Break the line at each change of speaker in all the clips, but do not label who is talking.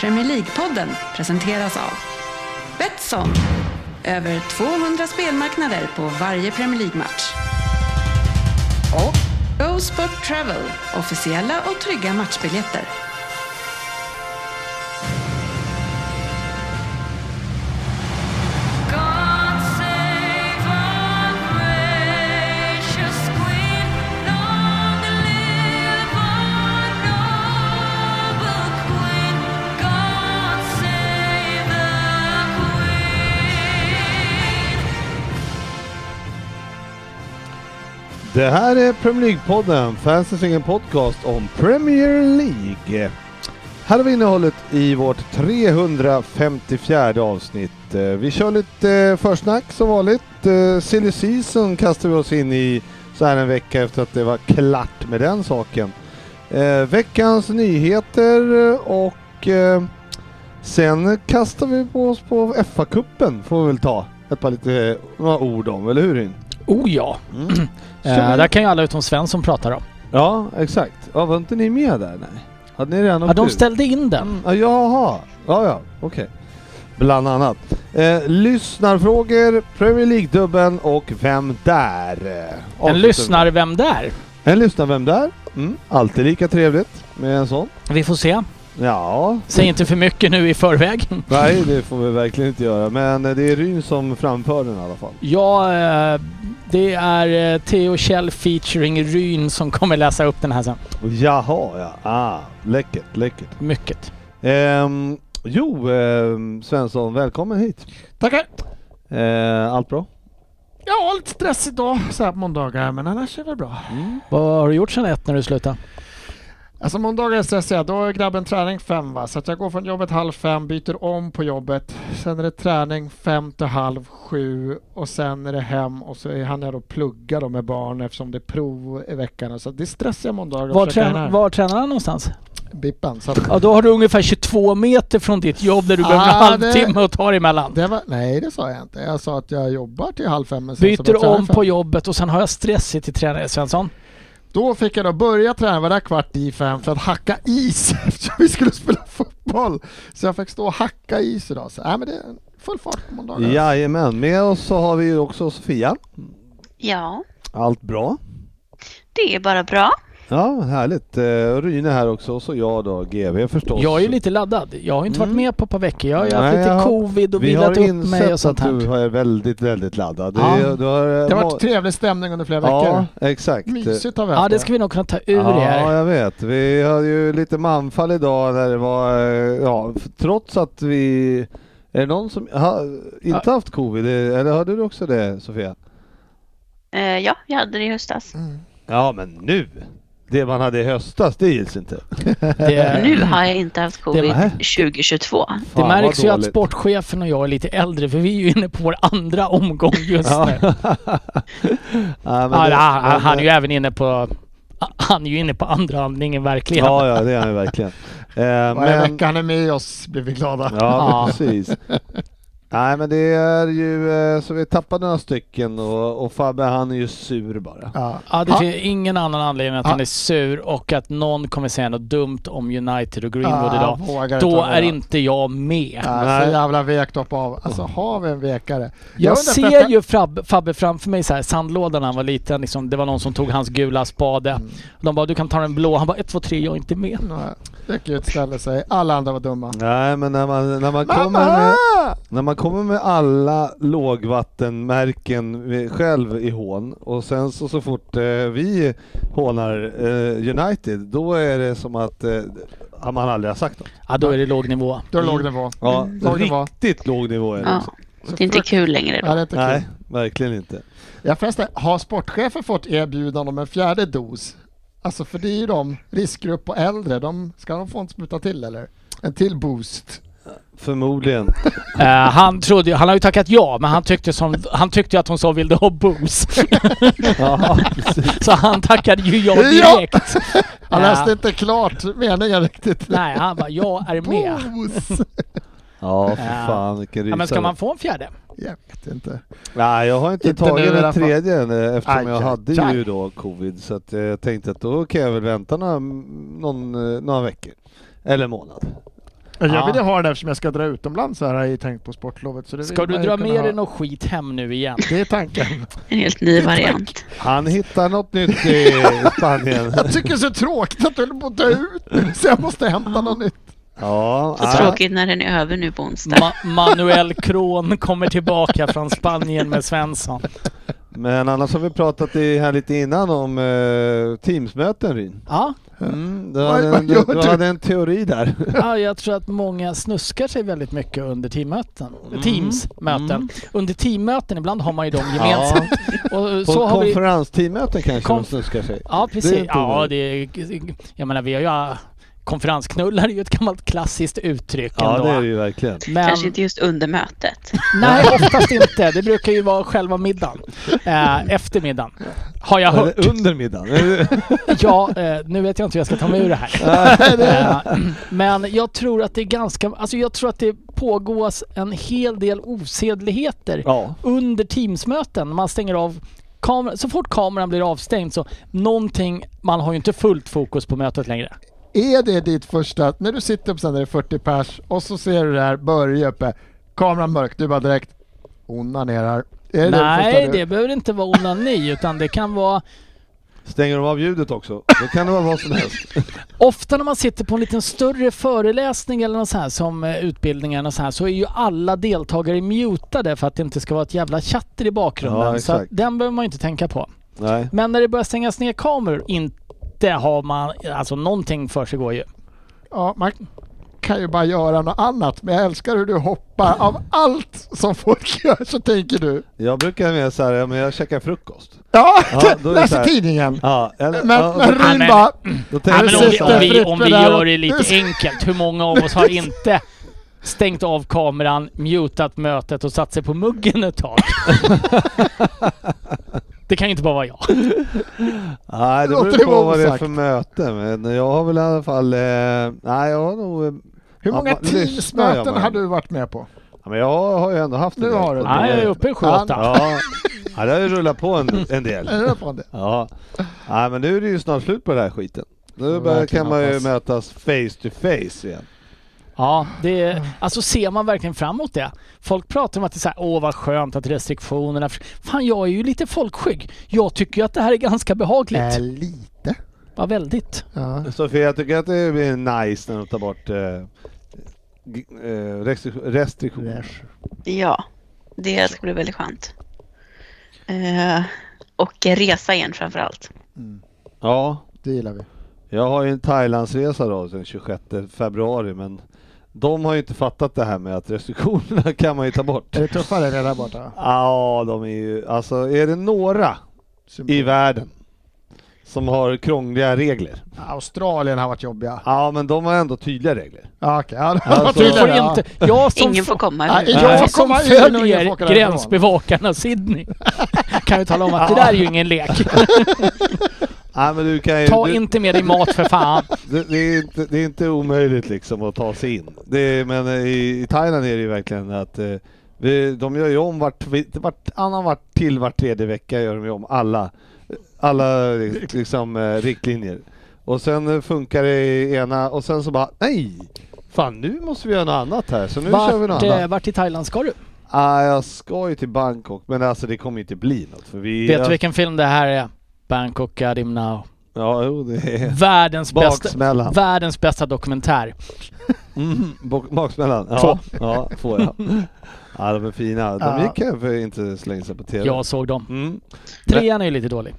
Premier League-podden presenteras av Betsson. Över 200 spelmarknader på varje Premier League-match. Och Go Sport Travel. Officiella och trygga matchbiljetter.
Det här är Premier League-podden, fansens egen podcast om Premier League. Här har vi innehållet i vårt 354 avsnitt. Eh, Vi kör lite eh, försnack som vanligt. Eh, Silly Season kastar vi oss in i så här en vecka efter att det var klart med den saken. Eh, Veckans nyheter eh, och eh, sen kastar vi på oss på FA-cupen får vi väl ta ett par lite eh, några ord om, eller hur Ryn?
Oh ja!
Mm.
Eh,
Så-
där kan ju alla utom Svensson prata om.
Ja, exakt. Ja, var inte ni med där? Nej. Hade ni redan
Ja, de
ut?
ställde in
Mm.
den.
Ja, jaha. Ja, ja. Okej. Bland annat. Eh, lyssnarfrågor, Premier League-dubben och Vem där? Eh, avslutar
En
vi.
lyssnar vem där?
En lyssnar Vem där? Mm. Alltid lika trevligt med en sån.
Vi får se.
Ja.
Säg
Mm.
inte för mycket nu i förväg.
Nej, det får vi verkligen inte göra. Men eh, det är Ryn som framför den i alla fall.
Ja, eh, det är eh, Theo Kjell featuring Ryn som kommer läsa upp den här sen.
Jaha, ja. Ah, läckert, läckert.
Mycket.
Ehm, jo, ehm, Svensson, välkommen hit.
Tackar!
Eh, allt bra?
Ja, lite stress idag så här på måndagar, men annars är det väl bra.
Vad har du gjort sedan ett när du slutade?
Alltså måndagar är stressiga, då är grabben träning fem va, så att jag går från jobbet halv fem, byter om på jobbet, sen är det träning fem till halv sju och sen är det hem och så hann jag då plugga då med barn eftersom det är prov i veckan. Så att det är stressiga måndagar. att
Var,
försöka hinna
trän-
här.
var tränar han någonstans?
Bippen. Så att
Ja, då har du ungefär 22 meter från ditt jobb där du behöver en
Ah, det-
halvtimme att ta dig emellan.
det var, nej, det sa jag inte. Jag sa att jag jobbar till halv fem. Men sen så börjar
Byter
jag träna
om
fem.
på jobbet och sen har jag stressigt i tränare Svensson.
Då fick jag då börja träna varje kvart i fem för att hacka is eftersom vi skulle spela fotboll. Så jag fick stå och hacka is idag. Så, nej, men det är full fart på måndagar.
Jajamän, med oss så har vi ju också Sofia.
Ja,
Allt bra?
det är bara bra.
Ja, härligt. Eh, Ryne här också och så jag då, GV förstås.
Jag är ju lite laddad. Jag har ju inte
Mm.
varit med på ett par veckor. Jag har ju
Nej,
haft lite
jag har-
covid och
Vi har
vilat upp mig och
insett
sånt
att du
här.
är väldigt, väldigt laddad. Du,
Ja.
du har, eh,
Det har
va-
varit trevlig stämning under flera veckor.
Ja, exakt.
Mysigt har vi haft
Ja, det ska vi nog kunna ta ur
Ja,
er.
jag vet. Vi hade ju lite manfall idag när det var, eh, ja, f- trots att vi... Är det någon som ha, inte haft covid? eh, Eller hade du också det Sofia?
Eh, ja, jag hade det i höstas.
Ja, men nu! Det man hade i höstas, det gills inte.
Det,
Nu har jag inte haft covid
Nähä.
2022.
det
Fan, vad
märks ju att
dåligt.
sportchefen och jag är lite äldre för vi är ju inne på vår andra omgång just
Ja.
nu.
Ja, men
Ja,
det-
han, han är
men-
ju även inne på... Han är ju inne på andra andningen verkligen.
Ja, ja, det är han ju verkligen. Eh,
Varje
men,
vecka han är med oss blir vi glada.
ja,
Ja.
precis. Nej, men det är ju eh, så vi tappade några stycken och, och Fabbe han är ju sur bara.
Ja.
Ja, det
Ja.
finns ingen annan anledning än att
Ja.
han är sur och att någon kommer säga något dumt om United och Greenwood idag.
Ah, vågar
Då
vara
är
med.
inte jag med.
Ja,
Nej. Oh.
så jävla vekt upp av. Alltså har vi en vekare?
Jag
undrar
ser
förresten-
ju Fab, Fabbe framför mig så här, sandlådan när han var liten. Liksom, det var någon som tog hans gula spade.
Mm.
De bara, du kan ta den blå. Han bara, ett, två, tre, jag är inte med.
Nej, Gick ut, ställde sig. Alla andra var dumma.
Nej, men när man, när man, kommer,
Mamma!
med, när man kommer med alla lågvattenmärken vi- själv i hån och sen så, så fort eh, vi hånar eh, United, då är det som att eh, man aldrig har sagt något.
Ja, då är det låg nivå.
Då låg nivå.
Ja,
Låg nivå.
riktigt låg nivå är det.
Ja,
också.
det är inte kul längre
Ja,
då.
det är inte kul.
Nej, verkligen inte.
Ja förresten, har sportchefen fått erbjudande om en fjärde dos? Alltså för det är ju de, riskgrupp och äldre, de, ska de få en spruta till eller? En till boost?
Förmodligen.
Eh, han, trodde, ju- han har ju tackat ja, men han tyckte, som, han tyckte att hon sa vill du ha booms?
Ja, precis.
Så han tackade ju ja
Ja!
direkt.
Han
Ja.
läste inte klart meningen riktigt.
Nej, han bara jag är med.
Boost!
Ja, för
Ja.
fan vilken
Ja,
rysare.
men ska man få en fjärde?
Jag vet inte.
Nej, jag har inte,
Inte nu i
tagit den
alla fall.
tredje än, eh, eftersom
Aj,
jag
aj,
hade
aj.
ju då covid. Så att eh, jag tänkte att då kan jag väl vänta några, någon, eh, några veckor. Eller månad.
Jag
Ja.
ville ha den eftersom jag ska dra utomlands så här har jag ju tänkt på sportlovet. Så det
Ska
vill
du
man ju
dra
kunna
med dig
ha.
någon skit hem nu igen?
Det är tanken.
En helt ny variant.
Han hittar något nytt i Spanien.
Jag tycker det är så tråkigt att du håller på att dö ut nu, så jag måste hämta något nytt.
Ja,
Så
nej.
tråkigt när den är över nu på onsdag.
Ma- Manuel Kron kommer tillbaka från Spanien med Svensson.
men annars har vi pratat i, här lite innan om eh, Teamsmöten Ryn.
Ja,
Mm, du,
Vad-
hade
vad
en, du,
gör
du
du?
hade en teori där.
ja, jag tror att många snuskar sig väldigt mycket under teammöten. Teamsmöten.
Mm.
Under teammöten, ibland har man ju dem gemensamt. Och
På
så har vi...
konferensteammöten kanske de
Konf-
snuskar sig.
Ja, precis.
Det är inte
ja,
ovanligt.
det är, jag menar, vi har ju... ah, Konferensknullar är ju ett gammalt klassiskt uttryck
Ja,
ändå.
det är det ju verkligen.
Men,
Kanske inte just under mötet.
nej, oftast inte. Det brukar ju vara själva middagen. Eh, eftermiddagen. Har jag hört.
Eller under middagen.
Ja, eh, nu vet jag inte hur jag ska ta mig ur det här. Eh, Men jag tror att det är ganska, alltså jag tror att det pågås en hel del osedligheter
ja.
under Teamsmöten. Man stänger av kameran, så fort kameran blir avstängd så någonting, man har ju inte fullt fokus på mötet längre.
Är det ditt första, när du sitter upp sen när det är 40 pers och så ser du det här, Börje uppe, kameran mörk, du bara direkt onanerar. Är det
Nej,
första
det,
du-
behöver inte vara onani utan det kan vara,
Stänger de av ljudet också? Då kan det vara vad som helst.
ofta när man sitter på en liten större föreläsning eller något så här som eh, utbildningar och så här så är ju alla deltagare mutade för att det inte ska vara ett jävla chatter i bakgrunden.
Ja,
så att
exakt.
den behöver man ju inte tänka på.
Nej.
Men när det börjar stängas ner kameror, inte har man, alltså någonting för sig går ju.
Ja, man kan ju bara göra något annat, men jag älskar hur du hoppar. Av allt som folk gör så tänker du.
Jag brukar mer så här, ja, men jag käkar frukost.
Ja,
Ja, då är det så
läser
här.
tidningen.
Ja, eller,
Men,
ja,
men Ryn
men-
bara,
då
Ja,
tänker
men
jag
om, vi,
så här.
om, vi, om vi gör det
Nu
lite
ska-
enkelt, hur många av oss har inte stängt av kameran, mutat mötet och satt sig på muggen ett tag? Det kan ju inte bara vara jag.
Nej, det
Låter
beror
det
på
vara
vad det är
osagt.
för möte. Men jag har väl i alla fall... Eh, nej, jag har nog... eh,
hur
Ja,
många
man- lyssnar jag
Teamsmöten
bara.
har du varit med på?
Ja, men jag har ju ändå haft en
Nu
del.
har du det.
Nej, jag är uppe i sju,
Ja,
åtta.
Ja, ja det har ju rullat på en, en del.
Är du på det?
Ja. Nej, men nu är det ju snart slut på den här skiten. Nu börjar,
verkligen
kan man ju
hoppas.
mötas face to face igen.
Ja, det är, alltså ser man verkligen fram emot det? Folk pratar om att det är så här, åh vad skönt att restriktionerna... Fan, jag är ju lite folkskygg. Jag tycker ju att det här är ganska
Äh,
behagligt.
lite.
Ja, väldigt.
Ja.
Sofia, jag tycker att det blir nice när de tar bort eh, g- eh, restriktio- restriktioner.
Ja, det ska bli väldigt skönt. Eh, och resa igen framför allt.
Ja,
Det gillar vi.
jag har ju en Thailandsresa då den 26 februari men de har ju inte fattat det här med att restriktionerna kan man ju ta bort.
Är det tuffare redan där borta?
Ja, de är ju, alltså är det några i världen som har krångliga regler?
Australien har varit jobbiga.
Ja, men de har ändå tydliga regler.
Ja, okej. Ja, det var
Alltså,
Du
tydligare,
får
ja.
inte... Jag som
Ingen får komma
Nej,
överhuvudtaget.
jag
Jag
får
som
komma in och ingen får åka
följer
därifrån.
gränsbevakarna Sydney kan ju tala om att det där är ju ingen lek.
Nej, men du kan ju,
Ta
du,
inte med dig mat för fan.
Det, det, är inte, det är inte omöjligt liksom att ta sig in. Det är, men eh, i, i Thailand är det ju verkligen att eh, vi, de gör ju om vart, vi- vart annan vart till vart tredje vecka gör de ju om alla, alla eh, liksom, eh, riktlinjer. Och sen eh, funkar det i ena och sen så bara nej! Fan nu måste vi göra något annat här så nu kör vi något
Vart, eh,
annat.
vart i Thailand ska du?
Ah, jag ska ju till Bangkok men alltså det kommer ju inte bli något för vi...
Vet du vilken film det här är? Bangkok Got Him Now.
Ja, jo, det är...
Världens bästa,
Baksmällan.
världens bästa dokumentär.
Mm, bak- baksmällan? Ja,
Två.
ja, får jag. Ja, de är fina. De
Ja.
gick här för inte så länge sedan på TV.
Jag såg dem.
Mm.
Trean är ju lite dålig.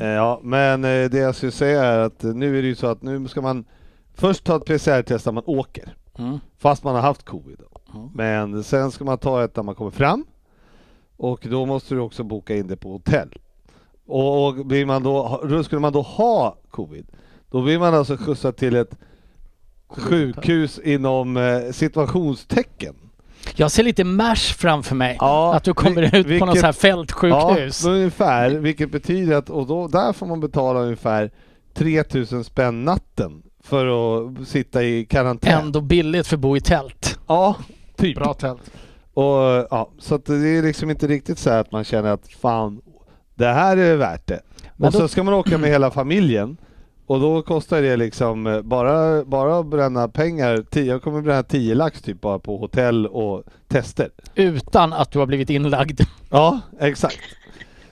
Eh, Ja, men eh, det jag skulle säga är att eh, nu är det ju så att nu ska man först ta ett PCR-test när man åker,
Mm.
fast man har haft covid. då.
Mm.
Men sen ska man ta ett när man kommer fram och då måste du också boka in det på hotell. Och, och blir man då, ha- skulle man då ha covid, då blir man alltså skjutsad till ett sjukhus inom eh, situationstecken.
Jag ser lite MASH framför mig.
Ja,
att du kommer
vil-
ut på något
vilket-
så här fältsjukhus.
Ja, ungefär, vilket betyder att och då, där får man betala ungefär 3000 spänn natten för att sitta i karantän.
Ändå billigt för att bo i tält.
Ja, typ.
Bra tält.
Och, ja, så att det är liksom inte riktigt så här att man känner att fan, det här är värt det.
Men
och
då-
så ska man åka med hela familjen Och då kostar det liksom eh, bara, bara att bränna pengar. 10 jag kommer bränna 10 lax typ bara på hotell och tester.
Utan att du har blivit inlagd.
Ja, exakt.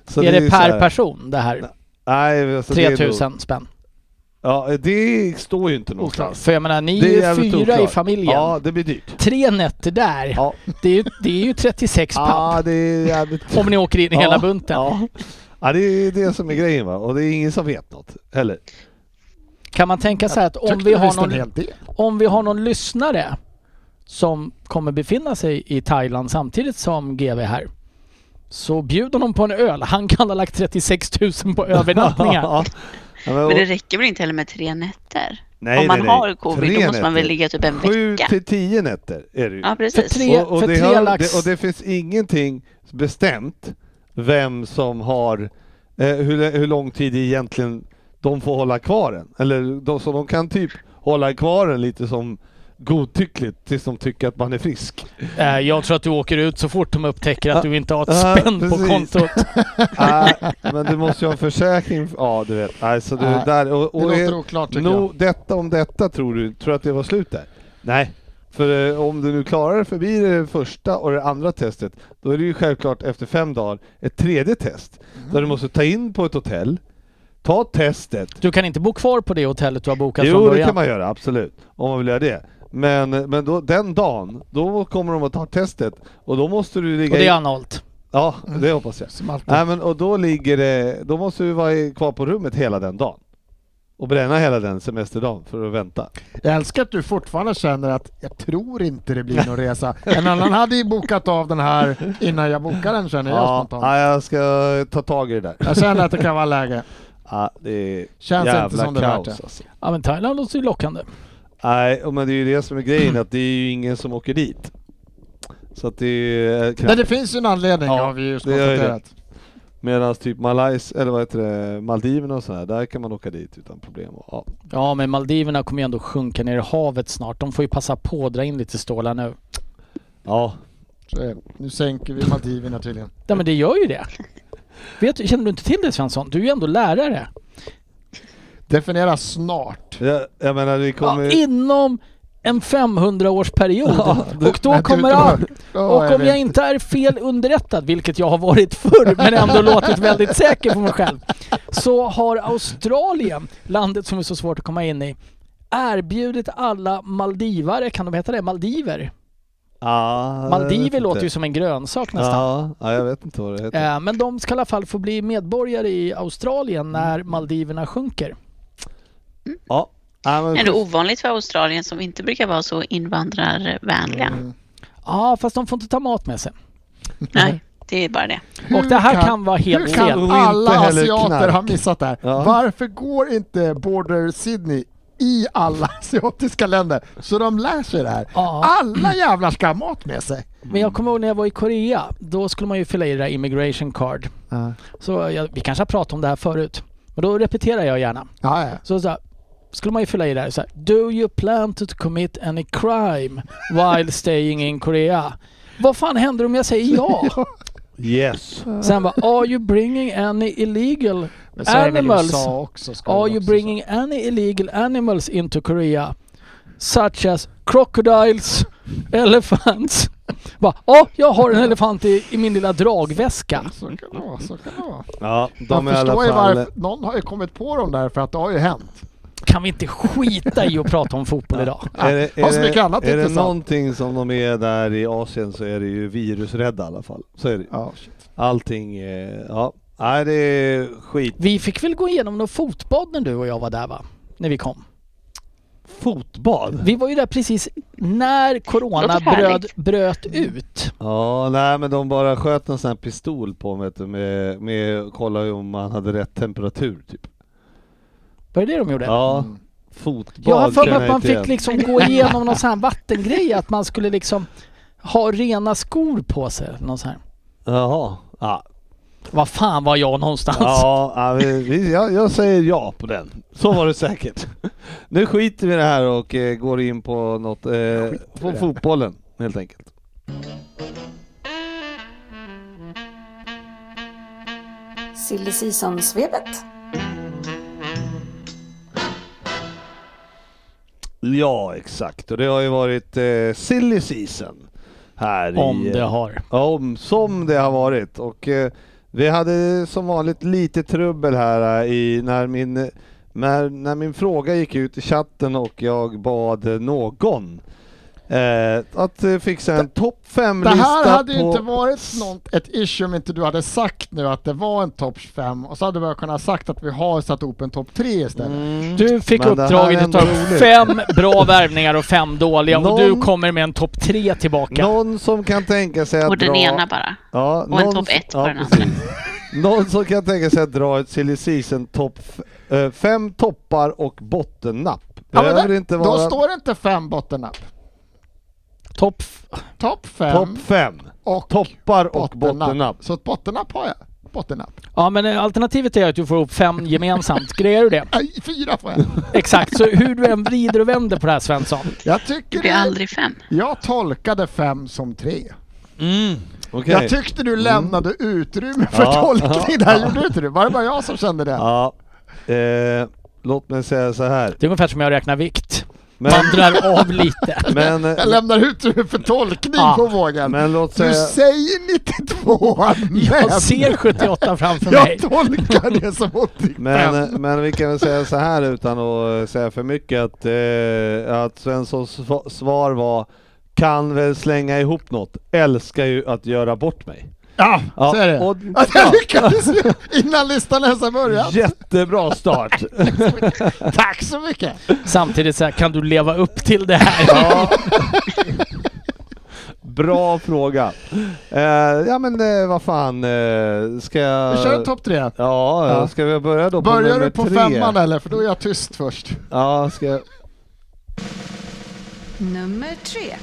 Så
är det
så
per
här-
person det här?
Nej, alltså det är nog-
3000 spänn.
Ja, det står ju inte
Oklart.
någonstans.
För jag menar, ni
Det är
är ju
jävligt
fyra i
oklart.
familjen.
Ja, det blir dyrt.
Tre nätter där,
Ja,
det, är ju, det är ju 36 papp.
ja det är jävligt...
Om ni åker in i
Ja,
hela bunten.
Ja. ja, det är det som är grejen va. Och det är ingen som vet något heller.
Kan man tänka så här att om
Tyckte
vi, har
visst en
någon,
hel del.
om vi har någon lyssnare som kommer befinna sig i Thailand samtidigt som GV här. Så bjud honom på en öl. Han kan ha lagt 36 000 på övernattningar.
Ja, men-
Men det räcker väl inte heller med tre nätter?
Nej,
Om man
nej, nej.
har covid
Tre
då måste man väl
nätter.
ligga typ en
Sju
vecka?
till tio nätter är det ju.
Ja,
För
precis.
tre,
det
för tre
har-
lax.
det, och det finns ingenting bestämt vem som har, eh, hur, hur lång tid egentligen de får hålla kvar den. Eller de, så de kan typ hålla kvar den lite som godtyckligt tills de tycker att man är frisk.
Eh, Jag tror att du åker ut så fort de upptäcker att du inte har
Ja,
ett spänn på
precis.
kontot. Ah.
Nej, men du måste ju ha en försäkring. Ja, du vet. Nej, så du,
Nej,
där, och,
Det
och
låter
är-
oklart tycker jag.
No, detta om detta tror du, tror du att det var slut där? Nej. För eh, om du nu klarar dig förbi det första och det andra testet, då är det ju självklart efter fem dagar ett tredje test.
Mm.
Där du måste ta in på ett hotell, ta testet.
Du kan inte bo kvar på det hotellet du har bokat från
Jo, det
början.
kan man göra, absolut. Om man vill göra det. Men, men då, den dagen, då kommer de att ta testet och då måste du ligga
Och det är Mm.
in-
analt.
Ja, det hoppas jag.
Som alltid.
Nej, men, och då, ligger det, då måste du vara i- kvar på rummet hela den dagen. Och bränna hela den semesterdagen för att vänta.
Jag älskar att du fortfarande känner att jag tror inte det blir någon resa. En annan hade ju bokat av den här innan jag bokade den känner jag
Ja,
spontant.
ja, jag ska ta tag i det där.
Jag känner att det kan vara läge.
Ja, det är
Känns
jävla
inte som det är värt
kaos
det.
alltså.
Ja men Thailand låter ju lockande.
Nej, och men det är ju det som är grejen, att det är ju ingen som åker dit. Så att det är eh,
Men
knappt.
det finns ju en anledning
Ja,
har vi just
det gör ju det.
konstaterat.
Medan typ Malais, eller vad heter det, Maldiverna och sådär, där kan man åka dit utan problem. Ja.
Ja men Maldiverna kommer ju ändå sjunka ner i havet snart. De får ju passa på att dra in lite stålar nu.
ja.
Så, eh, Nu sänker vi Maldiverna tydligen.
Ja men det gör ju det. Vet, du- känner du inte till det Svensson? Du är ju ändå lärare.
Definiera snart.
Jag, jag menar, det kommer...
Ja, inom en 500-årsperiod. och då
Men du,
kommer
då-
allt.
då
Och
är
om
vi-
jag inte är fel underrättad, vilket jag har varit förr men ändå låtit väldigt säker på mig själv, så har Australien, landet som är så svårt att komma in i, erbjudit alla maldivare, kan de heta det? Maldiver?
Ja, jag vet
Maldiver
inte.
låter ju som en grönsak nästan.
Ja, ja, jag vet inte vad det heter.
Eh, Men de ska i alla fall få bli medborgare i Australien när Maldiverna sjunker.
Ja. Ja, men
Är det
precis.
ovanligt för Australien som inte brukar vara så invandrarvänliga?
Ja, fast de får inte ta mat med sig.
Nej, det är bara det.
Och det här
kan-
kan vara
Hur
helt fel.
kan
Och
alla
inte heller
asiater
knark.
ha missat det här?
Ja.
Varför går inte Border Sydney i alla asiatiska länder så de lär sig det här?
Ja.
Alla jävlar ska ha mat med sig.
Men jag kommer ihåg när jag var i Korea, då skulle man ju fylla i det där immigration card.
Ja,
Så jag, vi kanske har pratat om det här förut, men då repeterar jag gärna.
ja.
Så, så här, skulle man ju fylla i det här, så här Do you plan to commit any crime while staying in Korea? Vad fan händer om jag säger ja?
Yes.
Sen bara Are you bringing any illegal
Men så är det väl i
animals?
USA också. ska
Are
det
you
också
bringing any illegal animals into Korea? Such as crocodiles, elephants. Bara, ja, jag har en elefant i, i min lilla dragväska.
så. Så kan det vara. Så kan det vara.
Ja,
De
de är i
jag
alla
förstår
fall...
ju varför. Någon har ju kommit på dem där för att det har ju hänt.
Kan vi inte skita i att prata om fotboll idag?
Är det,
Har så
är
mycket
det,
annat
är det
intressant.
någonting som de är där i Asien så är det ju virusrädda i alla fall. Så är det. ju.
Ja,
Allting, eh, ja. Nej, det är skit.
Vi fick väl gå igenom något fotbad när du och jag var där va? När vi kom.
Fotbad?
Vi var ju där precis när corona
Låter
bröd,
härligt.
bröt ut.
Ja, nej men de bara sköt en sån här pistol på mig vet du, med, med kolla om man hade rätt temperatur typ.
Var det det de gjorde?
Ja,
Mm.
fotbad
Jag har för mig
känner
att man
inte
fick
igen.
liksom gå igenom någon sån här vattengrej, att man skulle liksom ha rena skor på sig. Någon sån här.
Jaha. Ja,
Vad fan var jag någonstans?
Ja, ja, vi- vi- jag, jag säger ja på den. Så var det säkert. Nu skiter vi i det här och eh, går in på något, eh, på fotbollen helt enkelt.
Silly Season-svepet.
Ja, exakt. Och det har ju varit eh, silly season. Här
Om
i,
det har.
Ja, om, som det har varit. Och eh, vi hade som vanligt lite trubbel här eh, i, när, min, när, när min fråga gick ut i chatten och jag bad eh, någon eh, att eh, fixa en topp
Det här
5-lista
hade ju inte
på...
varit något, ett issue om inte du hade sagt nu att det var en topp 5 och så hade vi kunnat sagt att vi har satt ihop en topp 3 istället.
Mm.
Du fick
Men det här
uppdraget
är
att ta
ändå
upp
roligt.
fem bra värvningar och fem dåliga och du
Någon-
kommer med en topp tre tillbaka.
Någon som kan tänka sig att
Och den
dra...
ena bara.
Ja,
Och en topp ett på den andra.
precis. Någon som kan tänka sig att dra ett silly season topp f- eh, fem toppar och bottennapp.
Ja,
Behöver
men där,
inte
Då
vara
står det inte 5 bottennapp.
Topp... f-
Topp 5
topp fem.
och
Toppar och
bottennapp.
bottennapp.
Så ett bottennapp har jag. Bottennapp.
Ja men eh, alternativet är att du får ihop fem gemensamt. Grejer du det?
Nej, fyra får jag.
Exakt, så hur du än vrider och vänder på det här Svensson.
Jag
Det
tycker
blir
det,
aldrig fem.
jag tolkade 5 som 3.
Okej.
Jag tyckte du lämnade utrymme för
Mm. Ja,
tolkning. Där gjorde du inte det. Var det bara jag som kände det?
Ja. Eh, låt mig säga så här.
Det är ungefär som jag räknar vikt.
Men,
Man drar av lite.
men,
Jag
eh,
lämnar utrymme för tolkning
Ja.
på vågen.
men låt
du
säga...
säger 92 men
Jag ser 78 framför mig.
jag tolkar det som 85.
Men, eh, men vi kan väl säga så här utan att eh, säga för mycket att, eh, att Svenssons sva- svar var kan väl slänga ihop något. Älskar ju att göra bort mig.
ja, så är det.
och-
att jag lyckades innan listan ens har börjat.
Jättebra start!
Tack så mycket.
Samtidigt så här, kan du leva upp till det här?
Ja. Bra fråga. Eh, ja men eh, vad fan, eh, ska jag...
Vi kör topp tre.
Ja,
Ja.
ska vi börja då på
Börjar
nummer
du på
tre?
femman eller? För då är jag tyst först.
Ja, ska jag...
Nummer tre.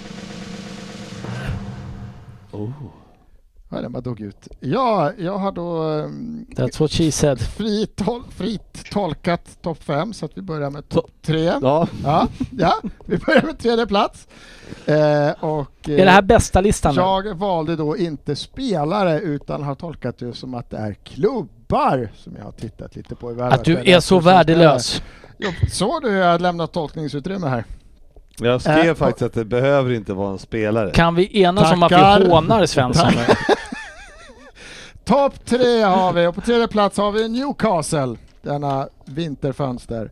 Ja, den bara dog ut. Ja, jag har då um,
That's what she said.
frit, tol, frit tolkat topp fem så att vi börjar med topp tre.
Ja.
Ja, ja, vi börjar med tredje plats. Eh, och, eh,
Är det här bästa listan? nu?
Jag valde då inte spelare utan har tolkat det som att det är klubbar som jag har tittat lite på i världen.
Att du är så värdelös.
Jo, Så du, jag har lämnat tolkningsutrymme här.
Jag skrev
Eh, och-
faktiskt att det behöver inte vara en spelare.
Kan vi enas om att vi
Tackar.
hånar Svensson? nu?
Topp tre har vi och på tredje plats har vi Newcastle denna vinterfönster.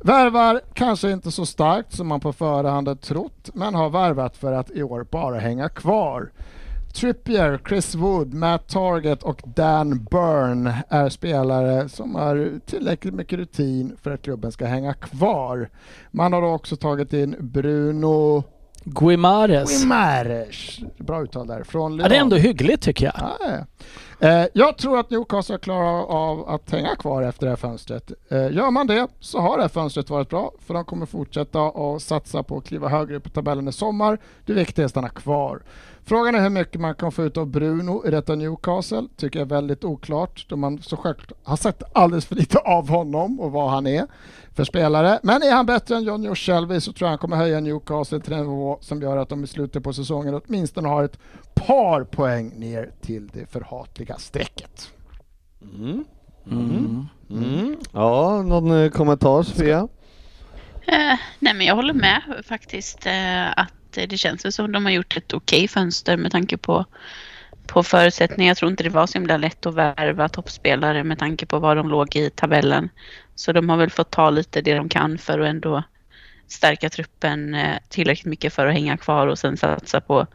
Värvar kanske inte så starkt som man på förhand hade trott men har värvat för att i år bara hänga kvar. Trippier, Chris Wood, Matt Target och Dan Byrne är spelare som har tillräckligt mycket rutin för att klubben ska hänga kvar. Man har då också tagit in Bruno
Guimares.
Guimares, bra uttal där, från
Ja, det är
Lyon.
ändå hyggligt tycker jag.
Ja, ja. Eh, jag tror att Newcastle klarar av att hänga kvar efter det här fönstret. Eh, gör man det så har det här fönstret varit bra för de kommer fortsätta att satsa på att kliva högre upp på tabellen i sommar. Det viktiga är att stanna kvar. Frågan är hur mycket man kan få ut av Bruno i detta Newcastle. Tycker jag är väldigt oklart då man så självklart har sett alldeles för lite av honom och vad han är för spelare. Men är han bättre än Johnny Shelby så tror jag han kommer höja Newcastle till en nivå som gör att de i slutet på säsongen åtminstone har ett par poäng ner till det förhatliga strecket.
Mm. Mm. Mm. Ja, någon eh, kommentar Sofia?
Eh, nej men jag håller med faktiskt eh, att eh, det känns väl som de har gjort ett okej fönster med tanke på, på förutsättningar. Jag tror inte det var så himla lätt att värva toppspelare med tanke på var de låg i tabellen. Så de har väl fått ta lite det de kan för att ändå stärka truppen eh, tillräckligt mycket för att hänga kvar och sen satsa på,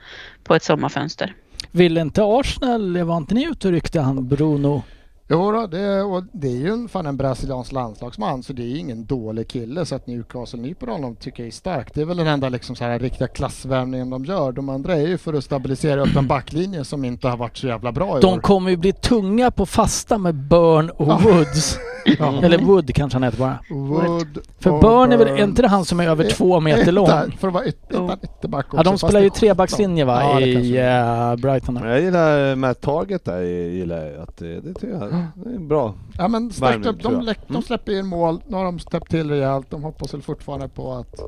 på ett sommarfönster.
Ville inte Arsenal, var inte ni ute och ryckte han Bruno?
Jo då, det, och det är ju en- fan en brasiliansk landslagsman så det är ju ingen dålig kille så att Newcastle nyper honom tycker jag är starkt. Det är väl den enda liksom så här riktiga klassvärvningen de gör. De andra är ju för att stabilisera upp en backlinje som inte har varit så jävla bra i
De
år.
kommer ju bli tunga på fasta med Burn och Woods.
Ja.
Mm. Eller Wood kanske han heter bara.
Wood
För
och
Burn är väl
Burn.
inte det han som är över två meter
Ytter-
lång?
För att vara ytter,
Jo.
ytterback också.
Ja, de
fast
spelar ju
det-
trebackslinje va
Ja, det
i
kanske.
eh, Brighton. där.
Jag gillar eh, Matt Target där, jag gillar jag att eh, det, det tycker jag det är bra.
Ja men starkt
Värmning,
upp.
tror
De,
jag. Mm.
läck- de släpper in mål, nu har de släppt till rejält. De hoppas väl fortfarande på att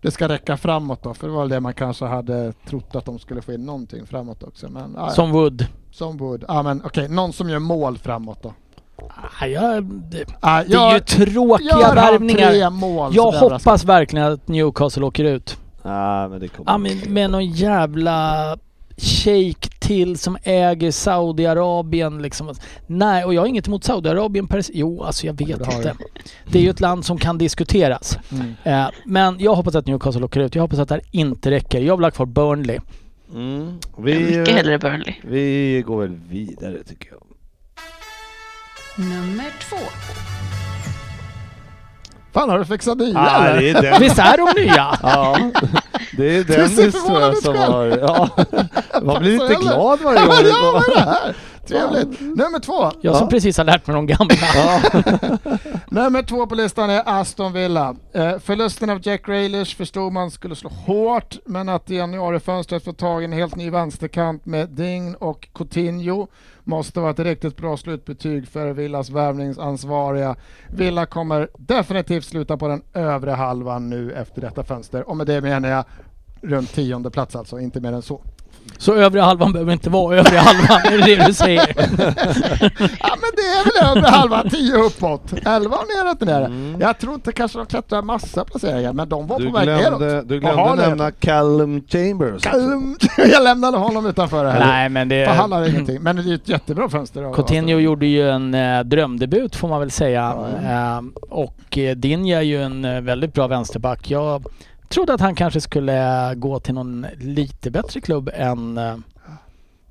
det ska räcka framåt då, för det var väl det man kanske hade trott att de skulle få in någonting framåt också. Men ja, ja.
Som Wood.
som Wood. Ja men okej, någon som gör mål framåt då.
Ah, jag, det,
Ah,
det är ju tråkiga
gör han tre
värvningar.
mål så
Jag
blir överraskad.
hoppas verkligen att Newcastle åker ut.
Nej, men det kommer
Ja, men med någon jävla shejk till som äger Saudiarabien liksom. Nej, och jag har inget emot Saudiarabien per se. Jo, alltså jag vet
det har
inte. Det är ju ett land som kan diskuteras.
Mm.
Eh, Men jag hoppas att Newcastle åker ut. Jag hoppas att det här inte räcker. Jag vill ha kvar Burnley.
Mm. Vi,
Mycket hellre Burnley.
vi går väl vidare tycker jag.
Nummer två.
Fan har du fixat nya
Ah,
eller?
det är den,
Visst är de nya?
ja, det är
är så
Dennis tror jag
förvånad
som
själv.
har... Ja. Man blir lite
heller.
glad varje gång det
Ja, vad är
går.
det här? Trevligt. Nummer två.
Jag som precis har lärt mig de gamla.
Nummer två på listan är Aston Villa. Eh, förlusten av Jack Grealish förstod man skulle slå hårt, men att i januarifönstret få tag i en helt ny vänsterkant med Ding och Coutinho måste vara ett riktigt bra slutbetyg för Villas värvningsansvariga. Villa kommer definitivt sluta på den övre halvan nu efter detta fönster och med det menar jag runt tionde plats alltså, inte mer än så.
Så övriga halvan behöver inte vara övriga halvan, är det det du säger?
Ja men det är väl över halva, tio uppåt. Elva neråt nere. Jag tror inte kanske de klättrar massa placeringar, men de var
Mm. Du
på väg
glömde,
neråt.
du
Och har
glömde
det.
nämna Callum Chambers.
Kalm. Jag lämnade honom utanför det här.
Nej men det...
För han har ingenting, men det är ju ett jättebra fönster. av-
Coutinho gjorde ju en eh, drömdebut får man väl säga.
Ja,
Ehm, och eh, Dinja är ju en eh, väldigt bra vänsterback. Jag trodde att han kanske skulle eh, gå till någon lite bättre klubb än eh,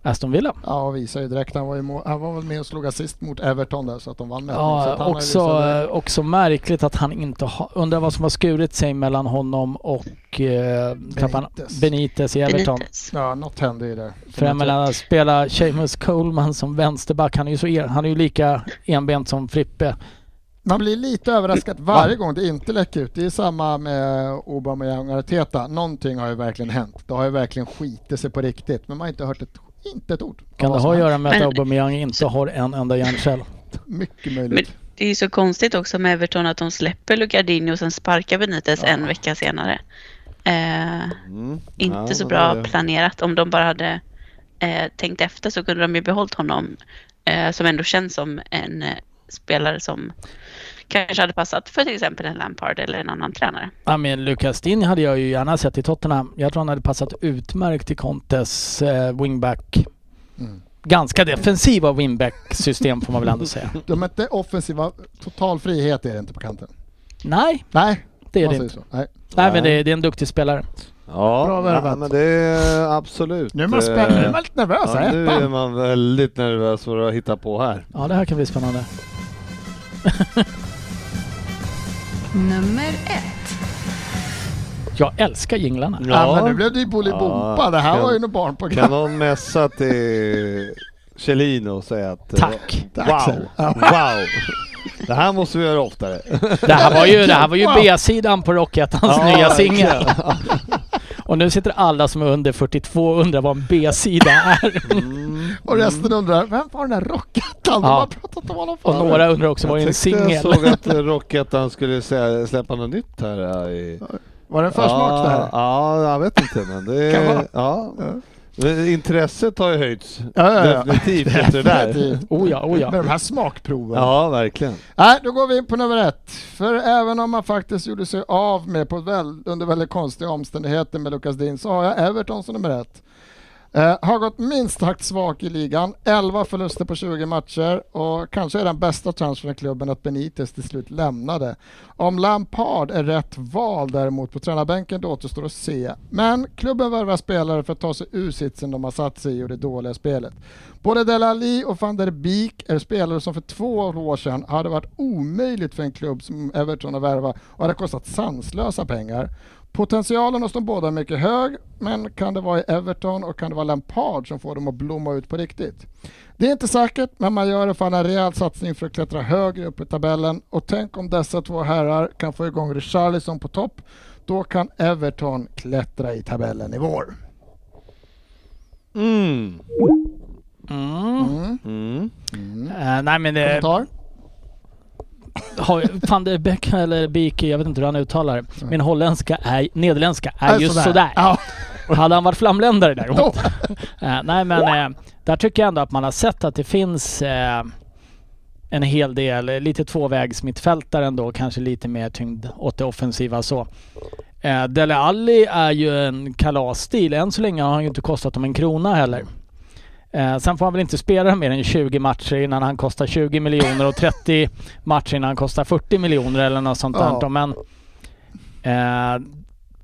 Aston Villa.
Ja, och visar ju direkt. Han var, ju må- han var väl med och slog assist mot Everton där, så att de vann med honom. Så
Ja,
att han har ju liksom,
också,
visat direkt.
eh, också märkligt att han inte har... Undrar vad som har skurit sig mellan honom och eh, tappan,
Benitez.
Benitez i Everton.
Benitez.
Ja, något hände ju där.
För jag menar att spela Seamus Coleman som vänsterback, han är ju, så er, han är ju lika enbent som Frippe.
Man blir lite överraskad varje gång det inte läcker ut. Det är samma med Aubameyang och Arteta. Någonting har ju verkligen hänt. Det har ju verkligen skitit sig på riktigt, men man har inte hört ett, inte ett ord. om
Kan det ha
vad som
att
hänt.
göra med att
Men-
Aubameyang inte har en enda hjärncell?
Mycket
Men
möjligt.
det är ju så konstigt också med Everton att de släpper Lucardinho och sen sparkar Benitez en vecka senare. Eh,
Mm.
inte
Ja,
så
det-
bra planerat. Om de bara hade eh, tänkt efter så kunde de ju behållit honom eh, som ändå känns som en eh, spelare som kanske hade passat för till exempel en Lampard eller en annan tränare.
Ja men Lucas Din hade jag ju gärna sett i Tottenham. Jag tror han hade passat utmärkt i Contes eh, wingback.
Mm.
Ganska defensiva wingback-system får man väl ändå säga.
De är inte offensiva. Total frihet är det inte på kanten.
Nej,
Nej,
det är
man
det
säger
inte.
så. Nej.
Nej men det är, det är en duktig spelare.
Ja,
Bra
ja
värvat.
men det är absolut. eh,
Nu är man spänd, nu är man lite nervös.
Ja,
här.
nu är man väldigt nervös för att hitta på här.
Ja det här kan bli spännande.
Nummer ett.
Jag älskar jinglarna.
Ja, men nu blev det ju
Ja,
Bolibompa. Det här
kan-
var ju något
Kan
barnprogram.
någon messa till Kjellin och säga att... eh,
Tack.
Wow! Wow! Det här måste vi göra oftare.
Det här var ju, det här var ju
Wow.
B-sidan på Rockettans
Ja,
nya
verkligen.
singel. Och nu sitter alla som är under 42 och undrar vad en B-sida är.
Mm.
Och resten undrar, vem var den där rockhattan? De
Ja.
har pratat om honom
Och
förut.
några undrar också vad är en
jag tyckte jag
singel?
såg att eh, Rockettan skulle sä- släppa något nytt här. eh, I...
Var det en försmak det
ja,
här?
ja, jag vet inte men det...
Kan vara.
ja. Men Intresset har ju höjts.
Ja, ja, ja.
Definitivt efter det där.
Definitivt.
Oh ja, oh
Med
ja.
de här smakproven.
Ja, verkligen.
Nej, då går vi in på nummer ett. För även om man faktiskt gjorde sig av med på väl, under väldigt konstiga omständigheter med Lucas Dean så har jag Everton som nummer ett. Eh, har gått minst sagt svag i ligan, 11 förluster på 20 matcher och kanske är den bästa transfern i klubben att Benitez till slut lämnade. Om Lampard är rätt val däremot på tränarbänken det återstår att se. Men klubben värvar spelare för att ta sig ur sitsen de har satt sig i och det dåliga spelet. Både Delali och van der Beek är spelare som för två år sedan hade varit omöjligt för en klubb som Everton att värva och hade kostat sanslösa pengar. Potentialen hos de båda är mycket hög, men kan det vara i Everton och kan det vara Lampard som får dem att blomma ut på riktigt? Det är inte säkert, men man gör i alla fall en rejäl satsning för att klättra högre upp i tabellen och tänk om dessa två herrar kan få igång Richarlison på topp, då kan Everton klättra i tabellen i vår.
Mm.
Mm.
Mm.
Mm.
Eh, nej men det,
Kommentar?
har, fan det är Beck eller Biki, jag vet inte hur han uttalar det. Min holländska är, nederländska Mm. är
Äh,
just sådär.
Ja.
Hade han varit flamländare
Då.
däremot. Eh, nej men eh, där tycker jag ändå att man har sett att det finns eh, en hel del, eh, lite tvåvägsmittfältare ändå, kanske lite mer tyngd åt det offensiva så. Eh, Dele Alli är ju en kalasstil. Än så länge har han ju inte kostat dem en krona heller. Eh, sen får han väl inte spela mer än 20 matcher innan han kostar 20 miljoner och 30 matcher innan han kostar 40 miljoner eller något sånt
Ja.
där. Men eh,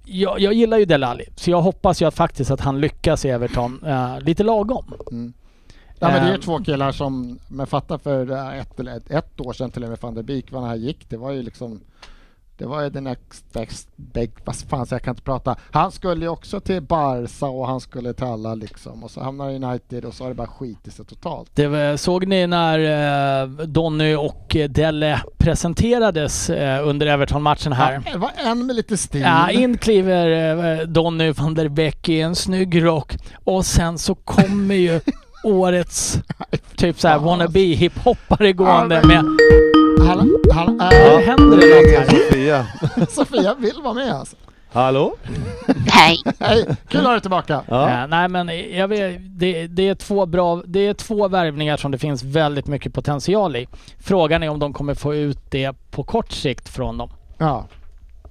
jag, jag gillar ju Dele Alli, så jag hoppas ju att faktiskt att han lyckas i Everton. Eh, lite lagom.
Nej, men det är ju
Ehm.
två killar som, men fatta för eh, ett, eller ett, ett år sedan till och med van der Beek, vad han här gick, det var ju liksom det var ju den next best, big, vad fan så jag kan inte prata. Han skulle ju också till Barca och han skulle till alla liksom och så hamnar United och så har det bara skitit sig totalt.
Det var, såg ni när eh, Donny och eh, Dele presenterades eh, under Everton-matchen här?
Ja, Mm. Det var en med lite stil.
Ja, in kliver eh, Donny van der Beek i en snygg rock och sen så kommer ju årets typ såhär
Ja.
wannabe hiphoppare gående med...
han, han
Nu
är...
händer det
Det
något
är
här.
Sofia.
Sofia vill vara med alltså.
Hallå?
Hej!
Hej, kul att ha dig tillbaka.
Ja.
Eh, nej men jag vet, det, det, är två bra, det är två värvningar som det finns väldigt mycket potential i. Frågan är om de kommer få ut det på kort sikt från dem.
Ja.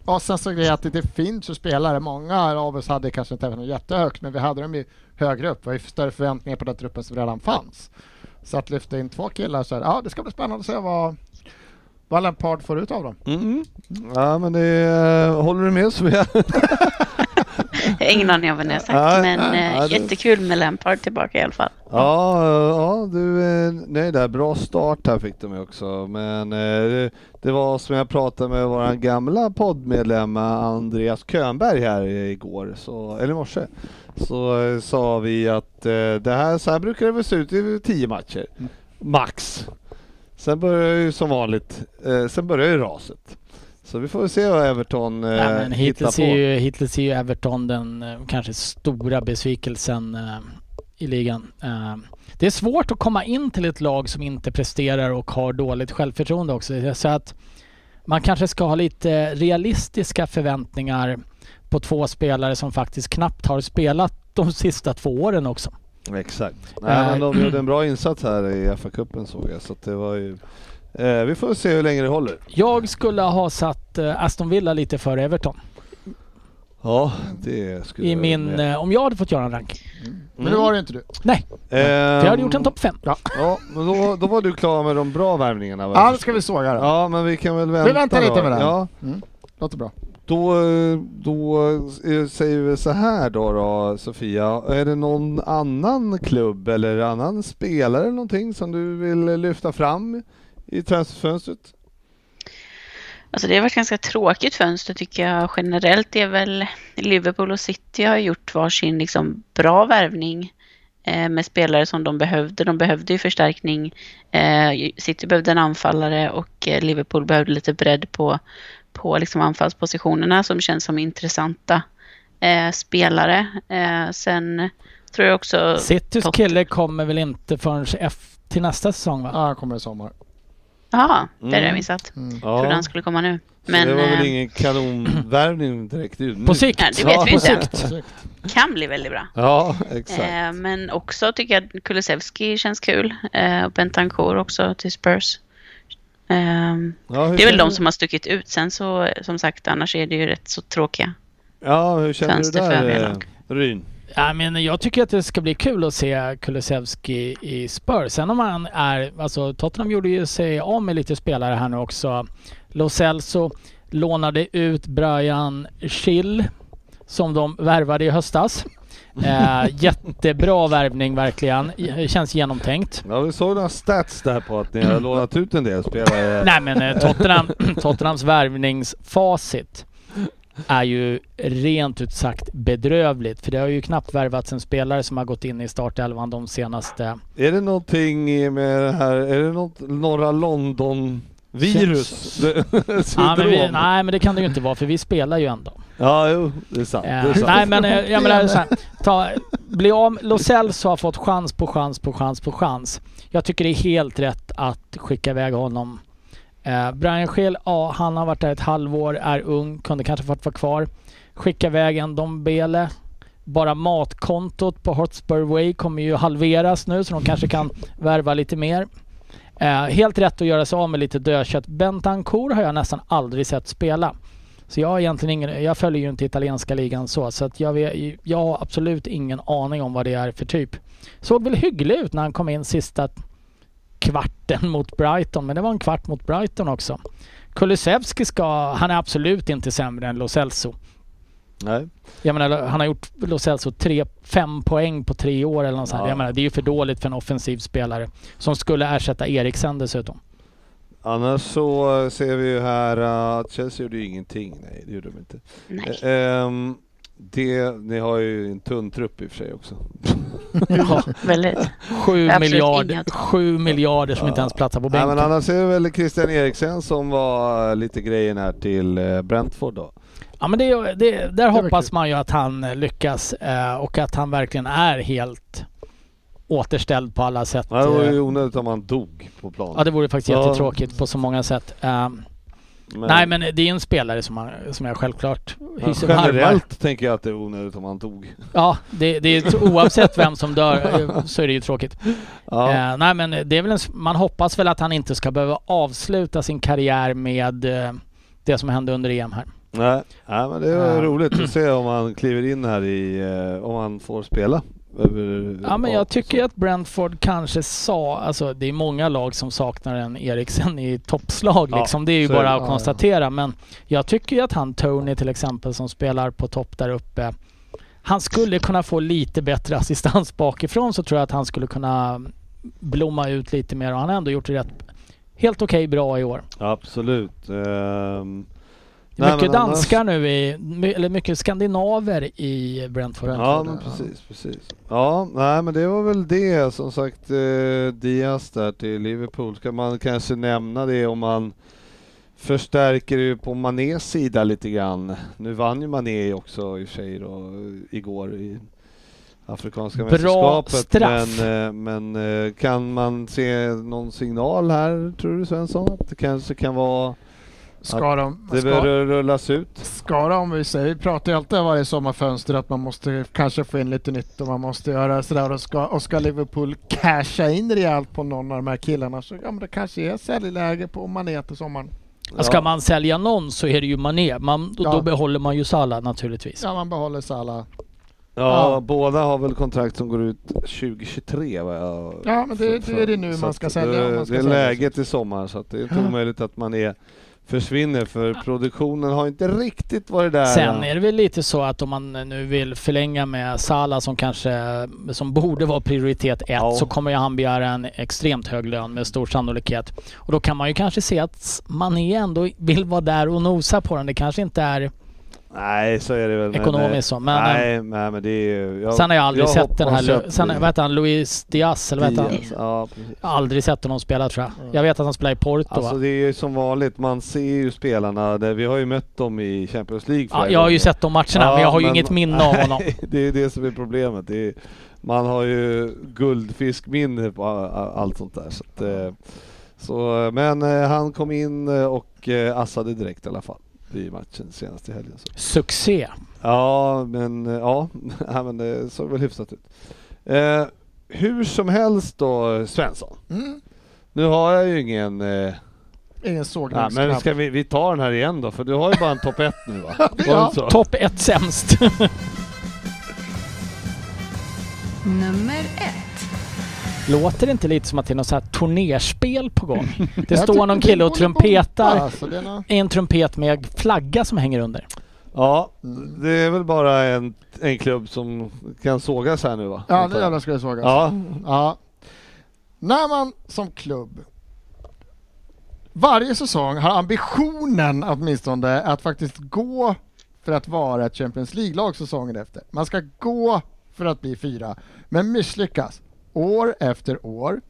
Och sen så är det att det- det finns ju spelare. Många av oss hade kanske inte något jättehögt, men vi hade dem ju högre upp. Vi hade ju större förväntningar på den truppen som redan fanns. Så att lyfta in två killar så här, ja det ska bli spännande att se vad, vad Lampard får ut av dem.
Mm. Ja men det är, Håller du med Sofia?
Jag har ingen aning om vad ni har
Ja,
sagt, men eh,
ja, det-
jättekul med Lampard tillbaka i alla fall.
Ja, eh, ja du, eh, nej där, bra start här fick de ju också. Men eh, det- det var som jag pratade med vår gamla poddmedlem eh, Andreas Könberg här i- igår, så, eller i morse. Så eh, sa vi att eh, det här, så här brukar det väl se ut i tio matcher,
Mm.
max. Sen börjar ju som vanligt, eh, sen börjar ju raset. Så vi får väl se vad Everton eh,
Nej, men
hittar
hittills,
på.
är ju, hittills är ju Everton den eh, kanske stora besvikelsen eh, i ligan. Eh, det är svårt att komma in till ett lag som inte presterar och har dåligt självförtroende också. Det är Så att man kanske ska ha lite realistiska förväntningar på två spelare som faktiskt knappt har spelat de sista två åren också.
Exakt.
Eh.
Nej, men de gjorde en bra insats här i FA-cupen såg jag, så att det var ju... Eh, vi får se hur länge det håller.
Jag skulle ha satt eh, Aston Villa lite före Everton.
Ja, det skulle
I
jag
min,
med.
eh, om jag hade fått göra en rank.
Men det var det inte
Mm.
du.
Nej,
Ehm,
jag hade gjort en topp fem.
Ja, men då, då var du klar med de bra värvningarna va?
Ja, nu ska vi såga det.
Ja, men vi kan väl vänta
Vi väntar lite
då.
med den.
Ja,
Låter bra.
då, eh, då eh, säger vi så här då, då Sofia. Är det någon annan klubb eller annan spelare eller någonting som du vill lyfta fram i transferfönstret?
Alltså det har varit ganska tråkigt fönster tycker jag generellt. Det är väl Liverpool och City har gjort varsin liksom bra värvning eh, med spelare som de behövde. De behövde ju förstärkning. Eh, City behövde en anfallare och eh, Liverpool behövde lite bredd på, på liksom anfallspositionerna som känns som intressanta eh, spelare. Eh, sen tror jag också...
Citys
Totti.
kille kommer väl inte förrän F till nästa säsong va?
Ja, han kommer i sommar.
Jaha, det
Mm.
har jag missat. Trodde
Ja,
han skulle komma nu.
så det var väl
eh,
ingen kanonvärvning direkt ut nu.
På sikt!
Nej, det vet vi
på
inte.
sikt.
kan bli väldigt bra.
Ja, exakt.
Eh, men också tycker jag att Kulusevski känns kul. Eh, och Bentancourt också till Spurs. Ehm,
Ja, hur
det är väl
känner
de
du?
som har stuckit ut. Sen så, eh, som sagt, annars är det ju rätt så tråkiga.
Ja, hur känner du
Fönster för
där eh,
övriga lag.
Ryn?
Ja, men jag tycker att det ska bli kul att se Kulusevski i Spurs. Sen om han är... Alltså Tottenham gjorde ju sig av med lite spelare här nu också. Lo Celso lånade ut Brian Schill som de värvade i höstas. Eh, jättebra värvning verkligen. J- Känns genomtänkt.
Ja, vi såg några stats där på att ni har lånat ut en del spelare.
Nej men eh, Tottenham, Tottenhams värvningsfacit är ju rent ut sagt bedrövligt. För det har ju knappt värvats en spelare som har gått in i startelvan de senaste...
Är det någonting i- med det här, är det något norra London-virus?
Ja, men vi,
Syndrom?
nej men det kan det ju inte vara för vi spelar ju ändå.
Ja, jo, det är sant. Det är
Eh,
sant.
nej men eh, jag menar så här, ta, bli av, Lo Celso har fått chans på chans på chans på chans. Jag tycker det är helt rätt att skicka iväg honom. Eh, Brian Scheel, ja han har varit där ett halvår, är ung, kunde kanske fått vara kvar. Skicka iväg en Dombele. Bara matkontot på Hotspur Way kommer ju halveras nu så de kanske kan värva lite mer. Eh, helt rätt att göra sig av med lite dödkött. Bentancur har jag nästan aldrig sett spela. Så jag har egentligen ingen, jag följer ju inte italienska ligan så, så att jag, vet- jag har absolut ingen aning om vad det är för typ. Såg väl hygglig ut när han kom in sista kvarten mot Brighton, men det var en kvart mot Brighton också. Kulusevski ska, han är absolut inte sämre än Lo Celso.
Nej.
Jag menar, han har gjort Lo Celso tre, fem poäng på tre år eller något sånt.
Ja.
Jag menar, det är ju för dåligt för en offensiv spelare som skulle ersätta Eriksen dessutom.
Annars så eh, ser vi ju här eh, att Chelsea gjorde ju ingenting. Nej, det gjorde de inte.
Nej.
Eh, ehm, det, ni har ju en tunn trupp i och för sig också.
Ja,
eh.
Väldigt.
sju,
Absolut
miljarder,
inget.
sju miljarder som inte ens platsar på
Nej, men
bänken.
annars är det väl Christian Eriksen som var eh, lite grejen här till eh, Brentford då.
Ja, men det, det, där
var
hoppas
kul.
man ju att han eh, lyckas eh, och att han verkligen är helt återställd på alla sätt.
Ja, Det var ju
Eh,
onödigt om han dog på planen.
Ja, det vore faktiskt
Ja.
jättetråkigt på så många sätt. Eh, Nej, men det är en spelare som, man, som jag självklart
Ja,
hyser varma-
generellt tänker jag att det är onödigt om han dog.
Ja, det, det är, oavsett vem som dör eh, så är det ju tråkigt.
Ja.
Eh, nej men det är väl en, s- man hoppas väl att han inte ska behöva avsluta sin karriär med eh, det som hände under EM här.
Nej. Nej, men det var
Ja.
roligt att se om han kliver in här i, eh, om han får spela. Över,
Ja men jag tycker
så.
ju att Brentford kanske sa, alltså det är många lag som saknar en Eriksen i toppslag
Ja,
liksom. Det är ju
så är
bara
det.
att
Ja, ja.
konstatera. Men jag tycker ju att han Tony till exempel som spelar på topp där uppe. Han skulle kunna få lite bättre assistans bakifrån så tror jag att han skulle kunna blomma ut lite mer och han har ändå gjort det rätt, helt okej bra i år.
Absolut. Ehm,
Det är
nej,
mycket
men annars-
danskar nu i, my- eller mycket skandinaver i Brentford.
Ja, men precis, precis. Ja, nej men det var väl det. Som sagt, eh, Diaz där till Liverpool. Ska man kanske nämna det om man förstärker ju på Manés sida lite grann. Nu vann ju Mané också i och för sig då, eh, igår i Afrikanska
Bra
mästerskapet.
straff.
Men, eh, men eh, kan man se någon signal här, tror du Svensson? Att det kanske kan vara...
Ska de,
Det
ska,
bör rullas ut.
ska de, vi säger, vi pratar ju alltid varje sommarfönster att man måste kanske få in lite nytt och man måste göra sådär och ska, och ska Liverpool casha in rejält på någon av de här killarna så ja men det kanske är säljläge på Mané till sommaren.
Ja. Ska man sälja någon så är det ju Mané. Man, då, då
Ja.
behåller man ju Salah naturligtvis.
Ja man behåller Salah.
Ja,
Ja.
båda har väl kontrakt som går ut 2023 vad jag...
Ja, men det-
för-
det är det nu
så
man
att
ska sälja,
Det,
om man ska
det är
sälja. liksom.
läget i sommar så att det är inte
Ja.
omöjligt att man är försvinner för produktionen har inte riktigt varit där.
Sen är det väl lite så att om man nu vill förlänga med Salah som kanske, som borde vara prioritet ett,
Ja.
så kommer ju han begära en extremt hög lön med stor sannolikhet. Och då kan man ju kanske se att Mané ändå vill vara där och nosa på den. Det kanske inte är...
Nej, så är det väl. men- eh,
Ekonomiskt så, men- eh,
nej, nej, men det är ju... jag-
sen har jag aldrig
jag
sett den här...
hoppas
Lu-
att
Sen,
det-
vad heter han? Luis Diaz, eller vad heter han?
Diaz, Ja, precis.
Jag har aldrig sett honom spela tror jag. Jag vet att han spelar i Porto
Alltså
va?
det är ju som vanligt, man ser ju spelarna, där, vi har ju mött dem i Champions League
Ja,
flera
jag har ju
gånger.
sett de matcherna men jag har ju inget minne av honom.
Nej, det är det som är problemet. Det är, man har ju guldfiskminne på a- a- allt sånt där. Så att, eh, så, eh, men eh, han kom in eh, och eh, assade direkt i alla fall i matchen senast i helgen. Så.
Succé.
Ja, men eh, ja, nej, men det såg väl hyfsat ut. Eh, hur som helst då Svensson.
Mm.
Nu har jag ju ingen... Eh,
Ingen
nej,
sågningsknapp.
men ska vi, vi tar den här igen då? För du har ju bara en topp 1 nu va? Var det
Ja,
så?
Topp ett sämst.
Nummer ett.
Låter det inte lite som att det är något så här turnerspel på gång? Det
Jag
står
tycker
någon kille och
håller på att hoppa,
trumpetar.
Alltså, det är nå-
En trumpet med flagga som hänger under.
Ja, det är väl bara en, en klubb som kan sågas här nu va?
ja nu jävlar ska det sågas. Mm.
Ja,
Ja. När man som klubb varje säsong har ambitionen åtminstone att faktiskt gå för att vara ett Champions League-lag säsongen efter. Man ska gå för att bli fyra, men misslyckas år efter år.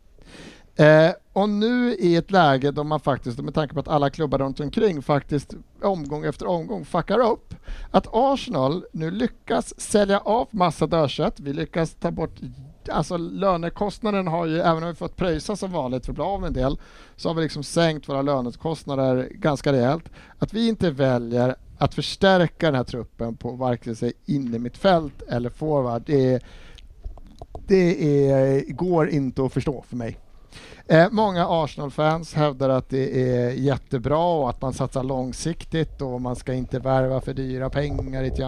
Eh, och nu i ett läge då man faktiskt, med tanke på att alla klubbar runt omkring faktiskt omgång efter omgång fuckar upp, att Arsenal nu lyckas sälja av massa dödkött, vi lyckas ta bort, alltså lönekostnaden har ju, även om vi fått pröjsa som vanligt för att bli av med en del, så har vi liksom sänkt våra lönekostnader ganska rejält. Att vi inte väljer att förstärka den här truppen på varken sig inne mitt fält eller forward, det, är, det är, går inte att förstå för mig. Eh, många Arsenal-fans hävdar att det är jättebra och att man satsar långsiktigt och man ska inte värva för dyra pengar i ett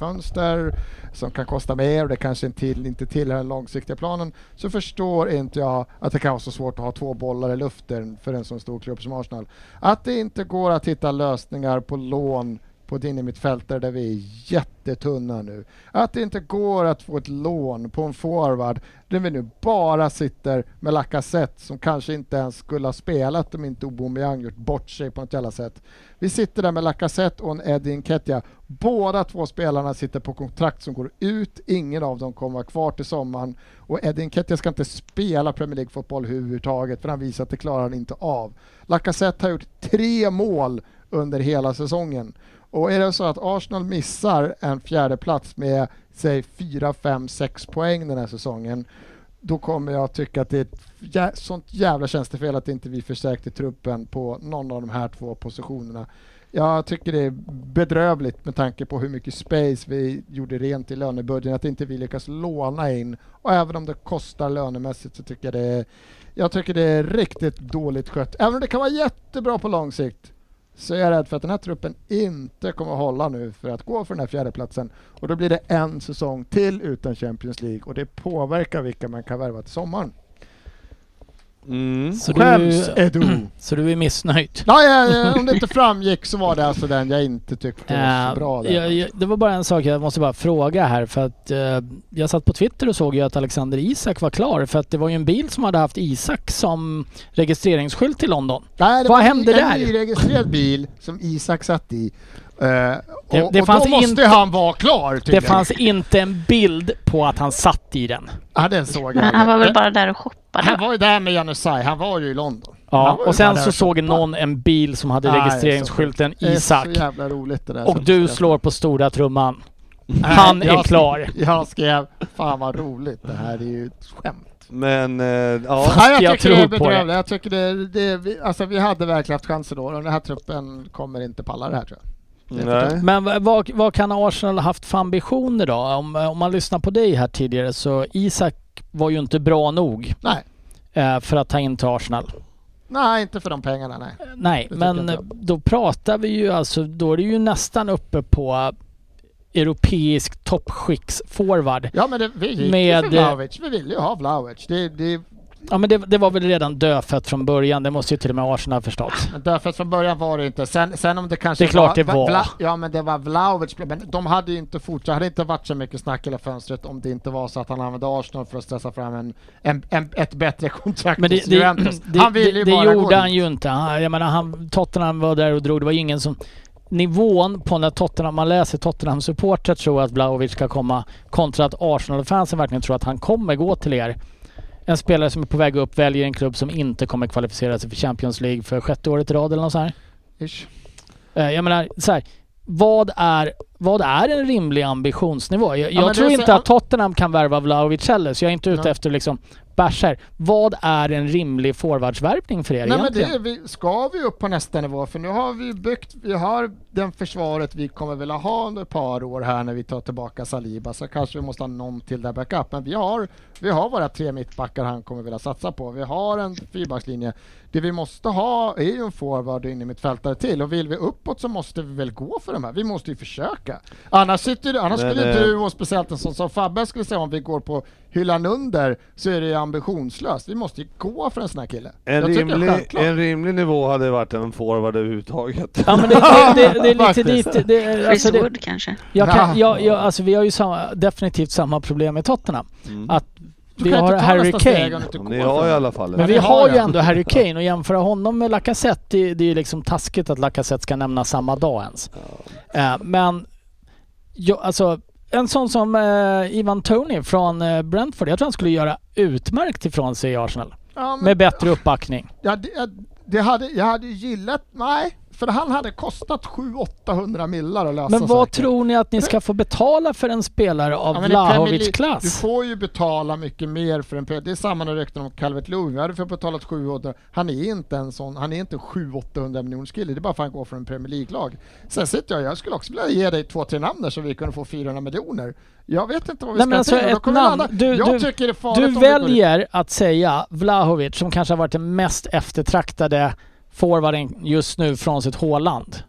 januarifönster som kan kosta mer och det kanske inte till, inte tillhör den långsiktiga planen. Så förstår inte jag att det kan vara så svårt att ha två bollar i luften för en så stor klubb som Arsenal. Att det inte går att hitta lösningar på lån på ett innermittfältare där vi är jättetunna nu. Att det inte går att få ett lån på en forward där vi nu bara sitter med Lacazette som kanske inte ens skulle ha spelat om inte Aubameyang gjort bort sig på något jävla sätt. Vi sitter där med Lacazette och en Eddie Nketiah. Båda två spelarna sitter på kontrakt som går ut. Ingen av dem kommer vara kvar till sommaren och Eddie Nketiah ska inte spela Premier League-fotboll överhuvudtaget för han visar att det klarar han inte av. Lacazette har gjort tre mål under hela säsongen. Och är det så att Arsenal missar en fjärde plats med säg 4, 5, 6 poäng den här säsongen då kommer jag tycka att det är ett jä- sånt jävla tjänstefel att inte vi förstärkte truppen på någon av de här två positionerna. Jag tycker det är bedrövligt med tanke på hur mycket space vi gjorde rent i lönebudgeten, att inte vi lyckas låna in. Och även om det kostar lönemässigt så tycker jag det är, jag tycker det är riktigt dåligt skött. Även om det kan vara jättebra på lång sikt så är jag rädd för att den här truppen inte kommer att hålla nu för att gå för den här fjärdeplatsen. Och då blir det en säsong till utan Champions League och det påverkar vilka man kan värva till sommaren.
Mm.
Så
Skäms
du, Mm.
Edu!
så du är missnöjd?
Nej, eh, om det inte framgick så var det alltså den jag inte tyckte var
Eh,
så bra.
jag,
Där. alltså.
jag, det var bara en sak jag måste bara fråga här för att eh, jag satt på Twitter och såg ju att Alexander Isak var klar för att det var ju en bil som hade haft Isak som registreringsskylt i London.
Nej, det
vad
var
hände
en
där?
nyregistrerad bil som Isak satt i. Eh, och,
det
och
fanns
då måste
inte-
han vara klar tycker
Det fanns inte en bild på att han satt i den.
jag. Ja, den såg jag.
Men han var väl
Eh,
bara där och shoppade?
han
va?
var ju där med Janusaj, han var ju i London. Han
Ja,
var ju
och
bara
sen
där
så
och
såg
shoppade.
någon en bil som hade
Nej,
registreringsskylten
Det är
Isak.
så jävla roligt det där.
Och
som
du
skrev.
slår på stora trumman.
Nej,
Han är
jag-
klar.
Jag skrev, fan vad roligt, det här är ju ett skämt.
Men eh, ja,
Nej, jag,
jag
tycker
tror
det är
på
bedrövligt. Jag tycker det, det vi, alltså vi hade verkligen haft chanser då. och Den här truppen kommer inte palla det här tror jag.
nej.
Men v- vad, vad kan Arsenal haft för ambitioner då? Om, om man lyssnar på dig här tidigare så Isak var ju inte bra nog
Nej,
eh, för att ta in till Arsenal.
nej inte för de pengarna nej.
Eh, Nej,
Det tycker
men
inte
eh,
jag.
då pratar vi ju alltså, då är det ju nästan uppe på eh, europeisk toppskiktsforward.
Ja men det, vi gick
Med- eh,
Med, för Vlahovic, vi ville ju ha Vlahovic. Det, det,
Ja men det, det var väl redan dödfött från början, det måste ju till och med Arsenal ha förstått.
men därför att från början var det inte. Sen, sen om det kanske
Det är klart det var.
ja men det var Vlahovic, men de hade ju inte fortsatt, det hade inte varit så mycket snack i hela fönstret om det inte var så att han använde Arsenal för att stressa fram en, en, en, ett bättre kontrakt
Men det,
hos
det,
Juventus.
det, det, det
gå
gjorde
dit.
han ju inte. Han, jag menar, han, Tottenham var där och drog. Det var ingen som... Nivån på när Tottenham, man läser Tottenham-supportrar tror att Blaovic ska komma kontra att Arsenal-fansen verkligen tror att han kommer gå till er. En spelare som är på väg upp väljer en klubb som inte kommer kvalificera sig för Champions League för sjätte året i rad eller något så här.
Ish.
Eh, Jag menar så här, vad är, vad är en rimlig ambitionsnivå? Jag,
men
jag
det
tror
är så-
inte att Tottenham kan värva Vlahovic heller, så jag är inte ute
Nej.
efter liksom bärsar. Vad är en rimlig forwardsvärvning för er
Nej, men det
egentligen?
är, vi, ska vi upp på nästa nivå? För nu har vi byggt, vi har den försvaret vi kommer vilja ha under ett par år här när vi tar tillbaka Saliba, så kanske vi måste ha någon till där backup. Men vi har, vi har våra tre mittbackar han kommer vilja satsa på. Vi har en fyrbackslinje. Det vi måste ha är ju en forward och innermittfältare till och vill vi uppåt så måste vi väl gå för de här. Vi måste ju försöka. Annars, sitter, du- annars
Men,
skulle
eh,
du och speciellt en sån som Fabbe skulle säga om vi går på hyllan under så är det ju ambitionslöst. Vi måste ju gå för en sån här kille.
En
Jag tycker det är
rimlig,
självklart.
en rimlig nivå hade varit en forward överhuvudtaget.
Ja men det, det, det, det är lite
Faktiskt.
dit... Det, är-
Chris
alltså, det,
Wood kanske?
jag kan,
Nah.
jag, jag, alltså vi har ju samma, definitivt samma problem med Tottenham.
Mm.
Att
Du
vi
kan
har
inte ta
Harry
nästa
Kane.
steg om du inte
Ja,
går
Ni
för
har i
det.
alla fall
Men
Ja,
en.
vi
det har
har ju
jag.
ändå Harry Kane och jämföra honom med Lacazette, det, det är ju liksom taskigt att Lacazette ska nämna samma dag ens. Eh, men jag, alltså, en sån som eh, Ivan Tony från eh, Brentford, jag tror han skulle göra utmärkt ifrån
Mm.
sig i Arsenal.
Ja, men,
Med bättre uppbackning.
ja, det, ja, det hade, jag hade ju gillat... Nej, För han hade kostat 700-800 millar att lösa
Men vad
säkert.
tror ni att ni ska få betala för en spelare av
Ja, men i Premier League-
Vlahovics
Du
klass?
får ju betala mycket mer för en Premier- Det är samma när du räknar om Calvert Lewin. Vi hade för betalat 700. Han är inte en sån, han är inte 700-800 miljoner kille. Det är bara för att han går från en Premier League-lag. Sen sitter jag, jag skulle också vilja ge dig två, tre namn där så vi kunde få 400 miljoner. Jag vet inte vad vi
Nej,
ska
men alltså
till. Då
ett
kommer en
namn.
annan-
Du-
jag
du-
tycker det är farligt om
Du
vi går in-
väljer att säga Vlahovic som kanske har varit den mest eftertraktade forwarden just nu från sitt Haaland.
Mm.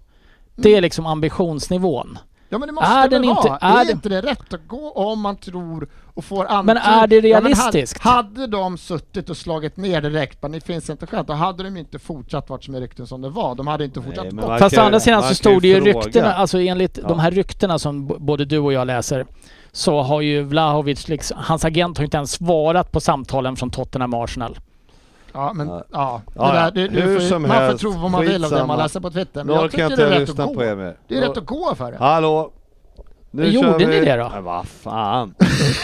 Det är liksom ambitionsnivån.
Ja men det måste
Är
är
den
vara.
inte-
är,
är
det
det-
inte det rätt att gå om man tror och får antydan?
Men är det
Ja, men hade-
realistiskt?
hade de suttit och slagit ner direkt, men det finns inte skäl, då hade de inte fortsatt vart som är rykten som det var. De hade inte fortsatt
men
gå.
man
Fast å
kan-
andra sidan
man
så
kan
stod det ju
fråga.
ryktena, alltså enligt
Ja.
de här ryktena som b- både du och jag läser, så har ju Vlahovic, liksom, hans agent har ju inte ens svarat på samtalen från Tottenham och Arsenal.
Ja, men
Ja.
ja. Det
Ja, ja.
där, du, du
Hur
får, ju-
som
man
helst,
får tro vad man vill av det
skitsamma.
man läser på Twitter.
Nu
Men jag
orkar
tycker
jag
det är
inte
rätt
lyssna
att
på er
gå.
mer.
Det är rätt
Nu-
att gå för det.
Hallå! Nu
Gjorde
kör vi-
ni det då?
Men vad fan.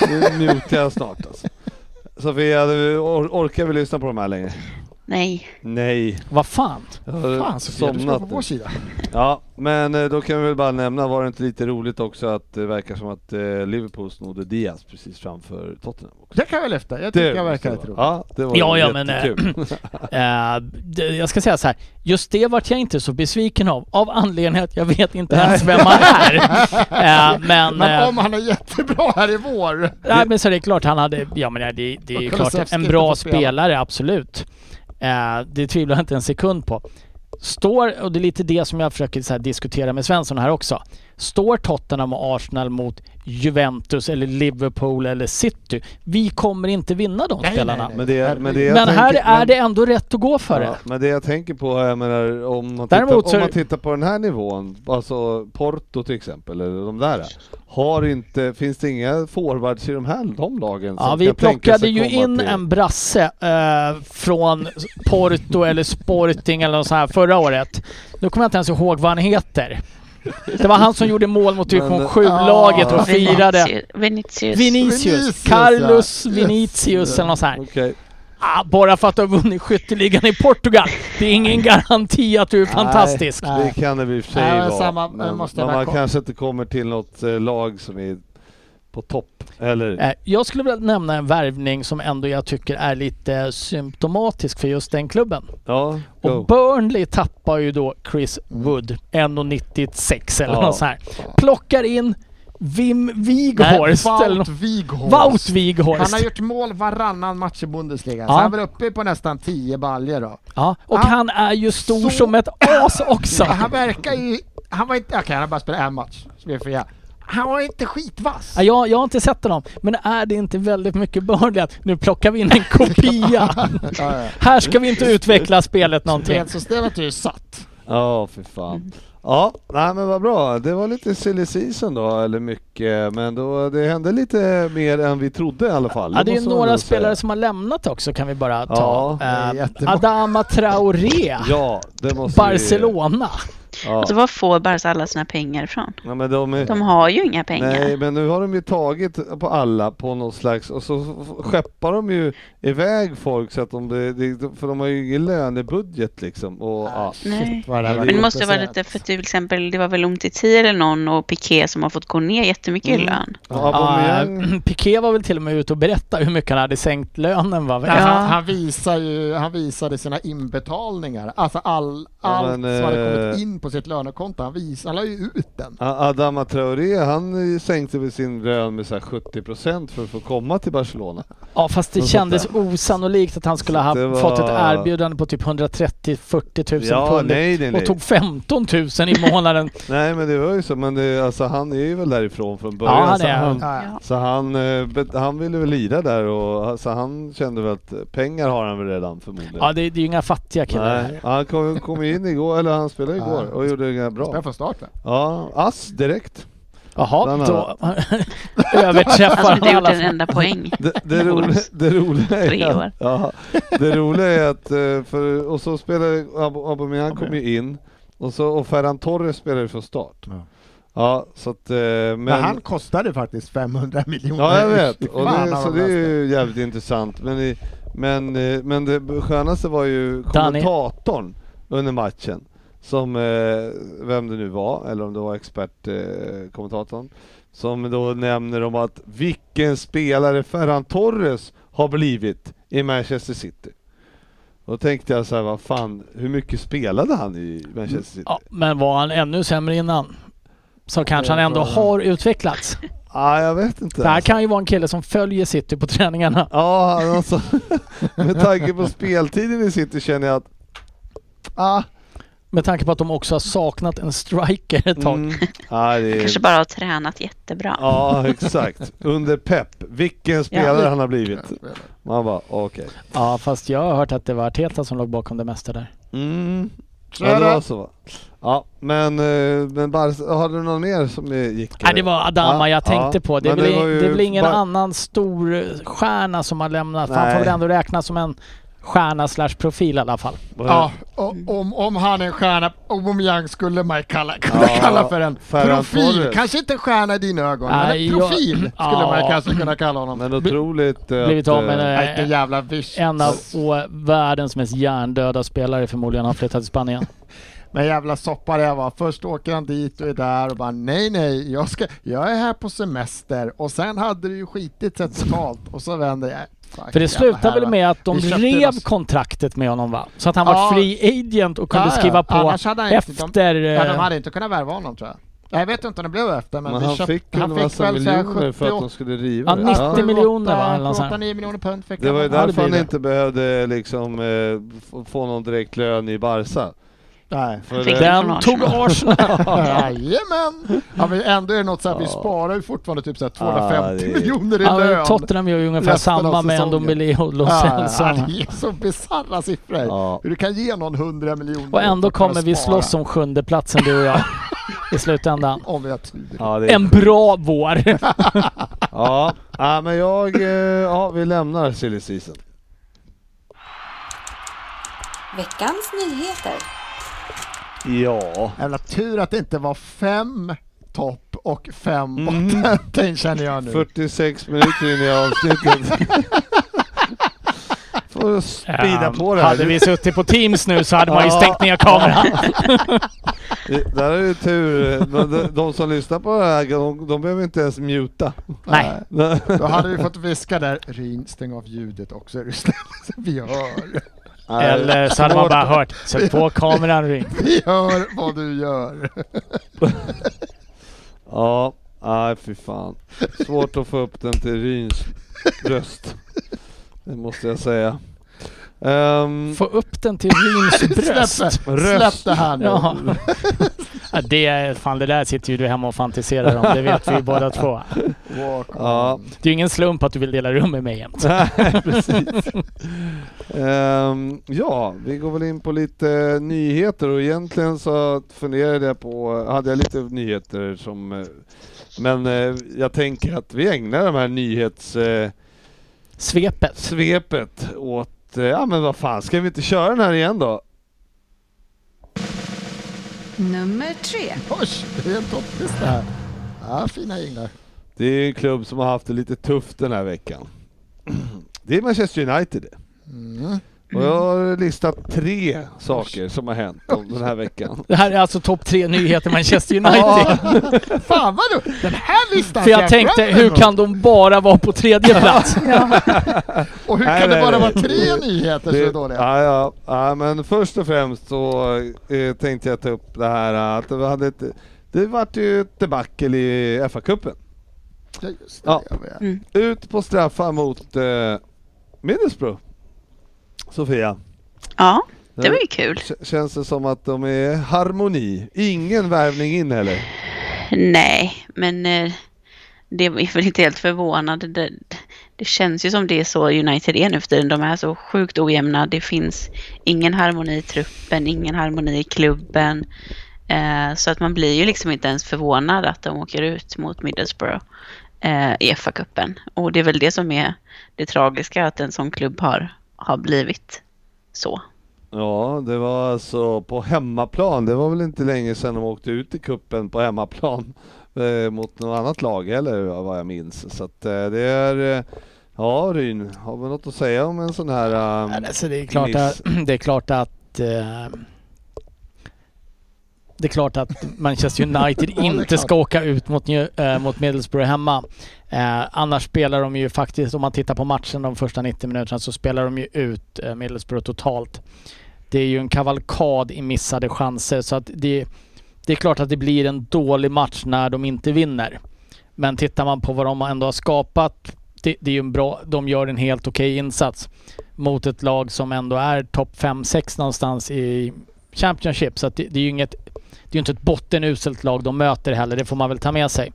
Nu mutar jag snart alltså. Sofia, du, or- orkar vi lyssna på de här längre?
Nej.
Nej.
Vad fan?
Jag har
Fan Sofia, du ska på
somnat nu.
vår sida.
Ja, men eh, då kan vi väl bara nämna, var det inte lite roligt också att det verkar som att eh, Liverpool snodde Diaz precis framför Tottenham också?
Det kan vi lyfta. Jag tycker jag
måste
verkar
vara-
lite roligt.
Typ Ja, det var
Ja,
ju
ja, men, eh,
jättekul.
Eh, det- jag ska säga så här. just det vart jag inte så besviken av, av anledningen att jag vet inte ens vem han är. Eh, men...
Men
eh,
om han är jättebra här i vår.
Nej men så är det klart han hade, ja men nej, det, det är ju
Och
klart
Kulusevski
en
inte får
bra
spela.
spelare, absolut. Eh, det tvivlar jag inte en sekund på. Står, och det är lite det som jag försöker så här, diskutera med Svensson här också. Står Tottenham och Arsenal mot Juventus eller Liverpool eller City? Vi kommer inte vinna de
nej,
spelarna.
nej.
Men det, men det jag
Men här
tänker-
är
men-
det ändå rätt att gå för det.
Ja, men det jag tänker på, jag menar, om man, tittar,
Däremot så-
om man tittar på den här nivån, alltså Porto till exempel, eller de där. Har inte, finns det inga forwards i de här de lagen
Ja,
som
vi
kan tänka
plockade
sig
ju
komma
in
till-
en brasse eh, från Porto eller Sporting eller något sånt här förra året. Nu kommer jag inte ens ihåg vad han heter. Det var han som gjorde mål mot division
eh,
Men-
7-laget och firade.
Vinicius. Vinicius.
Vinicius.
Vinicius,
Carlos
ja.
Vinicius eller något sånt här.
Okej.
Ah, bara för att du har vunnit skytteligan i Portugal. Det är ingen garanti att du är fantastisk.
Nej.
Det kan det i och för sig
Nej, men
vara.
samma-
men
måste jag
men
bara
man
ko-
kanske inte kommer till något eh, lag som är på topp. Eller?
Eh, Jag skulle vilja nämna en värvning som ändå jag tycker är lite symptomatisk för just den klubben.
Ja,
Och
go.
Burnley tappar ju då Chris Wood, 1,96 eller
Ja.
något så här. Plockar in Wim
Nej,
Wighorst eller något.
Wout Wighorst.
Wout
Han har
Wighorst.
gjort mål varannan match i Bundesliga, så
Ja.
han är väl uppe på nästan 10 baljer då.
Ja, och
Han-
han är ju stor
Så-
som ett as också.
Ja, han verkar ju... Han var inte... Okej, han har bara spelat en match. Så vi är fria. Han var inte skitvass.
Ja, jag, jag har inte sett honom, men är det inte väldigt mycket Burnley att nu plockar vi in en kopia?
Ja, ja.
Här ska vi inte utveckla spelet någonting.
Spelsystemet är ju satt.
Ja, för
Mm.
fan. Ja, nej men vad bra. Det var lite silly season då, eller mycket, men då, det hände lite mer än vi trodde i alla fall.
Ja, det är ju
måste man
några
ändå
spelare
säga.
som har lämnat också kan vi bara
Ja,
ta.
det
är
Eh,
jättemånga.
Adama Traoré,
Ja, det måste
Barcelona.
Vi, ja.
Alltså var får Barca alla sina pengar ifrån?
Ja, men de är,
De har ju inga pengar.
Nej, men nu har de ju tagit på alla på något slags och så skeppar de ju iväg folk så att de, det- det- för de har ju ingen lönebudget liksom. Och, ja.
Nej.
Vad det här var
Men det måste vara
oplacerat.
lite för till exempel, det var väl Umtiti eller någon och Piqué som har fått gå ner jättemycket i
Mm.
lön.
Aubameyang,
Ja, Ah, Piqué var väl till och med ute och berättade hur mycket han hade sänkt lönen va?
Alltså,
Ja.
han, han, visar ju, han visade sina inbetalningar, alltså all, allt
men,
som hade
eh,
kommit in på sitt lönekonto. Han, vis, han la ju ut den.
A- Adama Traoré, han sänkte väl sin lön med så här 70% för att få komma till Barcelona.
Ja fast det
Något
kändes
sånt
osannolikt att han skulle ha
det var-
fått ett erbjudande på typ 130-40 tusen
Ja,
pund
nej, nej,
och
nej.
tog 15 000 i månaden.
Nej men det var ju så, men det, alltså, han är ju väl därifrån från början.
Ja, han
så
är-
han,
Ja, ja.
Ja.
så han, eh, bet- han ville väl lira där och så han kände väl att pengar har han väl redan förmodligen.
Ja det, det är ju inga fattiga killar
Nej,
här.
han kom, kom in igår, eller han spelade igår och gjorde det ganska
Spelar
bra.
från start va?
Ja, ass direkt.
Jaha,
Bland
då överträffar
Alltså
han
inte gjort en
alla.
enda poäng.
Det, det, roliga, det, roliga
Tre
är
år.
att, ja, det roliga är att, eh, för, och så spelade Ab- Aubameyang kom ju in och, så, och Ferran Torres spelade från start.
Ja.
Ja, så att, eh, men,
Men han kostade faktiskt 500 miljoner.
Ja, jag vet. Och
Fan,
det,
han
så
var
det är
bäst.
ju jävligt intressant. Men, i- men, eh, men det skönaste var ju kommentatorn under matchen. som eh, vem det nu var, eller om det var expertkommentatorn, eh, kommentatorn, som då nämner om att vilken spelare Ferran Torres har blivit i Manchester City. Då tänkte jag så här, vad fan, hur mycket spelade han i Manchester City?
Ja, men var han ännu sämre innan så kanske han
det
ändå
tror jag.
har utvecklats.
Ah, jag vet inte.
Det här
alltså.
kan ju vara en kille som följer City på träningarna.
Ja, alltså, med tanke på speltiden i City känner jag att... Ah,
Med tanke på att de också har saknat en striker ett tag.
mm, ah, det
Kanske
är,
bara har tränat jättebra.
ja, exakt. Under pepp. Vilken spelare han har blivit. Man bara, okej.
Ja, fast jag har hört att det var Arteta som låg bakom det mesta där.
Mm.
Så
Ja,
är
det var
det.
så va? Ja, men, eh, men Barca, hade du någon mer som eh, gick?
Nej, det var
Ja,
Adama jag tänkte
ja.
på. Det är,
Men
väl,
det var ju
det är väl ingen
bara-
annan stor eh, stjärna som har lämnat. Han
Nej.
får väl ändå räknas som en stjärna slash profil i alla fall.
Ja, och, om, om han är en stjärna, Aubameyang skulle man kalla, kunna
Ja,
kalla för en
Ferran
profil.
Torres.
Kanske inte en stjärna i dina ögon,
Nej,
men
jag-
en profil skulle
Ja.
man kanske kunna kalla honom.
Men otroligt eh,
Blivit
att,
av med
eh,
eh,
Nej, inte jävla visch.
en av
Alltså-
å- världens mest hjärndöda spelare förmodligen har flyttat till Spanien.
Men jävla soppa det var. Först åker han dit och är där och bara nej, nej, jag, ska, jag är här på semester och sen hade det ju skitit sig totalt och så vänder jag. Fan,
För det
jävla
slutade väl
härva.
med att de
Vi köpte
rev
oss-
kontraktet med honom va? Så att han
Ja.
var free agent och kunde
Ja, ja.
skriva på
Annars hade han inte- de-
efter...
Ja, de
eh,
hade inte kunnat värva honom tror jag. Jag vet inte om det blev efter men,
Men
vi
han
köpte-
fick en massa
väl så här
miljoner för att de
78
skulle riva
Ja,
det.
90
Ja.
miljoner, va, eller något sånt.
8-9 miljoner pund fick
Det var ju
han.
Ja, det
därför
blir
han
det.
inte behövde liksom eh, f- få någon direkt lön i Barca.
Nej.
För,
Fick
eh,
det.
Den tog Arsenal.
Jajamän! Ja, men ändå är det något så här, vi
Ja.
sparar ju fortfarande typ så här
Ja,
250
det är-
miljoner i
Ja, men
lön.
Tottenham gör ju ungefär
Resten av
samma med en
säsongen.
Dombele och Lo
Ja,
Celso.
ja, det är så bisarra siffror.
Ja.
Hur du kan ge någon 100 miljoner.
Och ändå
för att kunna
kommer vi
spara.
slåss om sjunde platsen du och jag i slutändan.
Om vi har tur.
Ja, det är-
En bra vår!
Ja, ja men jag... eh, Ja, vi lämnar silly season.
Veckans nyheter.
Ja.
Jävla tur att det inte var fem topp och fem
Mm.
botten känner jag nu.
46 minuter in i avsnittet. Får du speeda på det här.
Hade vi suttit på Teams nu så hade man ju stängt ner kameran.
Det- Där är ju tur. Men de, de som lyssnar på det här, de, de behöver inte ens muta.
Nej.
Då hade vi fått viska där, Rin stäng av ljudet också är du snäll. Så Vi hör,
Eller så hade man bara hört Sätt på kameran ring.
vi hör vad du gör.
Ja, nej fy fan. Svårt att få upp den till Ryns röst. Det måste jag säga. Ehm,
Få upp den till Ryns bröst.
Släpp, det- släpp det här nu.
Ja. Ja, Det, är, fan, det där sitter ju du hemma och fantiserar om, det vet vi ju båda två.
Walk on.
Ja.
Det är ju ingen slump att du vill dela rum med mig jämt.
Nej, precis. Ehm, ja, vi går väl in på lite nyheter och egentligen så funderade jag på, hade jag lite nyheter som, eh, men eh, jag tänker att vi ägnar de här nyhetssvepet
Svepet.
åt, eh, ja men vad fan, ska vi inte köra den här igen då?
Nummer tre.
Oj, det är en topplista här. Ja, fina jinglar.
Det är en klubb som har haft det lite tufft den här veckan. Det är Manchester United.
Mm.
Och jag har listat tre saker som har hänt om den här veckan.
Det här är alltså topp tre nyheter Manchester United.
Ja. Fan vad du, den här listan
För
ser
jag tänkte,
fram emot.
hur kan de bara vara på tredje plats?
Och hur
Nej, nej,
kan det
nej.
bara vara tre nyheter som är dåliga?
ja, ja, ja, men först och främst så eh, tänkte jag ta upp det här eh, att det, hade ett, det vart ju ett debacle i FA-cupen.
Ja, just det.
Ja.
jag vet.
Mm.
Ut på straffar mot eh, Middlesbrough. Sofia,
Ja, det var ju kul.
k- känns det som att de är harmoni? Ingen värvning in heller?
Nej, men eh, det är väl inte helt förvånande. Det, det känns ju som det är så United är nu för tiden. De är så sjukt ojämna. Det finns ingen harmoni i truppen, ingen harmoni i klubben. Eh, så att man blir ju liksom inte ens förvånad att de åker ut mot Middlesbrough eh, i FA-cupen. Och det är väl det som är det tragiska, att en sån klubb har, har blivit så.
Ja, det var alltså på hemmaplan. Det var väl inte länge sedan de åkte ut i kuppen på hemmaplan eh, mot något annat lag eller vad jag minns. Så att, eh, det är... Eh, ja, Ryn, har vi något att säga om en sån här... eh,
Ja, Alltså det, är klart att, det är klart att eh, Det är klart att Manchester United
Ja, det är
inte
klart.
ska åka ut mot, New- eh, mot Middlesbrough hemma. Eh, annars spelar de ju faktiskt, om man tittar på matchen de första 90 minuterna, så spelar de ju ut eh, Middlesbrough totalt. Det är ju en kavalkad i missade chanser så att det, det är klart att det blir en dålig match när de inte vinner. Men tittar man på vad de ändå har skapat, det, det är ju en bra, de gör en helt okej insats mot ett lag som ändå är topp 5-6 någonstans i Championship. Så att det, det är ju inget, det är ju inte ett bottenuselt lag de möter heller, det får man väl ta med sig.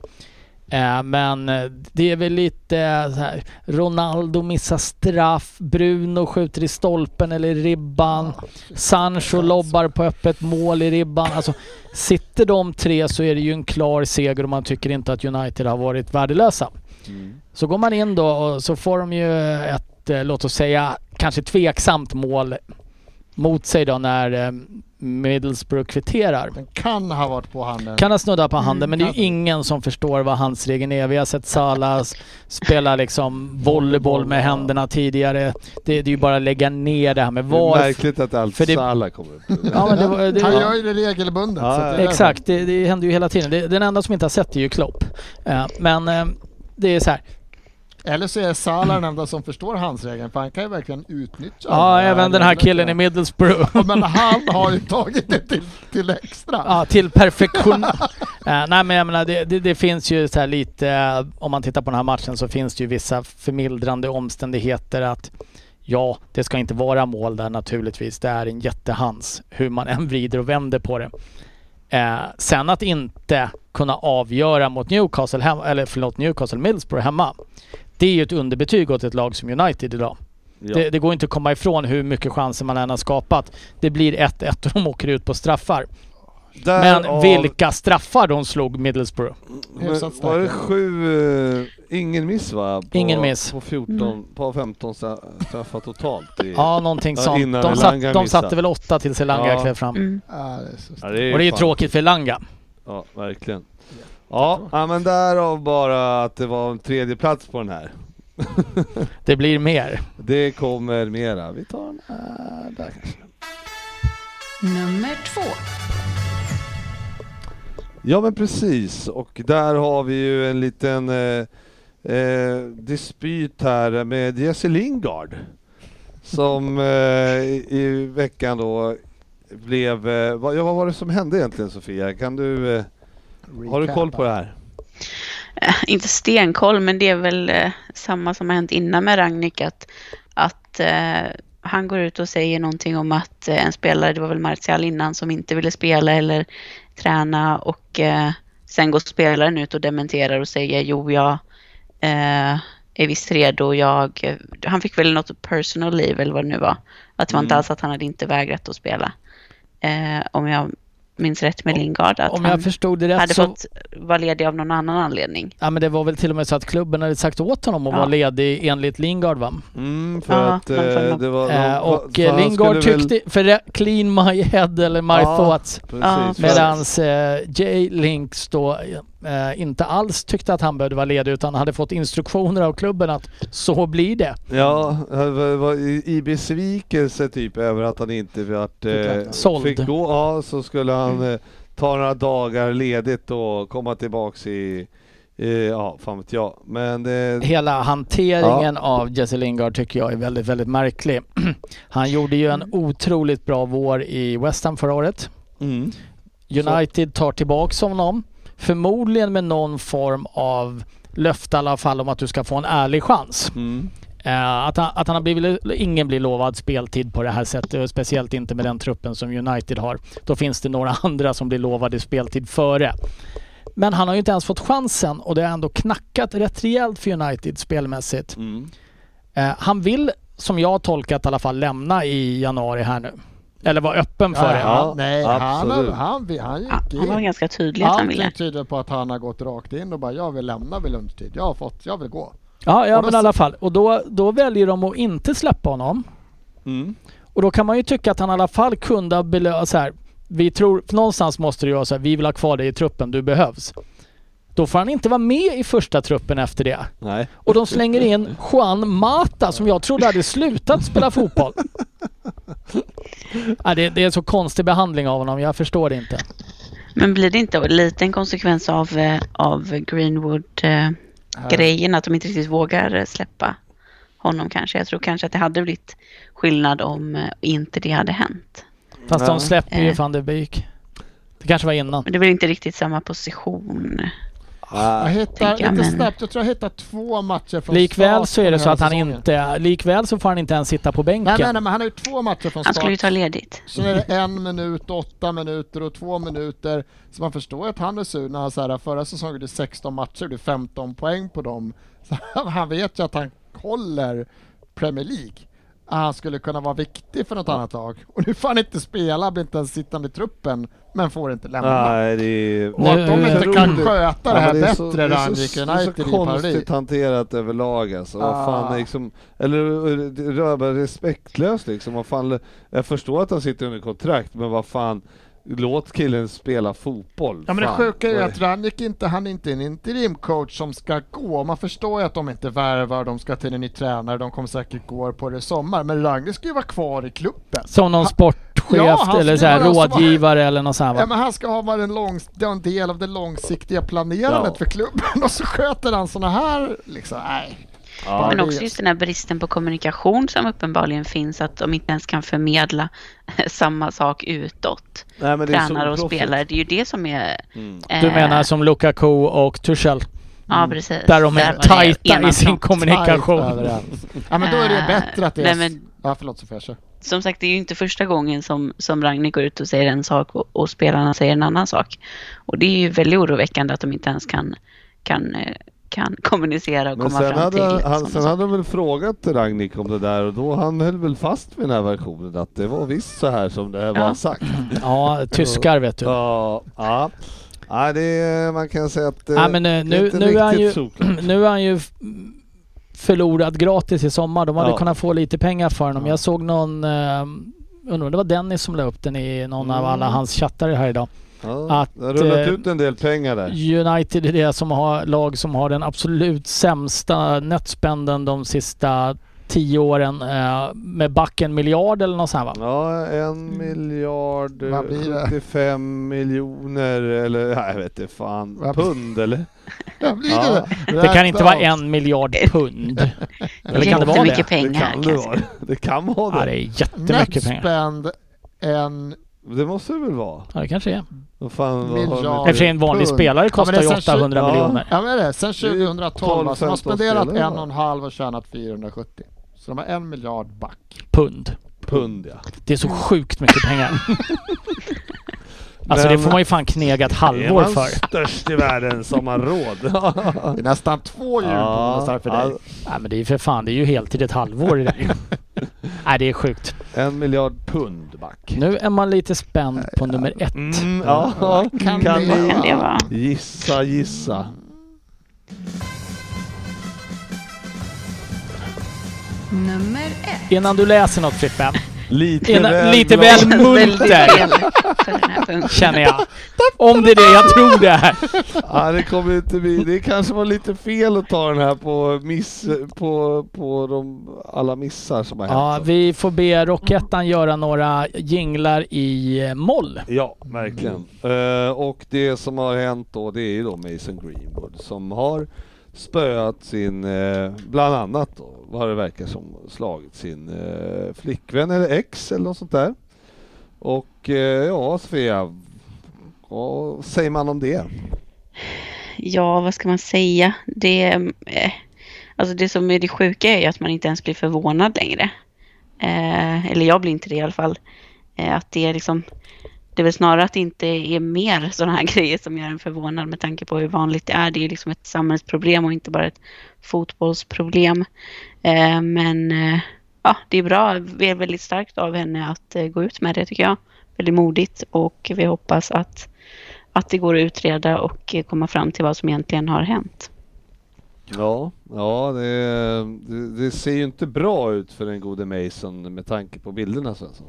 Eh, Men eh, det är väl lite eh, så här, Ronaldo missar straff, Bruno skjuter i stolpen eller i ribban, Sancho lobbar på öppet mål i ribban. Alltså, sitter de tre så är det ju en klar seger och man tycker inte att United har varit värdelösa.
mm,
Så går man in då och så får de ju ett, eh, låt oss säga, kanske tveksamt mål mot sig då när eh, Middlesbrough kvitterar.
Den kan ha varit på handen.
Kan ha snuddat på handen men det är
kan.
ju ingen som förstår vad handsregeln är. Vi har sett Salah s- spela liksom volleyboll med händerna tidigare. Det, det är ju bara att lägga ner det här med
Det är
VAR.
märkligt att allt
för det-
Salah kommer upp.
Ja, men det, var- det,
Han
var-
gör ju det regelbundet.
Ja,
så att det är
Exakt, det, det händer ju hela tiden. Det, den enda som inte har sett det är ju Klopp. Eh, Men eh, det är så här.
därför. Eller så är Salah den enda som förstår handsregeln för han kan ju verkligen utnyttja
Ja, även den här killen i
med.
Middlesbrough.
Men han har ju tagit det till, till extra.
Ja, till perfektion. Eh, nej men jag menar, det, det, det finns ju så här lite, eh, om man tittar på den här matchen så finns det ju vissa förmildrande omständigheter att ja, det ska inte vara mål där naturligtvis. Det är en jättehans, hur man än vrider och vänder på det. Eh, sen att inte kunna avgöra mot Newcastle, hem, eller förlåt, Newcastle Middlesbrough hemma. Det är ju ett underbetyg åt ett lag som United idag. Det, det går inte att komma ifrån hur mycket chanser man än har skapat. Det blir 1-1 och de åker ut på straffar. Men vilka straffar de slog Middlesbrough.
Men
Hyfsat starka.
var det sju... eh, ingen miss va? På,
Ingen miss. Mm.
På 14, på 15 stra- straffar totalt. I,
Ja, någonting
Ja,
sånt.
innan
De,
Elanga
satt, de
missade.
satte väl åtta tills Elanga
Ja.
klev fram.
Mm.
Ja, det är så
Ja,
starkt.
det är
Och det är ju
fan-
tråkigt för Elanga.
Ja, verkligen. Ja, ja, men därav bara att det var en tredje plats på den här.
Det blir mer.
Det kommer mera. Vi tar den här där kanske.
Nummer två.
Ja men precis, och där har vi ju en liten eh, eh, dispyt här med Jesse Lingard. Som eh, i, i veckan då blev... Eh, vad, ja, vad var det som hände egentligen Sofia? Kan du... Eh, har du koll på det här?
Eh, Inte stenkoll, men det är väl eh, samma som har hänt innan med Ragnik. Att, att eh, han går ut och säger någonting om att eh, en spelare, det var väl Martial innan, som inte ville spela eller träna. Och eh, sen går spelaren ut och dementerar och säger jo, jag eh, är visst redo. Jag, eh," han fick väl något personal leave eller vad det nu var. Att det var inte
Mm.
alls att han hade inte vägrat att spela. Eh, om jag minns rätt med Lingard. Att
Om
han
jag förstod det rätt
hade
så...
fått vara ledig av någon annan anledning.
Ja, men det var väl till och med så att klubben hade sagt åt honom att
Ja.
vara ledig enligt Lingard va?
Mm, för
Ja,
att eh,
men för-
det var...
Eh,
de-
och
för
eh,
han
Lingard
skulle väl-
tyckte... För det- clean my head eller my
Ja.
thoughts.
Ja,
Precis, för att-
Medans eh, Jay Links då eh, inte alls tyckte att han behövde vara ledig utan hade fått instruktioner av klubben att så blir det.
Ja, han var- var i i besvikelse typ över att han inte varit, eh,
Såld.
fick gå. Ja, så skulle han eh, ta några dagar ledigt och komma tillbaks i, eh, ja fan vet jag. Men eh,
Hela hanteringen av Jesse Lingard tycker jag är väldigt, väldigt märklig. Han gjorde ju en otroligt bra vår i West Ham förra året.
mm.
United tar tillbaks honom, förmodligen med någon form av löfte i alla fall om att du ska få en ärlig chans.
Mm.
Eh, att, han, att han har blivit, ingen blir lovad speltid på det här sättet, och speciellt inte med den truppen som United har. Då finns det några andra som blir lovade speltid före. Men han har ju inte ens fått chansen och det har ändå knackat rätt rejält för United spelmässigt.
Mm.
Eh, han vill, som jag har tolkat i alla fall, lämna i januari här nu. Eller vara öppen för
Ja,
det.
Ja, nej, han,
absolut.
han, han, han gick
Ja, han var
in.
ganska tydlig att han
Allting
ville.
tyder på att han har gått rakt in och bara jag vill lämna vid lunchtid. Jag har fått, jag vill gå.
Ja, ja
Och då
men i alla fall. Och då, då väljer de att inte släppa honom.
Mm.
Och då kan man ju tycka att han i alla fall kunde ha belönat så här. Vi tror, någonstans måste du göra så här, vi vill ha kvar dig i truppen, du behövs. Då får han inte vara med i första truppen efter det.
Nej.
Och de slänger in Juan Mata som jag trodde hade slutat spela fotboll. Ja, det, det är så konstig behandling av honom, jag förstår det inte.
Men blir det inte lite en konsekvens av, eh, av Greenwood-grejen
Här.
att de inte riktigt vågar eh, släppa honom kanske? Jag tror kanske att det hade blivit skillnad om eh, inte det hade hänt.
Fast
Ja.
de släpper ju
Eh.
van de Beek. Det kanske var innan.
Men det är väl inte riktigt samma position.
Jag hittar
tänker jag,
lite
men-
snabbt, jag tror jag hittar två matcher från
Likväl
start
så är det
den
så
här
att han
säsongen.
inte... Likväl så får han inte ens sitta på bänken.
Nej, nej, nej, men han har ju två matcher från
Han skulle ju
start.
ta ledigt.
Så är det en minut, åtta minuter och två minuter. Så man förstår att han är sur när han så här, förra säsongen gjorde 16 matcher och det är 15 poäng på dem. Så han vet ju att han håller Premier League. Att Han skulle kunna vara viktig för något annat lag. Och nu får han inte spela, blir inte ens sittande i truppen, men får inte lämna.
Nej, det är...
Och att de
Nu-
inte kan
Otroligt.
sköta
Ja,
det här
men är
bättre,
så- det är
Randvik
så- Det är så
United i Paris.
konstigt hanterat överlag alltså. Vad fan
Ah.
är liksom, eller det är bara respektlöst liksom. Vad fan, jag förstår att han sitter under kontrakt, men vad fan, låt killen spela fotboll.
Ja men det
fan.
sjuka är ju
Vad-
att Ranjik inte, han är inte en interimcoach som ska gå. Man förstår ju att de inte värvar, de ska till en ny tränare, de kommer säkert gå på det i sommar. Men Ranjik ska ju vara kvar i klubben.
Som någon
Ha-
sportchef
Ja, han
eller
skulle
så här,
vara ansvarig.
rådgivare eller något sånt
Ja,
här, va?
men han ska ha varit en, lång, en del av det långsiktiga planerandet
Ja.
för klubben och så sköter han såna här liksom, nej.
Ja,
Men
det-
också just den här bristen på kommunikation som uppenbarligen finns, att de inte ens kan förmedla eh, samma sak utåt.
nej, men det är så
Tränare och
oproffsigt.
spelare, det är ju det som är...
Mm.
Du
eh,
menar som Lukaku och Tuchel?
Ja, precis.
Där de är
var det
tajta
ena
i sin
front.
Tajt
kommunikation.
överens. Ja men då är det
Eh,
bättre att det är...
nej, men-
Ja förlåt Sofia, kör.
Som sagt, det är ju inte första gången som, som Ragnhild går ut och säger en sak och, och spelarna säger en annan sak. Och det är ju väldigt oroväckande att de inte ens kan, kan, eh, kan kommunicera och
Men
komma
sen
fram till
hade, han,
sådana
sen
saker.
hade de väl frågat Ragnik om det där och då han höll väl fast vid den här versionen att det var visst så här som det här var
Ja.
sagt.
Ja, tyskar vet du.
Ja, ja. ja det, är- man kan säga att eh,
Ja, men, eh,
det är
nu-
inte
nu är han
riktigt
ju-
solklart.
Nu är han ju f- förlorad gratis i sommar. De hade
Ja.
kunnat få lite pengar för honom.
Ja.
Jag såg någon, eh, undrar om det var Dennis som la upp den i någon av
Mm.
alla hans chattar här idag.
Ja,
att,
det har rullat
eh,
ut en del pengar där.
United är det som har, lag som har den absolut sämsta netspenden de sista tio åren eh, med backen miljard eller något sånt här,
Ja,
va?
en miljard eh,
Vad blir det?
75 miljoner eller nej, jag vet inte fan,
Vad-
pund eller?
Ja, blir
Ja.
det?
Det kan inte vara
Räkna
en miljard pund. Eller kan det vara det?
Jättemycket pengar.
det kan
kan
det
jag
vara.
säga.
Det kan vara
Ja,
det.
det är jättemycket pengar.
Netspend en
Det måste det väl vara?
Ja, det kanske är.
Vad fan, vad har de
Miljard.
med-
I och för sig en vanlig
Pund.
spelare kostar ju
Ja, men det är sen
800
tjugo-
miljoner.
Ja men det är det. Sen 2012 alltså, de har
12-15
spenderat
spelare,
en
va?
och en halv och tjänat 470. Så de har en miljard back.
Pund.
Pund ja.
Det är så sjukt mycket pengar. Alltså det
Men-
får man ju fan knega ett halvår
Är man
för.
störst i världen som har råd?
Det är nästan två julbonusar för dig.
ja,
Nej men det är ju för fan, det är ju heltid ett halvår i det där. Nej det är sjukt.
en miljard pund back.
Nu är man lite spänd på nummer ett.
Mm, ja, kan,
Kan det
Vad
ni
kan det vara?
gissa, gissa?
Nummer ett.
Innan du läser något Frippe,
Lite
Ena-
väl
lite
glad.
väl
Väldigt
munter
trevligt för den här punkten.
känner jag. Om det är det, jag tror det här.
Ja, det kommer ju inte bli. Det kanske var lite fel att ta den här på miss, på, på de alla missar som har
Ja,
hänt.
vi får be Rockettan göra några jinglar i eh, moll.
Ja, verkligen. Eh, och det som har hänt då, det är ju då Mason Greenwood som har spöat sin, eh, bland annat då, vad det verkar som, slagit sin eh, flickvän eller ex eller något sånt där. Och eh, ja, Svea, vad säger man om det?
Ja, vad ska man säga? Det, eh, alltså det som är det sjuka är ju att man inte ens blir förvånad längre. Eh, eller jag blir inte det i alla fall. Eh, att det är liksom, det är väl snarare att det inte är mer sådana här grejer som gör en förvånad med tanke på hur vanligt det är. Det är liksom ett samhällsproblem och inte bara ett fotbollsproblem. Eh, men eh, ja, det är bra. Det är väldigt starkt av henne att eh, gå ut med det tycker jag. Väldigt modigt och vi hoppas att att det går att utreda och eh, komma fram till vad som egentligen har hänt.
Ja, ja det, det, det ser ju inte bra ut för den gode Mason med tanke på bilderna Svensson.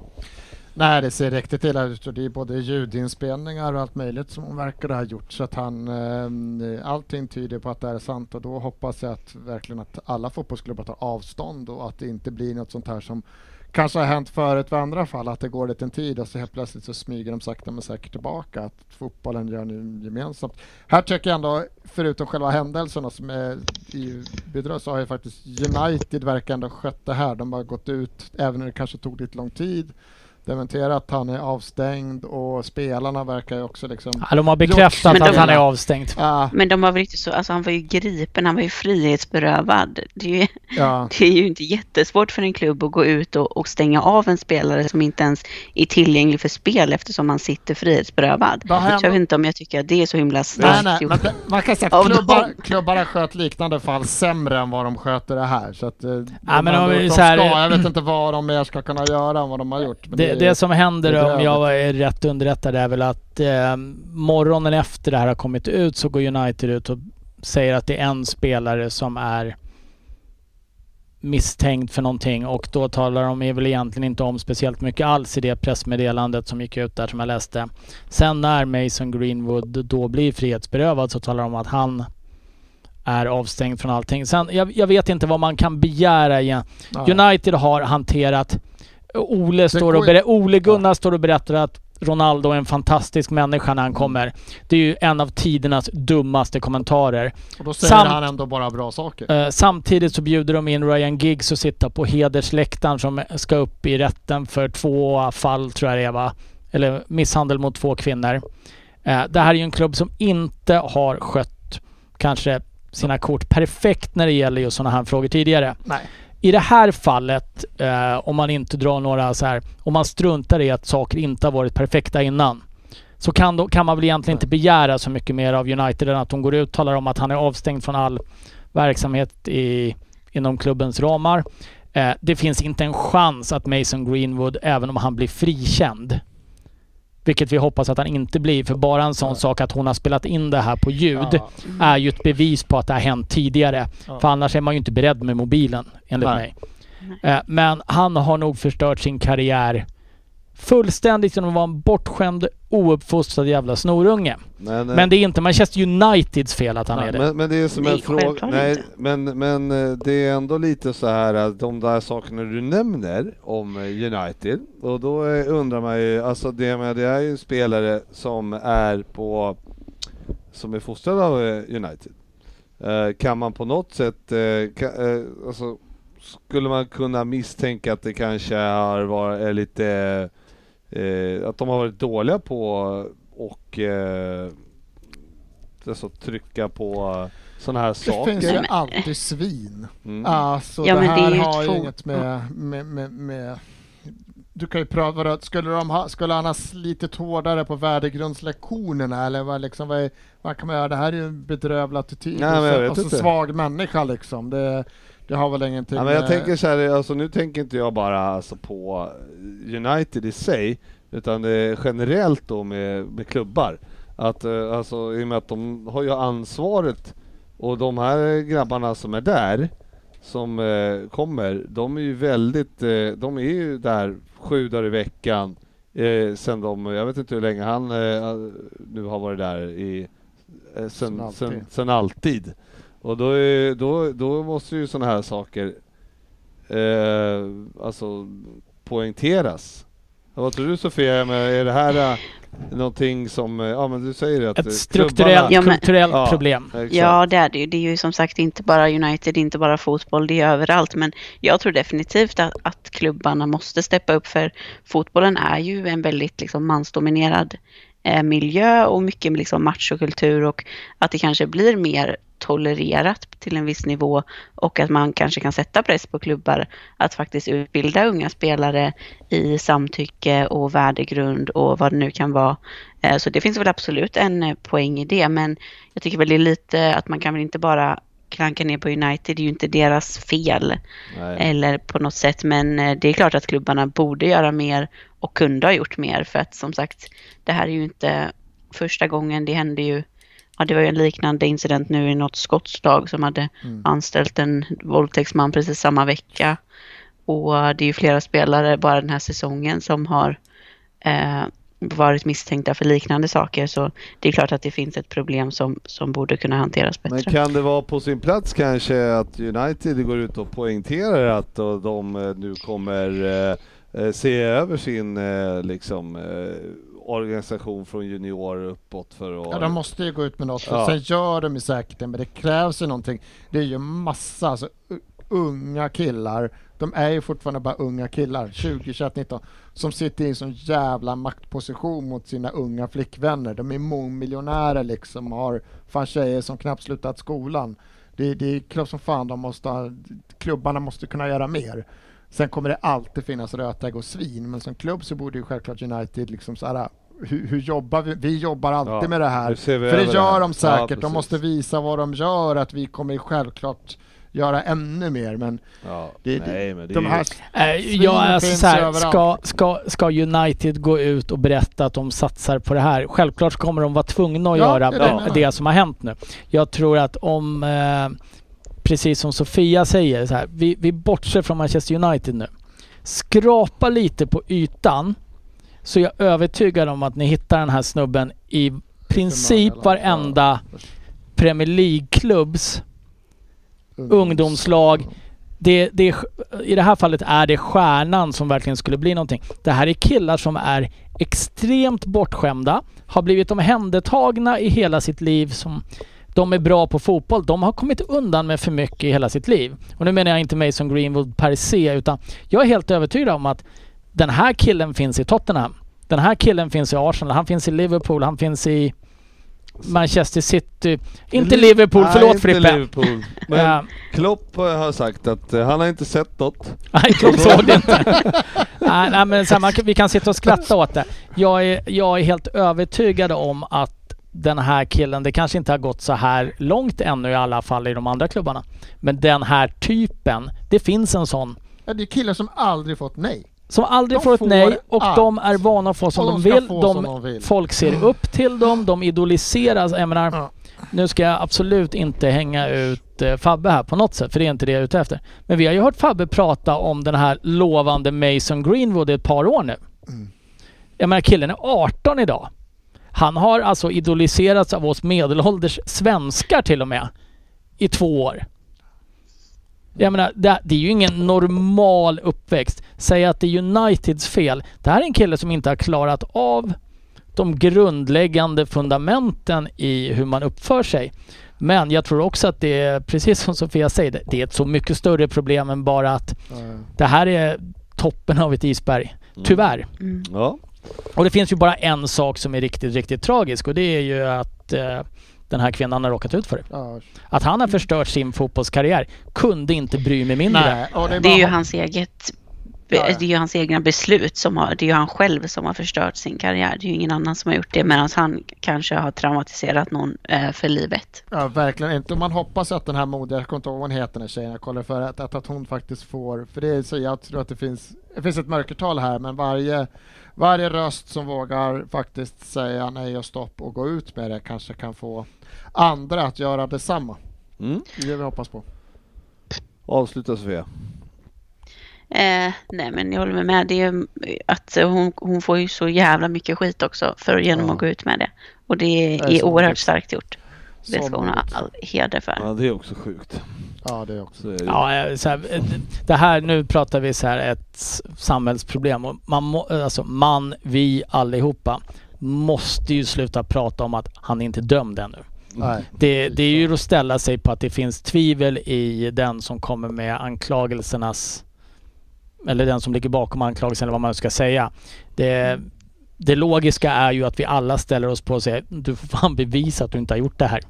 Nej det ser riktigt illa ut och det är både ljudinspelningar och allt möjligt som hon verkar ha gjort. Så att han, eh, allting tyder på att det här är sant och då hoppas jag att verkligen att alla fotbollsklubbar tar avstånd och att det inte blir något sånt här som kanske har hänt förut vid andra fall att det går lite en tid och så helt plötsligt så smyger de sakta men säkert tillbaka att fotbollen gör nu gemensamt. Här tycker jag ändå, förutom själva händelserna som är i bedröv, så har ju faktiskt United verkar ändå skött det här. De har gått ut, även när det kanske tog lite lång tid, dementerat att han är avstängd och spelarna verkar ju också liksom
Ja, de har bekräftat
Men de-
att han är avstängd.
Ah,
Men de var väl inte så, alltså han var ju gripen, han var ju frihetsberövad. Det är ju,
ja.
det är ju inte jättesvårt för en klubb att gå ut och, och stänga av en spelare som inte ens är tillgänglig för spel eftersom han sitter frihetsberövad.
Vad
Så jag
händer-
vet inte om jag tycker att det är så himla
Nej,
starkt
nej,
gjort.
men det, man kan säga
Ja,
att
men-
klubbar, klubbarna sköt liknande fall sämre än vad de sköter det här. Så att, eh, de
men
ändå-
om vi
de
så här-
ska, jag vet inte vad de mer ska kunna göra än vad de har gjort. Men
Det,
är-
det som
det
händer
är
om jag är rätt underrättad är väl att eh, morgonen efter det här har kommit ut så går United ut och säger att det är en spelare som är misstänkt för någonting och då talar de ju väl egentligen inte om speciellt mycket alls i det pressmeddelandet som gick ut där som jag läste. Sen när Mason Greenwood då blir frihetsberövad så talar de om att han är avstängd från allting. Sen, jag, jag vet inte vad man kan begära igen.
ja.
United har hanterat... Ole, står och
går ju-
ber- Ole Gunnar står och berättar att Ronaldo är en fantastisk människa när han kommer. Det är ju en av tidernas dummaste kommentarer.
Och då säger
samt-
han ändå bara bra saker.
Eh, samtidigt så bjuder de in Ryan Giggs att sitta på hedersläktaren som ska upp i rätten för två fall tror jag det är va? Eller misshandel mot två kvinnor. Eh, det här är ju en klubb som inte har skött kanske sina kort perfekt när det gäller just sådana här frågor tidigare.
Nej.
I det här fallet, eh, om man inte drar några så här, om man struntar i att saker inte har varit perfekta innan, så kan, då, kan man väl egentligen inte begära så mycket mer av United än att de går ut och talar om att han är avstängd från all verksamhet i, inom klubbens ramar. Eh, det finns inte en chans att Mason Greenwood, även om han blir frikänd, vilket vi hoppas att han inte blir, för bara en sån
Ja.
sak att hon har spelat in det här på ljud
Ja.
är ju ett bevis på att det har hänt tidigare.
Ja.
För annars är man ju inte beredd med mobilen, enligt
Nej.
mig. Eh, Men han har nog förstört sin karriär fullständigt genom att vara en bortskämd, ouppfostrad jävla snorunge.
Men, eh,
Men det är inte Manchester Uniteds fel att han
Nej,
är det.
Men, men det är som
Nej,
en fråga...
självklart
Nej,
inte.
men, men eh, det är ändå lite så här att de där sakerna du nämner om eh, United och då eh, undrar man ju, alltså det, med, det är ju en spelare som är på som är fostrad av eh, United. Eh, Kan man på något sätt, eh, ka- eh, alltså, skulle man kunna misstänka att det kanske har varit är lite, eh, att de har varit dåliga på och eh, alltså, trycka på sådana här
Det finns ju
saker.
alltid svin.
Mm.
Alltså
Ja,
det
men det
här
är ju ett
har ju
fot-
inget med, med, med, med... Du kan ju pröva det. Skulle, de ha, skulle han ha slitit hårdare på värdegrundslektionerna eller vad, liksom, vad, är- vad kan man göra? Det här är ju en bedrövlig attityd
Nej, men jag
och,
vet
så, och så
inte.
svag människa liksom. Det, det har väl ingenting
Ja, men jag
med-
tänker så här, alltså, nu tänker inte jag bara alltså, på United i sig, utan det är generellt då med, med klubbar. Att, eh, alltså, I och med att de har ju ansvaret och de här grabbarna som är där, som eh, kommer, de är ju väldigt, eh, de är ju där sju dagar i veckan eh, sen de, jag vet inte hur länge han eh, nu har varit där i, eh, sen, sen,
Sen
alltid.
alltid.
Sen, alltid. Och då, är, då, då måste ju sådana här saker eh, alltså poängteras. Ja, Vad tror du Sofia, Men är det här eh, någonting som, eh, ja men du säger att eh,
Ett strukturellt
klubbarna-
Ja, men-
kulturellt
Ja.
problem.
Exakt.
Ja, det är det ju. Det är ju som sagt inte bara United, det är inte bara fotboll, det är överallt. Men jag tror definitivt att, att klubbarna måste steppa upp för fotbollen är ju en väldigt liksom, mansdominerad eh, miljö och mycket liksom, machokultur och att det kanske blir mer tolererat till en viss nivå och att man kanske kan sätta press på klubbar att faktiskt utbilda unga spelare i samtycke och värdegrund och vad det nu kan vara. Eh, Så det finns väl absolut en eh, poäng i det, men jag tycker väl det är lite att man kan väl inte bara klanka ner på United, det är ju inte deras fel
Nej.
eller på något sätt, men eh, det är klart att klubbarna borde göra mer och kunde ha gjort mer för att som sagt, det här är ju inte första gången, det hände ju Ja, det var ju en liknande incident nu i något skottslag som hade anställt en våldtäktsman precis samma vecka. Och det är ju flera spelare bara den här säsongen som har eh, varit misstänkta för liknande saker så det är klart att det finns ett problem som, som borde kunna hanteras
Men
bättre.
kan det vara på sin plats kanske att United går ut och poängterar att eh, de eh, nu kommer eh, eh, se över sin eh, liksom, eh, organisation från junior uppåt för att...
Ja, de måste ju gå ut med något.
Ja.
Sen gör de ju säkert det, men det krävs ju någonting. Det är ju massa alltså, u- unga killar. De är ju fortfarande bara unga killar, 20, 21, 19, som sitter i en sån jävla maktposition mot sina unga flickvänner. De är mångmiljonärer liksom och har fan tjejer som knappt slutat skolan. Det, det är klart som fan de måste, ha- klubbarna måste kunna göra mer. Sen kommer det alltid finnas rötägg och svin, men som klubb så borde ju självklart United liksom så här, hur, hur jobbar vi? Vi jobbar alltid
Ja,
med det här.
nu ser vi
För det
över det
gör
här.
de
Ja,
säkert. de
precis.
måste visa vad de gör, att vi kommer självklart göra ännu mer, men
Ja,
det,
nej, men det
de
är ju...
här...
Eh,
Svin
Jag är alltså
finns
så här,
överallt.
ska, ska, ska United gå ut och berätta att de satsar på det här? Självklart kommer de vara tvungna att
Ja,
göra
det
är det jag
det,
menar.
det som har hänt nu. Jag tror att om, eh, precis som Sofia säger, så här, vi, vi bortser från Manchester United nu. Skrapa lite på ytan så är jag övertygad om att ni hittar den här snubben i princip
Finalen, ja.
varenda Premier League-klubbs ungdomslag. Det, det, är- I det här fallet är det stjärnan som verkligen skulle bli någonting. Det här är killar som är extremt bortskämda, har blivit omhändertagna i hela sitt liv. Som, de är bra på fotboll. De har kommit undan med för mycket i hela sitt liv. Och nu menar jag inte mig som Greenwood per se, utan jag är helt övertygad om att den här killen finns i Tottenham. Den här killen finns i Arsenal, han finns i Liverpool, han finns i Manchester City. Inte Liverpool,
Nej,
förlåt
inte
Frippe.
Liverpool.
Eh,
Men Klopp eh, har sagt att eh, han har inte sett något.
Nej, Klopp såg det inte. nej, nej, men så här, man, kan- vi kan sitta och skratta åt det. Jag är, jag är helt övertygad om att den här killen, det kanske inte har gått så här långt ännu i alla fall i de andra klubbarna. Men den här typen, det finns en sån
Ja, det är killar som aldrig fått nej.
som aldrig
De
får ett
får
nej och
allt.
de är vana att få som
Och
de,
de ska
vill.
få
De,
som de vill. Mm.
Folk ser upp till dem, de idoliseras. Jag menar,
Ja.
nu ska jag absolut inte hänga ut eh, Fabbe här på något sätt, för det är inte det jag är ute efter. Men vi har ju hört Fabbe prata om den här lovande Mason Greenwood i ett par år nu.
Mm.
Jag menar killen är 18 idag. Han har alltså idoliserats av oss medelålders svenskar till och med i två år. Jag menar, det, det är ju ingen normal uppväxt. Säga att det är Uniteds fel. Det här är en kille som inte har klarat av de grundläggande fundamenten i hur man uppför sig. Men jag tror också att det är, precis som Sofia säger, det- det är ett så mycket större problem än bara att det här är toppen av ett isberg. Tyvärr.
Mm.
Ja.
Och det finns ju bara en sak som är riktigt, riktigt tragisk och det är ju att eh, den här kvinnan har råkat ut för det.
Ja,
Att han har förstört sin fotbollskarriär kunde inte bry mig mindre.
nej, och det är,
Det är ju
bara-
hans eget
Ja, ja.
det är ju hans egna beslut som har, det är ju han själv som har förstört sin karriär. Det är ju ingen annan som har gjort det medan han kanske har traumatiserat någon eh, för livet.
Ja, verkligen inte. Och Man hoppas att den här modiga, jag kommer inte ihåg vad hon heter, den här tjejen jag kollade för, att, att, att hon faktiskt får, för det är så, jag tror att det finns, det finns ett mörkertal här, men varje, varje röst som vågar faktiskt säga nej och stopp och gå ut med det kanske kan få andra att göra detsamma.
Mm.
Det är det vi hoppas på.
Avsluta Sofia.
Eh, nej men jag håller med. med. Det är ju eh, att hon, hon får ju så jävla mycket skit också för genom
Ja.
att gå ut med det. Och det är,
Det är så
oerhört
otäckt.
starkt gjort. Det
Som-
ska hon ha all heder för.
Ja, det är också sjukt.
Ja, det är också.
Så är det. ju.
Ja, eh, så här, eh, det här, nu pratar vi så här ett s- samhällsproblem och man, må, eh, alltså man, vi allihopa måste ju sluta prata om att han är inte är dömd ännu.
Nej.
Det, det är ju att ställa sig på att det finns tvivel i den som kommer med anklagelsernas eller den som ligger bakom anklagelsen eller vad man ska säga. Det, det logiska är ju att vi alla ställer oss på och säger du får fan bevisa att du inte har gjort det här.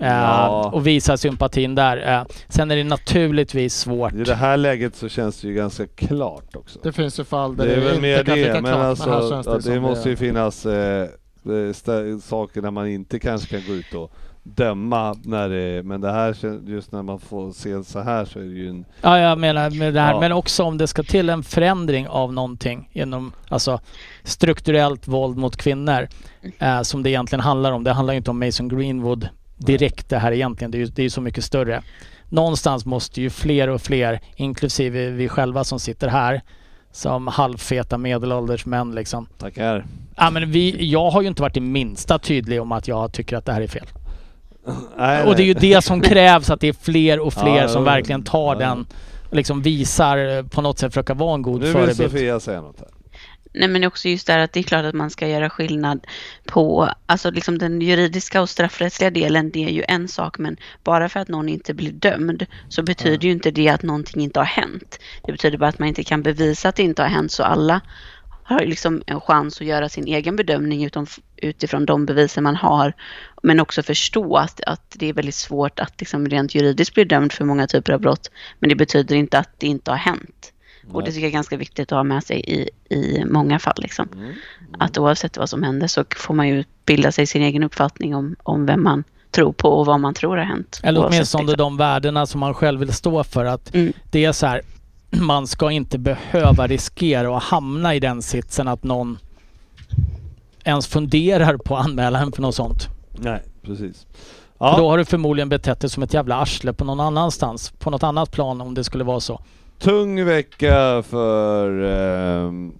Eh,
Ja.
och visa sympatin där. Eh, sen är det naturligtvis svårt.
I det här läget så känns det ju ganska klart också.
Det finns ju fall där
Det är väl
inte
mer
kan
det,
ligga
men
klart,
alltså
här känns
ja, det,
som
måste ju finnas eh, eh, stä- saker där man inte kanske kan gå ut och döma när det, men det här kän- just när man får se så här så är det ju en...
Ja, jag menar med det här.
Ja.
Men också om det ska till en förändring av någonting genom alltså, strukturellt våld mot kvinnor eh, som det egentligen handlar om. Det handlar ju inte om Mason Greenwood direkt det här egentligen. Det är ju det är ju så mycket större. Någonstans måste ju fler och fler, inklusive vi själva som sitter här, som halvfeta medelålders män liksom.
Tackar.
Ja, men vi, jag har ju inte varit det minsta tydlig om att jag tycker att det här är fel.
Nej,
Och det är ju
nej.
det som krävs, att det är fler och fler
Ja,
som
jo.
verkligen
Ja.
tar den och liksom visar eh, på något sätt, försöka vara en god
Nu vill
förebild.
Sofia säga något här.
Nej men också just det här att det är klart att man ska göra skillnad på, alltså liksom den juridiska och straffrättsliga delen det är ju en sak men bara för att någon inte blir dömd så betyder ju inte det att någonting inte har hänt. Det betyder bara att man inte kan bevisa att det inte har hänt så alla har ju liksom en chans att göra sin egen bedömning utom, utifrån de bevisen man har. Men också förstå att, att det är väldigt svårt att liksom rent juridiskt bli dömd för många typer av brott. Men det betyder inte att det inte har hänt. Och det tycker jag är ganska viktigt att ha med sig i, i många fall. Liksom.
Mm.
Mm.
Att oavsett vad som händer så får man ju bilda sig sin egen uppfattning om, om vem man tror på och vad man tror har hänt.
Eller
Oavsett,
åtminstone
liksom.
de värdena som man själv vill stå för. Att
Mm.
det är så här, man ska inte behöva riskera att hamna i den sitsen att någon ens funderar på att anmäla en för något sånt.
Nej, precis.
För
Ja,
Då har du förmodligen betett dig som ett jävla arsle på någon annanstans, på något annat plan om det skulle vara så.
tung vecka för... ehm,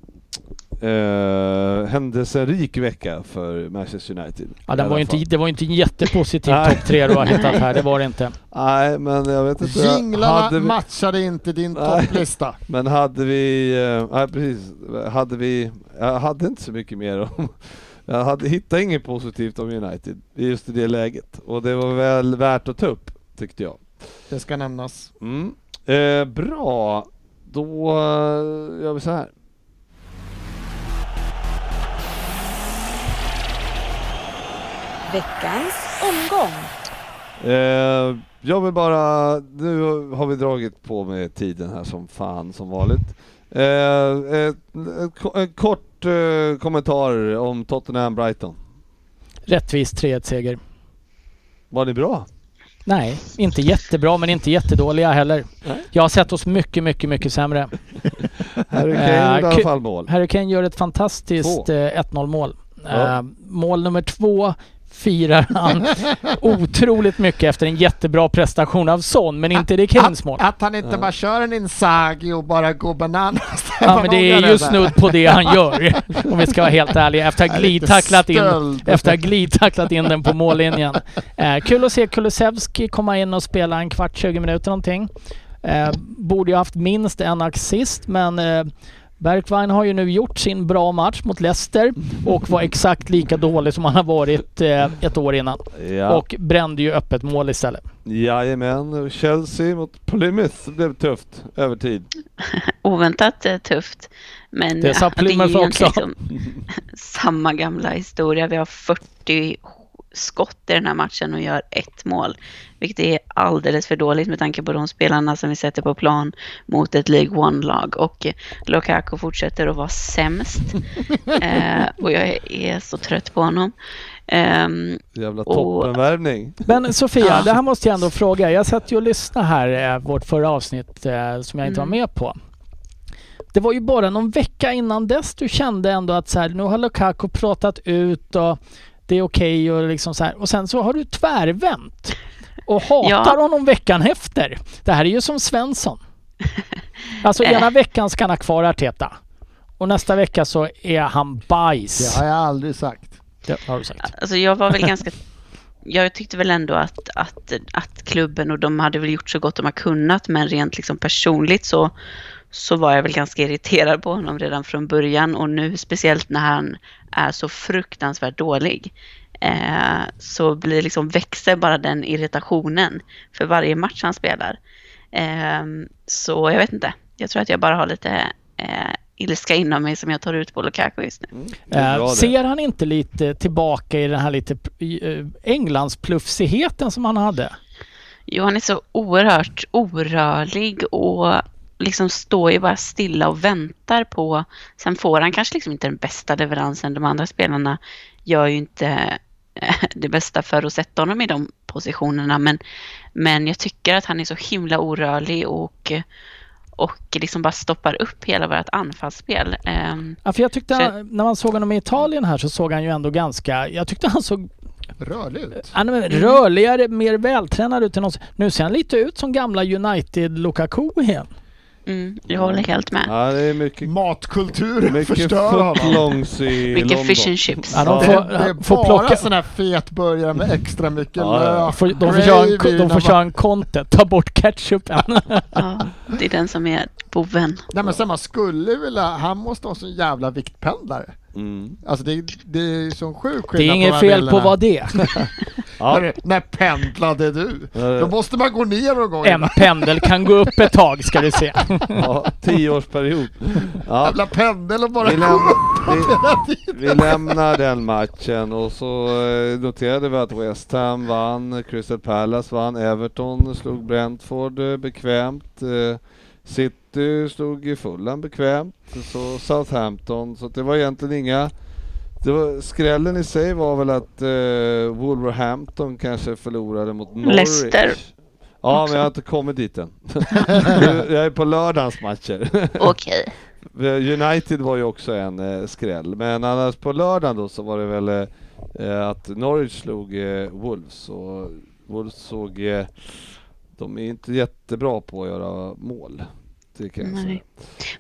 eh, händelserik vecka för Manchester United.
Ja, den
I alla
var ju inte,
fall.
det var ju inte en jättepositiv
Nej.
topp tre du har hittat här, det var det inte.
Nej, men jag vet inte.
Jinglarna
hade vi,
matchade inte din
Nej.
topplista.
men hade vi... eh, Nej, precis. Hade vi... Jag hade inte så mycket mer om... Jag hade, hittade inget positivt om United just i det läget. Och det var väl värt att ta upp, tyckte jag.
Det ska nämnas.
Mm. Eh, bra, då eh, gör vi så här.
Veckans omgång.
Eh, jag vill bara, nu har vi dragit på med tiden här som fan som vanligt. Eh, ett, ett, ko- en kort eh, kommentar om Tottenham-Brighton.
Rättvis 3-1-seger.
Var ni bra?
Nej, inte jättebra men inte jättedåliga heller.
Nej.
Jag har sett oss mycket, mycket, mycket sämre.
Harry
Eh,
Kane gjorde i alla
ku-
fall mål.
Harry Kane gör ett fantastiskt
Två.
eh, 1-0 mål.
Ja.
Eh, mål nummer två firar han otroligt mycket efter en jättebra prestation av Son, men inte det är
Ah,
Kanes mål.
Att, att han inte bara kör en Inzaghi och bara går bananas.
Ja men det är ju snudd på det han gör, om vi ska vara helt ärliga, efter att ha glidtacklat in efter att ha glidtacklat in den på mållinjen. Eh, kul att se Kulusevski komma in och spela en kvart, 20 minuter någonting. Eh, borde ju haft minst en assist men eh, Bergwijn har ju nu gjort sin bra match mot Leicester och var exakt lika dålig som han har varit eh, ett år innan.
Ja.
Och brände ju öppet mål istället.
Jajamän, Chelsea mot Plymouth blev tufft övertid.
oväntat eh, tufft. Men
Det sa
ja, är ju
Plymouth också.
egentligen liksom samma gamla historia. Vi har 40 skott i den här matchen och gör ett mål. Vilket är alldeles för dåligt med tanke på de spelarna som vi sätter på plan mot ett League One-lag. Och eh, Lukaku fortsätter att vara sämst. eh, och jag är så trött på honom. Ehm,
Jävla
Och-
toppenvärvning.
Men Sofia,
Ja.
det här måste jag ändå fråga. Jag satt ju och lyssnade här, eh, vårt förra avsnitt eh, som jag inte
Mm.
var med på. Det var ju bara någon vecka innan dess du kände ändå att så här, nu har Lukaku pratat ut och det är okej och liksom så här. Och sen så har du tvärvänt och hatar
Ja.
honom veckan efter. Det här är ju som Svensson. Alltså
Eh.
ena veckan ska han ha kvar Arteta och nästa vecka så är han bajs.
Det har jag aldrig sagt.
Det har du sagt.
Alltså jag var väl ganska... Jag tyckte väl ändå att, att, att klubben och de hade väl gjort så gott de har kunnat men rent liksom personligt så, så var jag väl ganska irriterad på honom redan från början och nu speciellt när han är så fruktansvärt dålig eh, så blir liksom växer bara den irritationen för varje match han spelar. Ehm, så jag vet inte. Jag tror att jag bara har lite eh, ilska inom mig som jag tar ut på Lukaku just nu.
Det är bra
Eh,
det.
ser han inte lite tillbaka i den här lite eh, Englandspluffsigheten som han hade?
Jo, han är så oerhört orörlig och liksom står ju bara stilla och väntar på... Sen får han kanske liksom inte den bästa leveransen. De andra spelarna gör ju inte eh, det bästa för att sätta honom i de positionerna. Men, men jag tycker att han är så himla orörlig och, och liksom bara stoppar upp hela vårt anfallsspel. Ehm,
Ja, för jag tyckte,
Så-
han- när man såg honom i Italien här så såg han ju ändå ganska, jag tyckte han såg
Rörlig ut.
han är rörligare, mer vältränad ut än någonsin. Nu ser han lite ut som gamla United Lukaku igen.
Mm, jag håller helt med.
Ja, det är mycket,
Matkulturen
mycket
förstör honom.
footlongs i London.
Mycket fish and chips.
Ja, de
Det
får,
är, det är
får
bara
plocka-
sån här fetburgare med extra mycket
Ja, ja.
lök.
Får- De får köra en, de får köra en content, ta bort ketchupen.
Ja, det är den som är boven.
Nej men sen man skulle vilja, han måste ha sån jävla viktpendlare.
Mm.
Alltså det, det är sån sjuk skillnad
Det är
på de
inget
här
fel på
bilderna.
vad det. är.
Ja.
När, när pendlade du?
Ja.
Då måste man gå ner någon gång.
En pendel kan gå upp ett tag ska du se.
ja, tioårsperiod. Ja,
Jävla pendel och bara
vi, läm vi, vi lämnar den matchen och så eh, noterade vi att West Ham vann, Crystal Palace vann, Everton slog Brentford eh, bekvämt, eh, City slog i Fulham bekvämt, så Southampton, så att det var egentligen inga det var, skrällen i sig var väl att eh, Wolverhampton kanske förlorade mot Norwich.
Leicester.
Ja, men jag har inte kommit dit än. jag är på lördagens matcher. Eh,
Okej.
United var ju också en eh, skräll, men annars på lördagen då så var det väl eh, eh, att Norwich slog eh, Wolves och Wolves såg... Eh, de är inte jättebra på att göra mål. Det kan jag
Nej.
säga.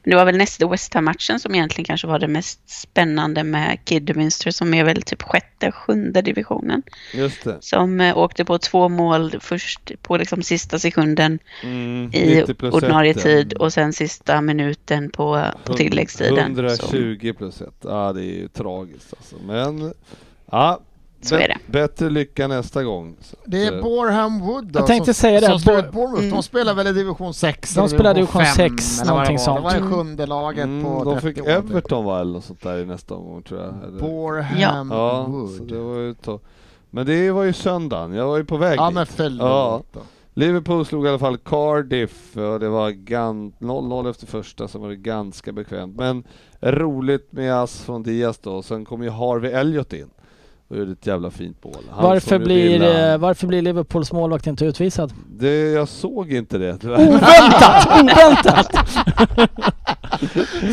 Men det var väl nästa West Ham-matchen som egentligen kanske var det mest spännande med Kidderminster som är väl typ sjätte, sjunde divisionen.
Just det.
Som eh, åkte på två mål först på liksom sista sekunden
Mm,
i
90 plus
ordinarie
ett,
tid
eh,
och sen sista minuten på, på tilläggstiden. Så,
120 plus ett. Ja, det är ju tragiskt alltså. Men... Ja,
så är det.
bättre lycka nästa gång. Så att,
Det
eh,
är Boreham Wood då,
Jag tänkte
som,
säga det,
som slår
Bor-
ut Bournemouth.
Mm.
De spelar väl i division 6?
De spelar division sex, någonting
Det var det
sånt.
sjunde laget på
Mm, de fick
30 år, typ.
Everton va eller något sånt där i nästa omgång tror jag. Eller-
Boreham
Ja, så
Wood.
det var ju to- Men det var ju söndagen, jag var ju på väg
Ja
dit.
men följ
Ja.
ja. då.
Liverpool slog i alla fall Cardiff och det var gan- 0-0 efter första som var det ganska bekvämt. Men roligt med As från Diaz då, sen kom ju Harvey Elliot in och gjorde ett jävla fint mål. Han
Varför
som gjorde
blir,
illa-
eh, varför blir Liverpools målvakt inte utvisad?
det, jag såg inte det tyvärr.
Oväntat! Oväntat!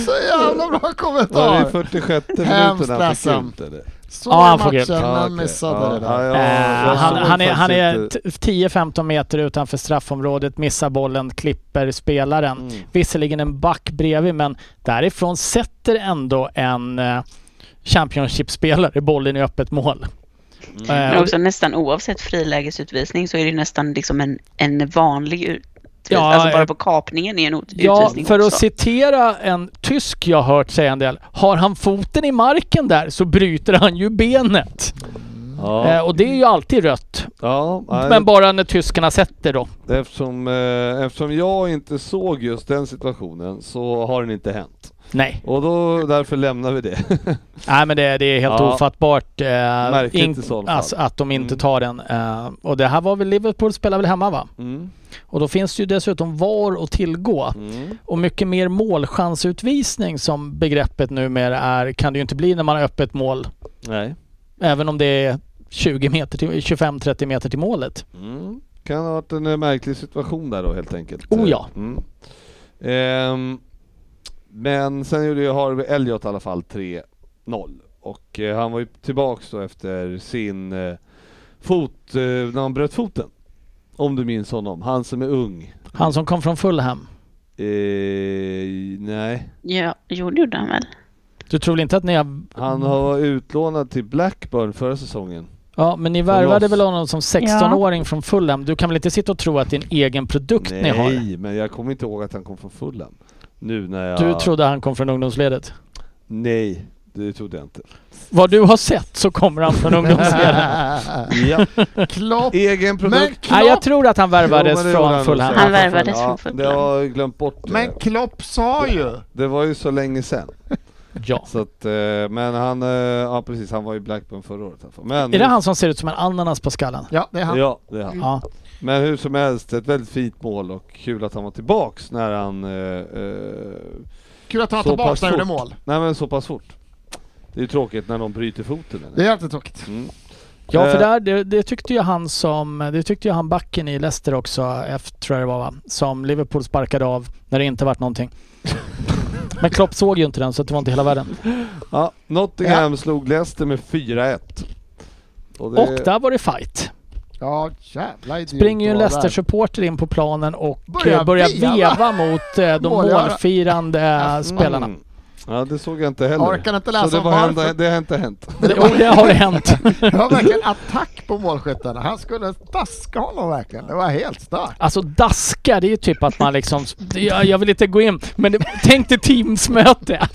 Så jävla bra
Var det i
kommentar!
46 minuten han
Hemskt
fick
ledsen.
ut eller?
Så
Ja, han
ja,
får
matchen,
grönt.
Ah,
han
okej.
missade
Ja,
det
ja,
där.
jag-
Eh,
jag
han,
såg
han är, han
faktiskt
är
inte-
t- 10-15 meter utanför straffområdet, missar bollen, klipper spelaren.
Mm.
Visserligen en back bredvid men därifrån sätter ändå en eh, Championship-spelare bollen i öppet mål.
Mm.
Eh,
Men
och-
också nästan oavsett frilägesutvisning så är det ju nästan liksom en, en vanlig utvisning.
Ja,
alltså bara
eh,
på kapningen är en ut-
Ja,
utvisning
för att
också.
citera en tysk jag hört säga en del. Har han foten i marken där så bryter han ju benet. Eh,
Ja,
och det är ju alltid rött.
ja, nej,
Men bara när tyskarna sätter då.
Eftersom, eh, eftersom jag inte såg just den situationen så har den inte hänt.
Nej,
Och då, därför lämnar vi det.
Nej men det, det är helt
Ja.
ofattbart eh,
Märkligt
in-
i sådana fall.
alltså, att de inte
Mm.
tar den. Eh, och det här var väl Liverpool spelar väl hemma va?
Mm.
Och då finns det ju dessutom VAR att tillgå.
Mm.
Och mycket mer målchansutvisning som begreppet numera är kan det ju inte bli när man har öppet mål.
Nej.
Även om det är 20 meter till, 25-30 meter till målet.
Mm. Kan ha varit en eh, märklig situation där då helt enkelt.
Oh ja.
Mm. Ehm, men sen gjorde ju Harvey Elliot i alla fall 3-0. Och eh, han var ju tillbaks då efter sin eh, fot, eh, när han bröt foten. Om du minns honom, han som är ung.
Han som kom från Fulham.
Eh, nej.
Ja, jo, det gjorde han väl.
Du tror väl inte att ni har...
Han har varit utlånad till Blackburn förra säsongen.
Ja, men ni
Från
värvade
oss.
väl honom som 16-åring från Fulham. Du kan väl inte sitta och tro att det är en egen produkt ni har?
Nej, men jag kommer inte ihåg att han kom från Fulham. Nu när jag...
Du trodde han kom från ungdomsledet?
Nej, det trodde jag inte.
Vad du har sett så kommer han från ungdomsledet.
Ja.
Klopp!
Egen
Men
produkt.
Nej, jag
Klopp,
tror att han värvades
Jo, men det gjorde
från Fulham.
säkert.
Han värvades från Fulham.
Det har jag glömt bort. det.
men Klopp sa ju!
Det var ju så länge sedan.
Ja.
Så att, eh, men han, eh, ja precis, han var i Blackburn förra året. i alla fall. Men
Är det han som ser ut som en ananas på skallen?
Ja, det är han.
Ja, det är han.
Ja.
Men hur som helst, ett väldigt fint mål och kul att han var tillbaks när han eh, eh,
Kul att han
Så
tillbaka
pass
när han gjorde
fort.
mål.
Nej men så pass fort. Det är ju tråkigt när de bryter foten. Eller?
Det är alltid tråkigt.
Mm.
Ja, för
Eh,
där, det, det tyckte ju han som... Det tyckte ju han backen i Leicester också, F tror jag det var va? Som Liverpool sparkade av när det inte vart någonting. Men Klopp såg ju inte den så det var inte hela världen.
Ja, Nottingham slog Leicester med 4-1.
Och där var det fight.
Ja, jävla idiot.
springer ju en
det var där.
Leicester-supporter in på planen och
Börjar
börjar, börjar
veva.
veva mot eh, de
Målgörare.
målfirande eh, spelarna.
Mm. Ja, det såg jag inte heller.
Orkar inte läsa
Så det,
om
var
varför.
hända, det har inte hänt.
Jo, det har hänt.
Det var verkligen attack på målskyttarna. Han skulle daska honom verkligen. Det var helt starkt.
Alltså daska, det är ju typ att man liksom... Jag, jag vill inte gå in, men det, tänk dig Teamsmöte.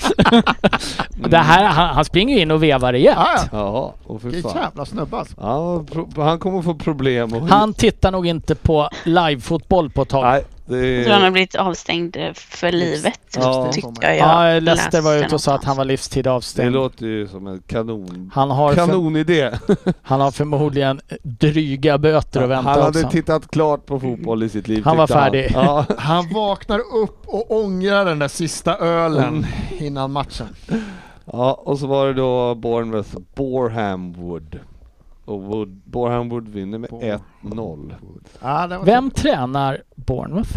Det här, han, han springer ju in och vevar igen.
Ja, ja.
Jaha, och fy
Vilken
fan.
jävla snubbe alltså.
Ja, pro- han kommer få problem. Och
Han tittar nog inte på live-fotboll på ett tag.
Nej, det
Jag
Mm.
tror han har
är...
blivit avstängd eh, för livet.
Ja.
Tyckte jag
Ja,
jag
Leicester var
läste
ute och sa att
någonstans.
han var livstid
Det
avstängd.
låter ju som en kanon...
Han har, för,
Kanonidé!
han har förmodligen dryga böter att
Han
vänta
hade
också.
tittat klart på fotboll i sitt liv
Han var
tyckte
färdig.
Ja.
Han vaknar upp och ångrar den där sista ölen innan matchen.
ja, och så var det då Bournemouth Borham Wood. Och Wood, Borham Wood vinner med
Bor-
1-0.
Ja, det var
Vem tränar Bournemouth?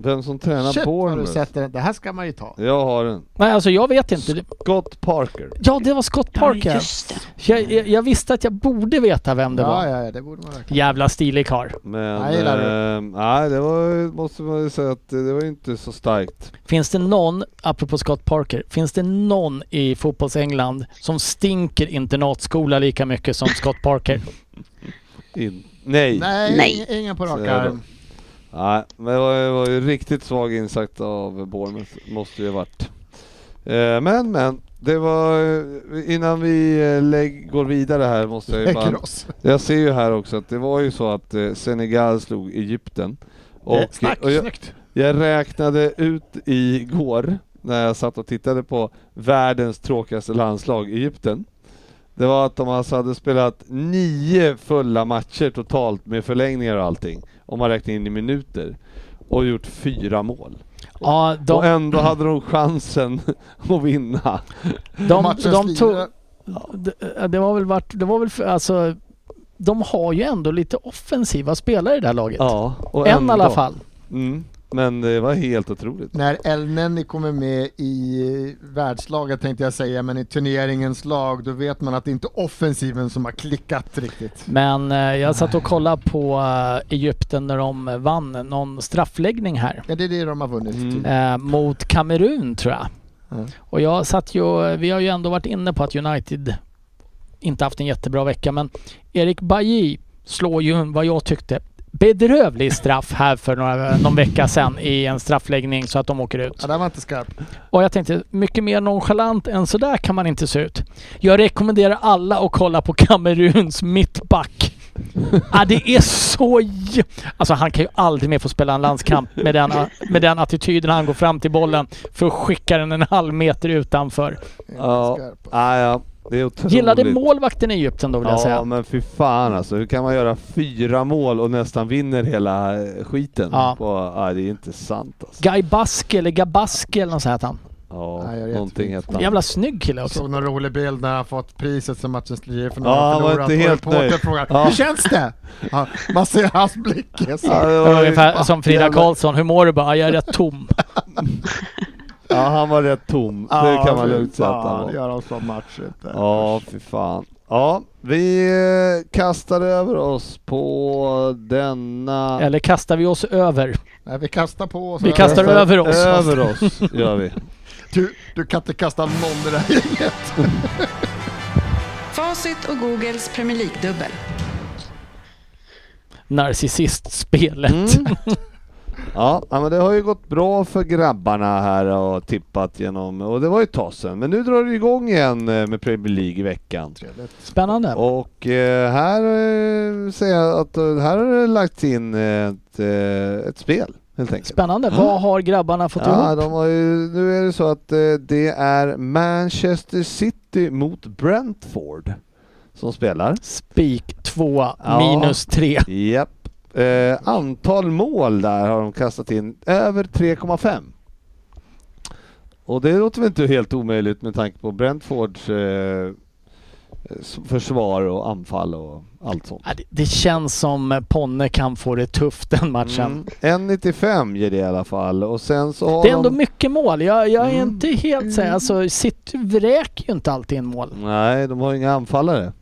Vem som tränar
Shit vad du
Bournemouth?
sätter den. Det här ska man ju ta.
Jag har den.
Nej, alltså jag vet inte. Det-
Scott Parker.
Ja, det var Scott
Ja,
Parker.
just det.
Jag, jag, jag visste att jag borde veta vem det var.
Ja, ja, ja, det borde man verkligen.
Jävla stilig karl.
Men
Jag gillar det.
ehm, nej, det var, måste man ju säga att det det var ju inte så starkt.
Finns det någon, apropå Scott Parker, finns det någon i fotbollsengland som stinker internatskola lika mycket som Scott Parker?
In. Nej. nej.
Nej,
Nej.
ing- ingen på rak
Säger
arm.
men det var, ju- var ju riktigt svag insats av Bournemouth, måste det ju ha varit. Eh, men, men. Det var, eh, innan vi eh, lägg, går vidare här måste jag ju bara
Lägger oss.
Jag ser ju här också att det var ju så att eh, Senegal slog Egypten. Och,
Eh, Snack,
och jag,
snyggt.
jag räknade ut igår när jag satt och tittade på världens tråkigaste landslag, Egypten. Det var att de alltså hade spelat nio fulla matcher totalt med förlängningar och allting. Om man räknar in i minuter. Och gjort fyra mål.
Ja,
och
de,
ändå hade de chansen att vinna.
de,
Matchens
de, tog...
lirare.
Det, det var väl vart, det var väl för, alltså... De har ju ändå lite offensiva spelare i det här laget.
Ja, och
en i
ändå.
alla fall.
Mm. Men det var helt otroligt.
När El Nenny kommer med i världslaget tänkte jag säga, men i turneringens lag då vet man att det inte är offensiven som har klickat riktigt.
Men eh, jag satt och kollade på eh, Egypten när de vann någon straffläggning här.
Ja, det är det de har vunnit.
Mm.
typ.
eh, mot Kamerun tror jag.
Mm.
Och jag satt ju, vi har ju ändå varit inne på att United inte haft en jättebra vecka men Erik Bailly slår ju en, vad jag tyckte, bedrövlig straff här för några, någon vecka sedan i en straffläggning så att de åker ut.
Ja, den var inte skarp.
Och jag tänkte, mycket mer nonchalant än sådär kan man inte se ut. Jag rekommenderar alla att kolla på Kameruns mittback. Ja, det är så... j- Alltså han kan ju aldrig mer få spela en landskamp med den, med den attityden han går fram till bollen för att skicka den en halv meter utanför.
Inte
Ja,
skarp.
ja, ja. det är otroligt.
Gillade målvakten i Egypten då vill jag
Ja
säga.
men fy fan alltså, hur kan man göra fyra mål och nästan vinner hela eh, skiten?
Ja.
På, ja, det är inte sant alltså.
Guy Baske eller Gabaske eller något sånt hette han.
Ja,
Nej, jag vet
någonting
inte.
hette han.
Jävla snygg kille
Jag
också.
såg någon rolig bild när han fått priset som matchens lirare för
Ja,
några
han var
förlorat
inte
och
helt
reportern
nöjd.
frågar
Ja.
”Hur känns det?” ja, Man ser hans blick. jag ser.
Ja,
Ja,
det
Det var
var,
ungefär som Frida
jävla-
Karlsson. Hur mår du? Bara, jag är rätt tom.
ja, han var rätt tom. det kan man
fy
lugnt säga att
fan,
han var.
Gör en sån match. vet du.
Ja, fy fan. Ja, vi eh, kastar över oss på denna...
Eller kastar vi oss över?
Nej, vi kastar på oss.
Vi kastar över oss.
Över oss, gör vi.
Du, du kan inte kasta någon i det här gänget.
Facit och Googles Premier League-dubbel.
Narcissistspelet.
Mm. Ja, ja, men det har ju gått bra för grabbarna här och tippat genom, och det var ju ett tag sedan. Men nu drar det igång igen eh, med Premier League i veckan.
Spännande.
Och eh, här eh, säger jag att eh, här har det lagts in eh, ett, eh, ett spel helt enkelt.
Spännande. Vad har grabbarna fått
Mm. Ja,
ihop?
de har ju, nu är det så att eh, det är Manchester City mot Brentford som spelar.
Spik tvåa,
Ja.
minus tre.
Japp. Eh, antal mål där har de kastat in över 3,5. Och det låter väl inte helt omöjligt med tanke på Brentfords eh, s- försvar och anfall och allt sånt.
Ja, det- Det känns som eh, Ponne kan få det tufft den matchen.
Mm. 1,95 ger det i alla fall och sen så har
Det är ändå
de...
mycket mål. Jag, jag är
Mm.
inte helt säker. Alltså, City vräker ju inte alltid in mål.
Nej, de har ju inga anfallare.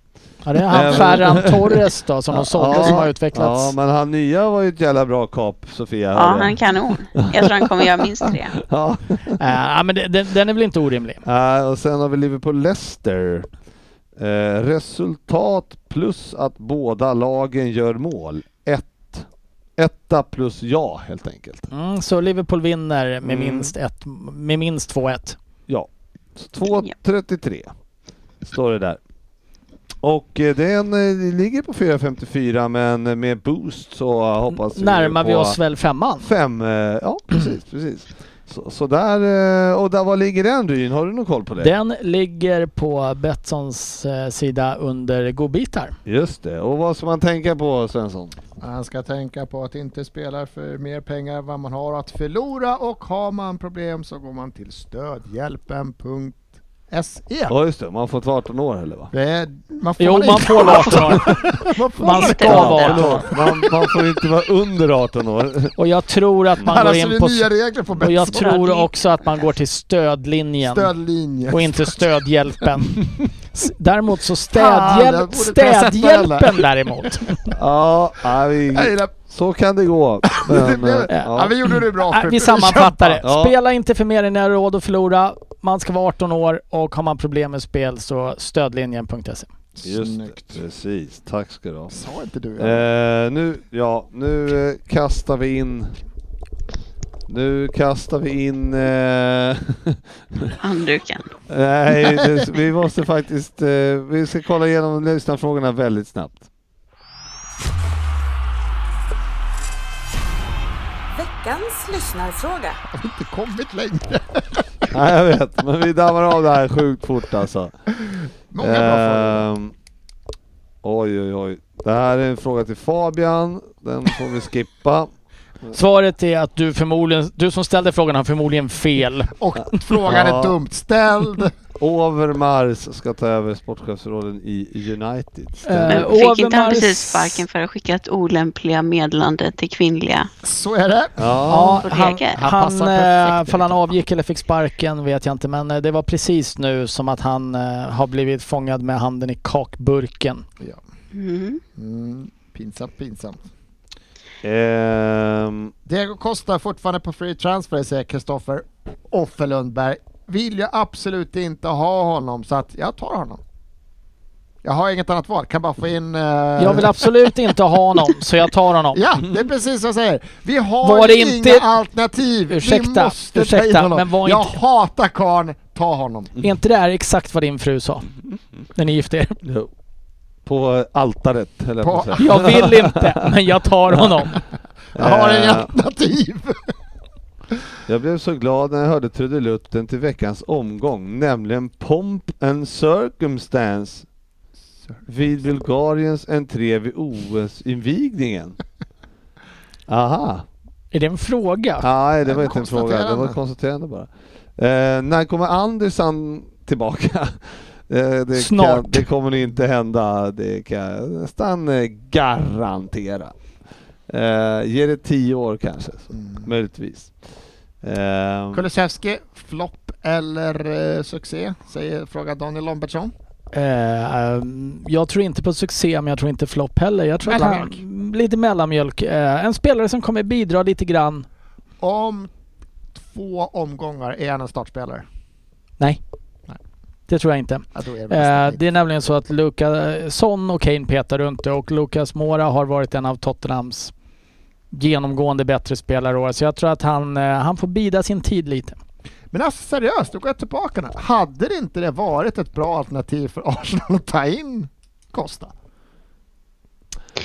Ja, det är han
Även-
Ferran Torres då som de sålde som har
Ja,
utvecklats.
men han nya var ju ett jävla bra kap, Sofia.
Ja, han är kanon. Jag tror han kommer göra minst tre.
Ja.
Eh, Ja, men det- den, den är väl inte orimlig.
Eh, och sen har vi Liverpool-Leicester. Eh, resultat plus att båda lagen gör mål. Ett. Etta plus ja, helt enkelt.
Mm, så Liverpool vinner med
Mm.
minst, ett, med minst 2-1.
Ja. Så 2.33 står det där. Och eh, den eh, ligger på 4.54 men med boost så hoppas vi
Närmar vi
på
oss väl femman?
Fem, eh, ja precis. precis. Så, så där, eh, och där, var ligger den Ryn? Har du någon koll på det?
Den ligger på Betssons eh, sida under godbitar.
Just det, och vad ska man tänka på Svensson?
Man ska tänka på att inte spela för mer pengar än vad man har att förlora och har man problem så går man till stödhjälpen.se.
Ja just det, man har fått vara 18 år eller va?
E. Det är- Man får
Jo,
inte-
man får vara 18 år.
man får
Man
inte.
ska
Ja,
vara 18 år.
Förlåt, man, man får inte vara under 18 år.
Och jag tror att man
Här
går
alltså,
in
det
på...
är nya regler på
Och jag
Betsson.
tror också att man går till stödlinjen
Stödlinjen.
och inte stödhjälpen. S- Däremot så
Fan, jag
städhjälp,
borde kunna sätta
städhjälpen
den
däremot.
Ja, nej,
Nej,
vi,
det-
så kan det gå. Men, eh,
det- Ja,
ja.
vi gjorde det bra.
Nej,
för-
Äh, Vi sammanfattar det.
Ja.
Spela inte för mer än ni har råd att förlora. Man ska vara 18 år och har man problem med spel så stödlinjen.se.
Just
Snyggt.
det, precis. Tack ska du ha.
Sa inte du?
Eh, nu, ja, nu eh, kastar vi in... Nu kastar vi in... Eh,
Eh,
Handduken.
nej, det, vi måste faktiskt... Eh, vi ska kolla igenom lyssnarfrågorna väldigt snabbt.
Veckans lyssnarfråga.
Har
Eh.
vi inte kommit längre?
Nej, jag vet, men vi dammar av det här sjukt fort alltså.
Många bra frågor.
Ehm, Oj, oj, oj. Det här är en fråga till Fabian. Den får vi skippa.
Svaret är att du förmodligen, du som ställde frågan har förmodligen fel.
Eh.
Och frågan
Ja.
är dumt ställd.
Overmars ska ta över sportchefsrollen i United.
Eh,
Men
Stämmer.
fick inte han
Overmars-
precis sparken för att ha skickat olämpliga meddelanden till kvinnliga
Så är det.
Ja,
Får
han,
reagera.
Han
han,
passar
eh,
perfekt.
ifall han avgick eller fick sparken vet jag inte men eh, det var precis nu som att han eh, har blivit fångad med handen i kakburken.
Ja.
Mm.
Mm. Pinsamt, pinsamt.
ehm,
Diego Costa fortfarande på free transfer säger Kristoffer Offe Lundberg. Vill jag absolut inte ha honom så att jag tar honom. Jag har inget annat val, kan bara få in... eh,
Jag vill absolut inte ha honom så jag tar honom.
Ja, det är precis vad jag säger. Vi har
Var det
inga
inte-
alternativ.
Ursäkta,
vi måste
ursäkta,
ta in honom.
men var
jag
inte-
hatar karln, ta honom.
Är inte det här exakt vad din fru sa?
Mm.
När ni gifte er?
jo. på altaret höll jag på
På-
att säga.
Jag vill inte, men jag tar honom.
Jag har inga
Eh,
alternativ.
jag blev så glad när jag hörde trudelutten till veckans omgång, nämligen Pomp and Circumstance vid Bulgariens entré vid OS-invigningen. Aha.
Är det en fråga?
Nej, det var
Nej, men
inte en fråga. Det var
konstaterande.
ett konstaterande bara. Eh, när kommer Andersson tillbaka? Eh, det
Snart.
Kan, det kommer nog inte hända. Det kan jag nästan eh, garantera. Eh, ge det tio år kanske, så. möjligtvis. Eh,
Kulusevski, flopp eller eh, succé? Säger, frågar Daniel Lambertsson.
Eh, ehm, jag tror inte på succé, men jag tror inte flopp heller. Jag tror att han,
Mellanmjölk.
lite mellanmjölk. Eh, en spelare som kommer bidra lite grann.
Om två omgångar är han en startspelare.
Det tror jag inte.
Ja, då är det
Eh,
väl
det är nämligen så att Luka, Son och Kane petar runt det och Lucas Moura har varit en av Tottenhams genomgående bättre spelare i år. Så jag tror att han, eh, han får bida sin tid lite.
Men alltså seriöst, då går jag tillbaka nu. Hade det inte det varit ett bra alternativ för Arsenal att ta in Costa?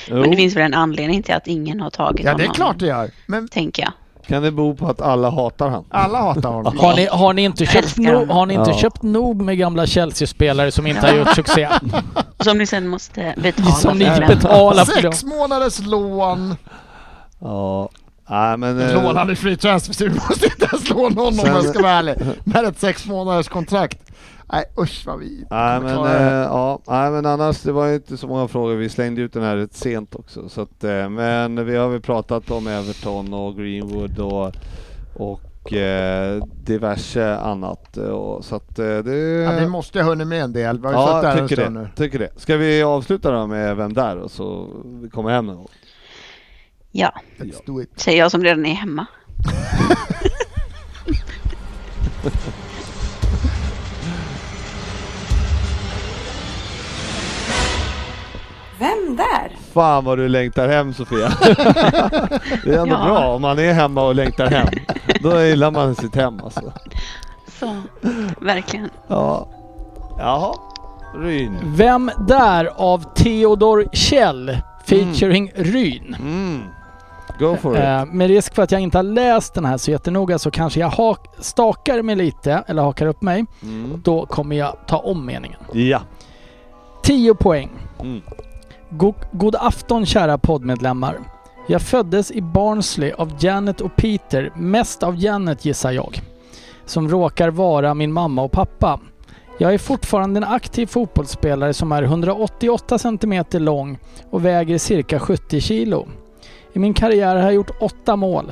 jo,
Men det finns väl en anledning till att ingen har
Ja,
tagit
det
honom.
är klart det gör. Men
Tänker jag.
Kan det bero på att alla hatar han?
alla hatar honom.
Har ni, har ni inte, köpt,
älskar
no,
honom.
har ni inte
Ja.
köpt nog med gamla Chelsea-spelare som inte har gjort succé?
Som ni sen måste betala
Som ni
för.
betalar för dem.
Sex månaders lån.
Ja. Nej, men... eh,
Lån han är free transfer, så vi måste inte ens låna honom om jag ska vara ärlig. Med ett sex månaders kontrakt. Nej usch vad vi
Nej
kommer
men,
klara det.
eh, ja, nej men annars, det var ju inte så många frågor. Vi slängde ut den här rätt sent också. Så att, eh, men vi har väl pratat om Everton och Greenwood och, och och eh, diverse annat. eh, Och, så att eh, det...
Ja, vi måste ju ha hunnit med en del. Vi har ju
Ja,
suttit här en
tycker
stund
det,
nu.
tycker det. Ska vi avsluta då med Vem där och så vi kommer hem någon gång?
Ja,
Let's do it.
säger jag som redan är hemma.
Vem där?
Fan vad du längtar hem Sofia! det är ändå
Ja.
bra om man är hemma och längtar hem. Då gillar man sitt hem alltså.
Så, verkligen.
Ja. Jaha. Ryn.
Vem där av Theodor Kjell featuring Ryn.
Mm. Go for it.
Eh, med risk för att jag inte har läst den här så jättenoga så kanske jag hak- stakar mig lite eller hakar upp mig.
Mm.
Då kommer jag ta om meningen.
Ja.
10 poäng.
Mm.
Go- god afton kära poddmedlemmar. Jag föddes i Barnsley av Janet och Peter, mest av Janet gissar jag, som råkar vara min mamma och pappa. Jag är fortfarande en aktiv fotbollsspelare som är 188 cm lång och väger cirka 70 kilo. I min karriär har jag gjort åtta mål.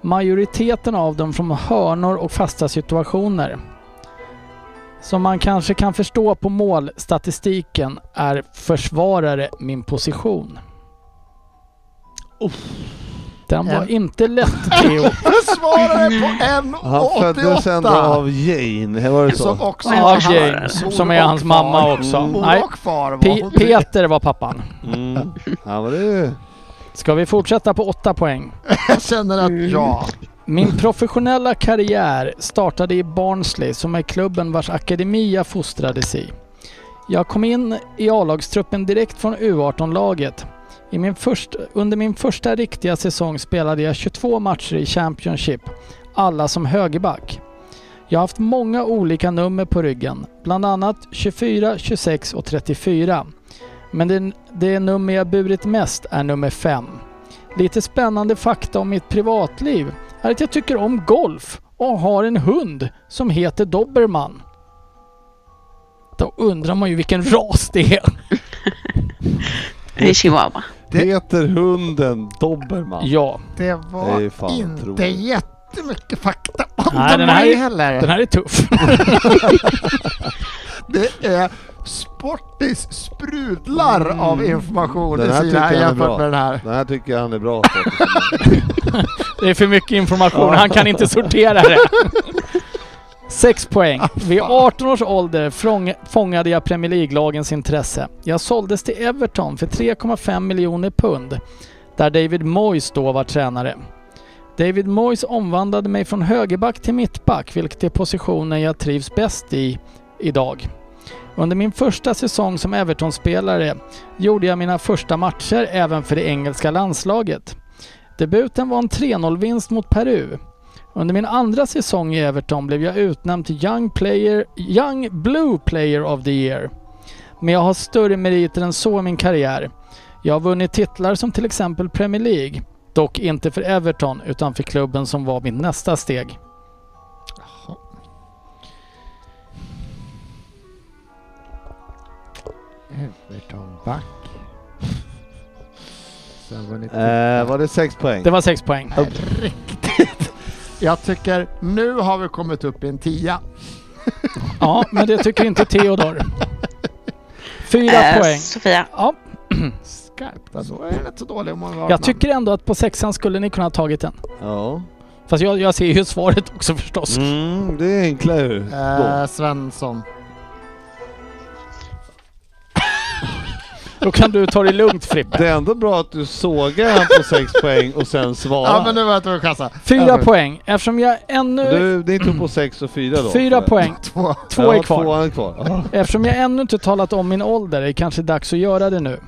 Majoriteten av dem från hörnor och fasta situationer. Som man kanske kan förstå på målstatistiken är försvarare min position. Den var
En-
inte lätt Theo.
Försvarare på
Han föddes ändå
1,88!
av Jane, var det så?
Som också
Ja,
var
James,
hans
som är
mor och
hans
far.
mamma också.
Mm.
Nej,
Mor och far var
Pe-
hon.
Peter var pappan.
Mm. Ja, men det är ju...
Ska vi fortsätta på åtta poäng?
Jag känner
Mm.
att ja.
Min professionella karriär startade i Barnsley som är klubben vars akademi jag fostrades i. Jag kom in i A-lagstruppen direkt från U18-laget. I min först, under min första riktiga säsong spelade jag 22 matcher i Championship, alla som högerback. Jag har haft många olika nummer på ryggen, bland annat 24, 26 och 34. Men det, det nummer jag burit mest är nummer 5. Lite spännande fakta om mitt privatliv är att jag tycker om golf och har en hund som heter Dobermann. Då undrar man ju vilken ras det är.
Det är chihuahua.
Peter Hunden Dobermann.
Ja,
Det var
Det är fan
inte
otroligt.
jättemycket fakta om
Nej,
den
den här
här
är-
heller.
den här är tuff.
Det är Sportis sprudlar
Mm.
av information
Den
i
här
sina här
tycker jag är
jämfört
bra.
med den här.
Den här tycker jag han är bra på.
Det är för mycket information, han kan inte sortera det. Sex poäng. Vid 18 års ålder frång- fångade jag Premier League-lagens intresse. Jag såldes till Everton för 3,5 miljoner pund, där David Moyes då var tränare. David Moyes omvandlade mig från högerback till mittback, vilket är positionen jag trivs bäst i idag. Under min första säsong som Everton-spelare gjorde jag mina första matcher även för det engelska landslaget. Debuten var en 3-0-vinst mot Peru. Under min andra säsong i Everton blev jag utnämnd till Young, player, Young Blue Player of the Year. Men jag har större meriter än så i min karriär. Jag har vunnit titlar som till exempel Premier League. Dock inte för Everton utan för klubben som var mitt nästa steg.
Everton-back. Sen var det
eh, var det sex poäng?
Det var sex poäng.
Nej, Riktigt. Jag tycker nu har vi kommit upp i en tia.
Ja, men det tycker inte Theodor. Fyra
Eh,
poäng.
Sofia.
Ja,
Skarpt alltså. Jag är rätt så dålig om man har
jag tycker ändå att på sexan skulle ni kunna ha tagit den.
Ja.
Fast jag, jag ser ju svaret också förstås.
Mm, det är enklare ju.
Eh, Svensson.
Då kan du ta det lugnt Frippe.
Det är ändå bra att du sågar han på sex poäng och sen svarar.
Ja men nu var jag tvungen att chansa.
Fyra
Över.
poäng. Eftersom jag ännu...
Du, ni tog på sex och fyra då?
eh, Fyra poäng.
Två.
Två är kvar.
Tvåan är kvar.
Eftersom jag ännu inte talat om min ålder är det kanske dags att göra det nu.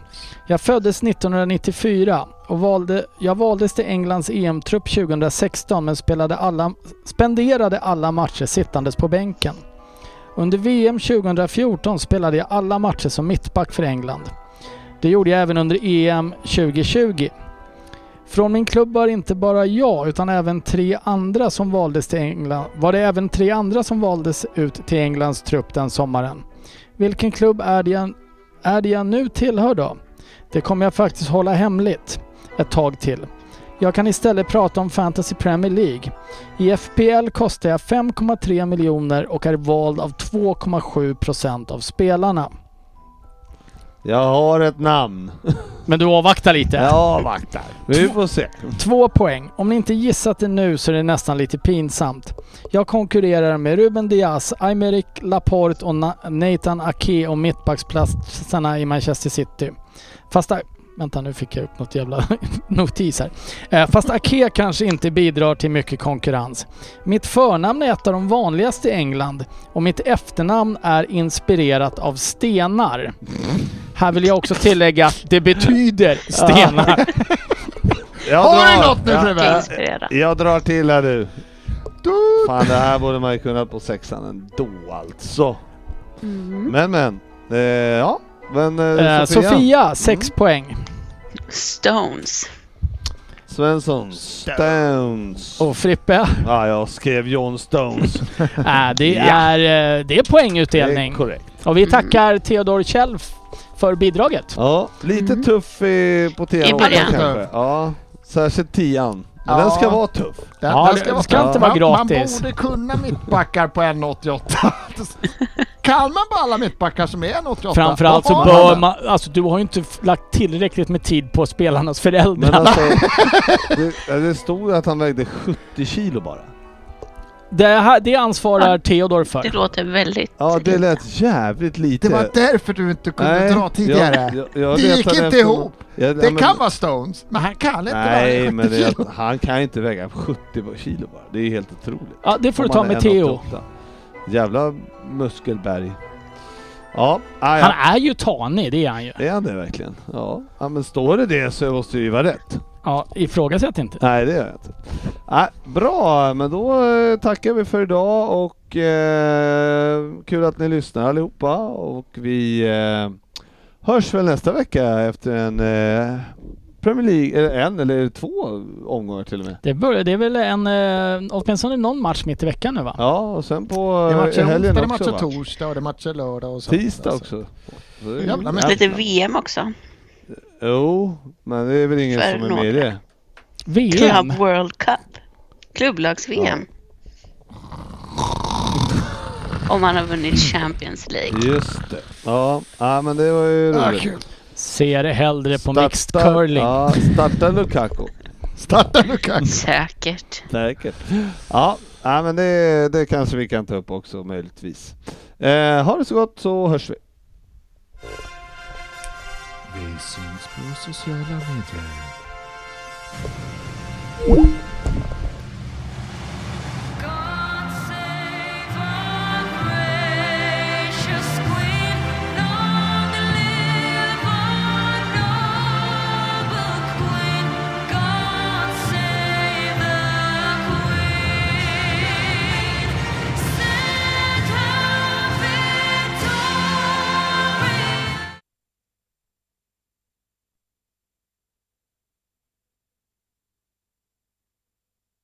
Jag föddes 1994 och valde, jag valdes till Englands EM-trupp 2016 men spelade alla, spenderade alla matcher sittandes på bänken. Under VM 2014 spelade jag alla matcher som mittback för England. Det gjorde jag även under EM 2020. Från min klubb var inte bara jag utan även tre andra som valdes till England. Var det även tre andra som valdes ut till Englands trupp den sommaren. Vilken klubb är det jag, är det jag nu tillhör då? Det kommer jag faktiskt hålla hemligt ett tag till. Jag kan istället prata om Fantasy Premier League. I FPL kostar jag 5,3 miljoner och är vald av 2,7 procent av spelarna.
Jag har ett namn.
Men du avvaktar lite?
Jag vaktar. Vi får se.
Två poäng. Om ni inte gissat det nu så är det nästan lite pinsamt. Jag konkurrerar med Ruben Diaz, Aymeric Laporte och Na- Nathan Ake om mittbacksplatserna i Manchester City. Fast... A- Vänta, nu fick jag upp något jävla notis här. Eh, Fast Ake kanske inte bidrar till mycket konkurrens. Mitt förnamn är ett av de vanligaste i England och mitt efternamn är inspirerat av stenar. Här vill jag också tillägga att det betyder stenar.
Jag
Har du
drar.
något nu
Ja.
Fröberg?
Mycket inspirerad.
Jag drar till här nu. Fan det här borde man ju kunnat på sexan ändå alltså. Men men. Eh, ja. Men eh,
Eh,
Sofia.
Sofia, 6
Mm.
poäng.
Stones.
Svensson. Stones.
Och Frippe,
Ja, jag skrev John Stones.
äh, det,
Ja.
är, eh, det är
Det är
poängutdelning.
korrekt.
Och vi tackar Theodor Kjell f- för bidraget.
Ja, lite
Mm.
tuff i, på
I
temat
början.
kanske. Ja, särskilt tian. Men den ska
Ja.
vara tuff.
Den,
Ja,
den
det-
vara-
det ska inte
man,
vara gratis.
Man borde kunna mittbackar på 1,88. kan man bara alla mittbackar som är 1,88?
Framförallt så
Har
bör
den?
man... Alltså du har ju inte f- lagt tillräckligt med tid på spelarnas
Men
föräldrar.
alltså, det, ja, det stod att han vägde 70 kilo bara.
Det, här, det ansvarar Theodor
Det
för.
låter väldigt...
Ja, det lät jävligt lite.
Det var därför du inte kunde dra tidigare.
Jag, jag, jag
Det gick
letade
inte
efter-
ihop.
Jag-
det
ja, men-
kan vara Stones, men han kan inte
Nej,
vara
men det,
kilo.
är- han kan inte väga 70 kilo bara. Det är helt otroligt.
Ja, det får du
Om
ta
han är
med Theo.
1,88. Jävla muskelberg. Ja, ah, ja.
Han är ju tanig, det är han ju.
är han det verkligen? Ja. ja, men står det det så måste det ju vara rätt.
Ja, ifrågasätt inte.
Nej, det gör jag inte. Nej, bra, men då eh, tackar vi för idag och eh, kul att ni lyssnar allihopa och vi eh, hörs väl nästa vecka efter en eh, Premier League, eller en eller två omgångar till och med.
Det, börjar, det är väl en... Eh, åtminstone någon match mitt i veckan nu va?
Ja, och sen på
Det är
eh, i
matcher onsdag,
helgen
det är
också
matcher
va?
torsdag och det är matcher lördag och så.
Tisdag också. Så det är-
Jävlar, men-
Lite VM också.
Jo, men det är väl ingen
För
som är med i det.
VM.
Club World Cup. Klubblags-VM. Om man har vunnit Champions League.
Just det. Ja, ja men det var ju
Ah,
roligt.
kul.
Ser hellre på mixed
Starta-
curling.
Ja, starta Lukaku.
Starta Lukas.
Säkert.
Säkert. Ja, ja men det, det kanske vi kan ta upp också möjligtvis. Eh, ha det så gott så hörs vi.
Vi syns på sociala medier.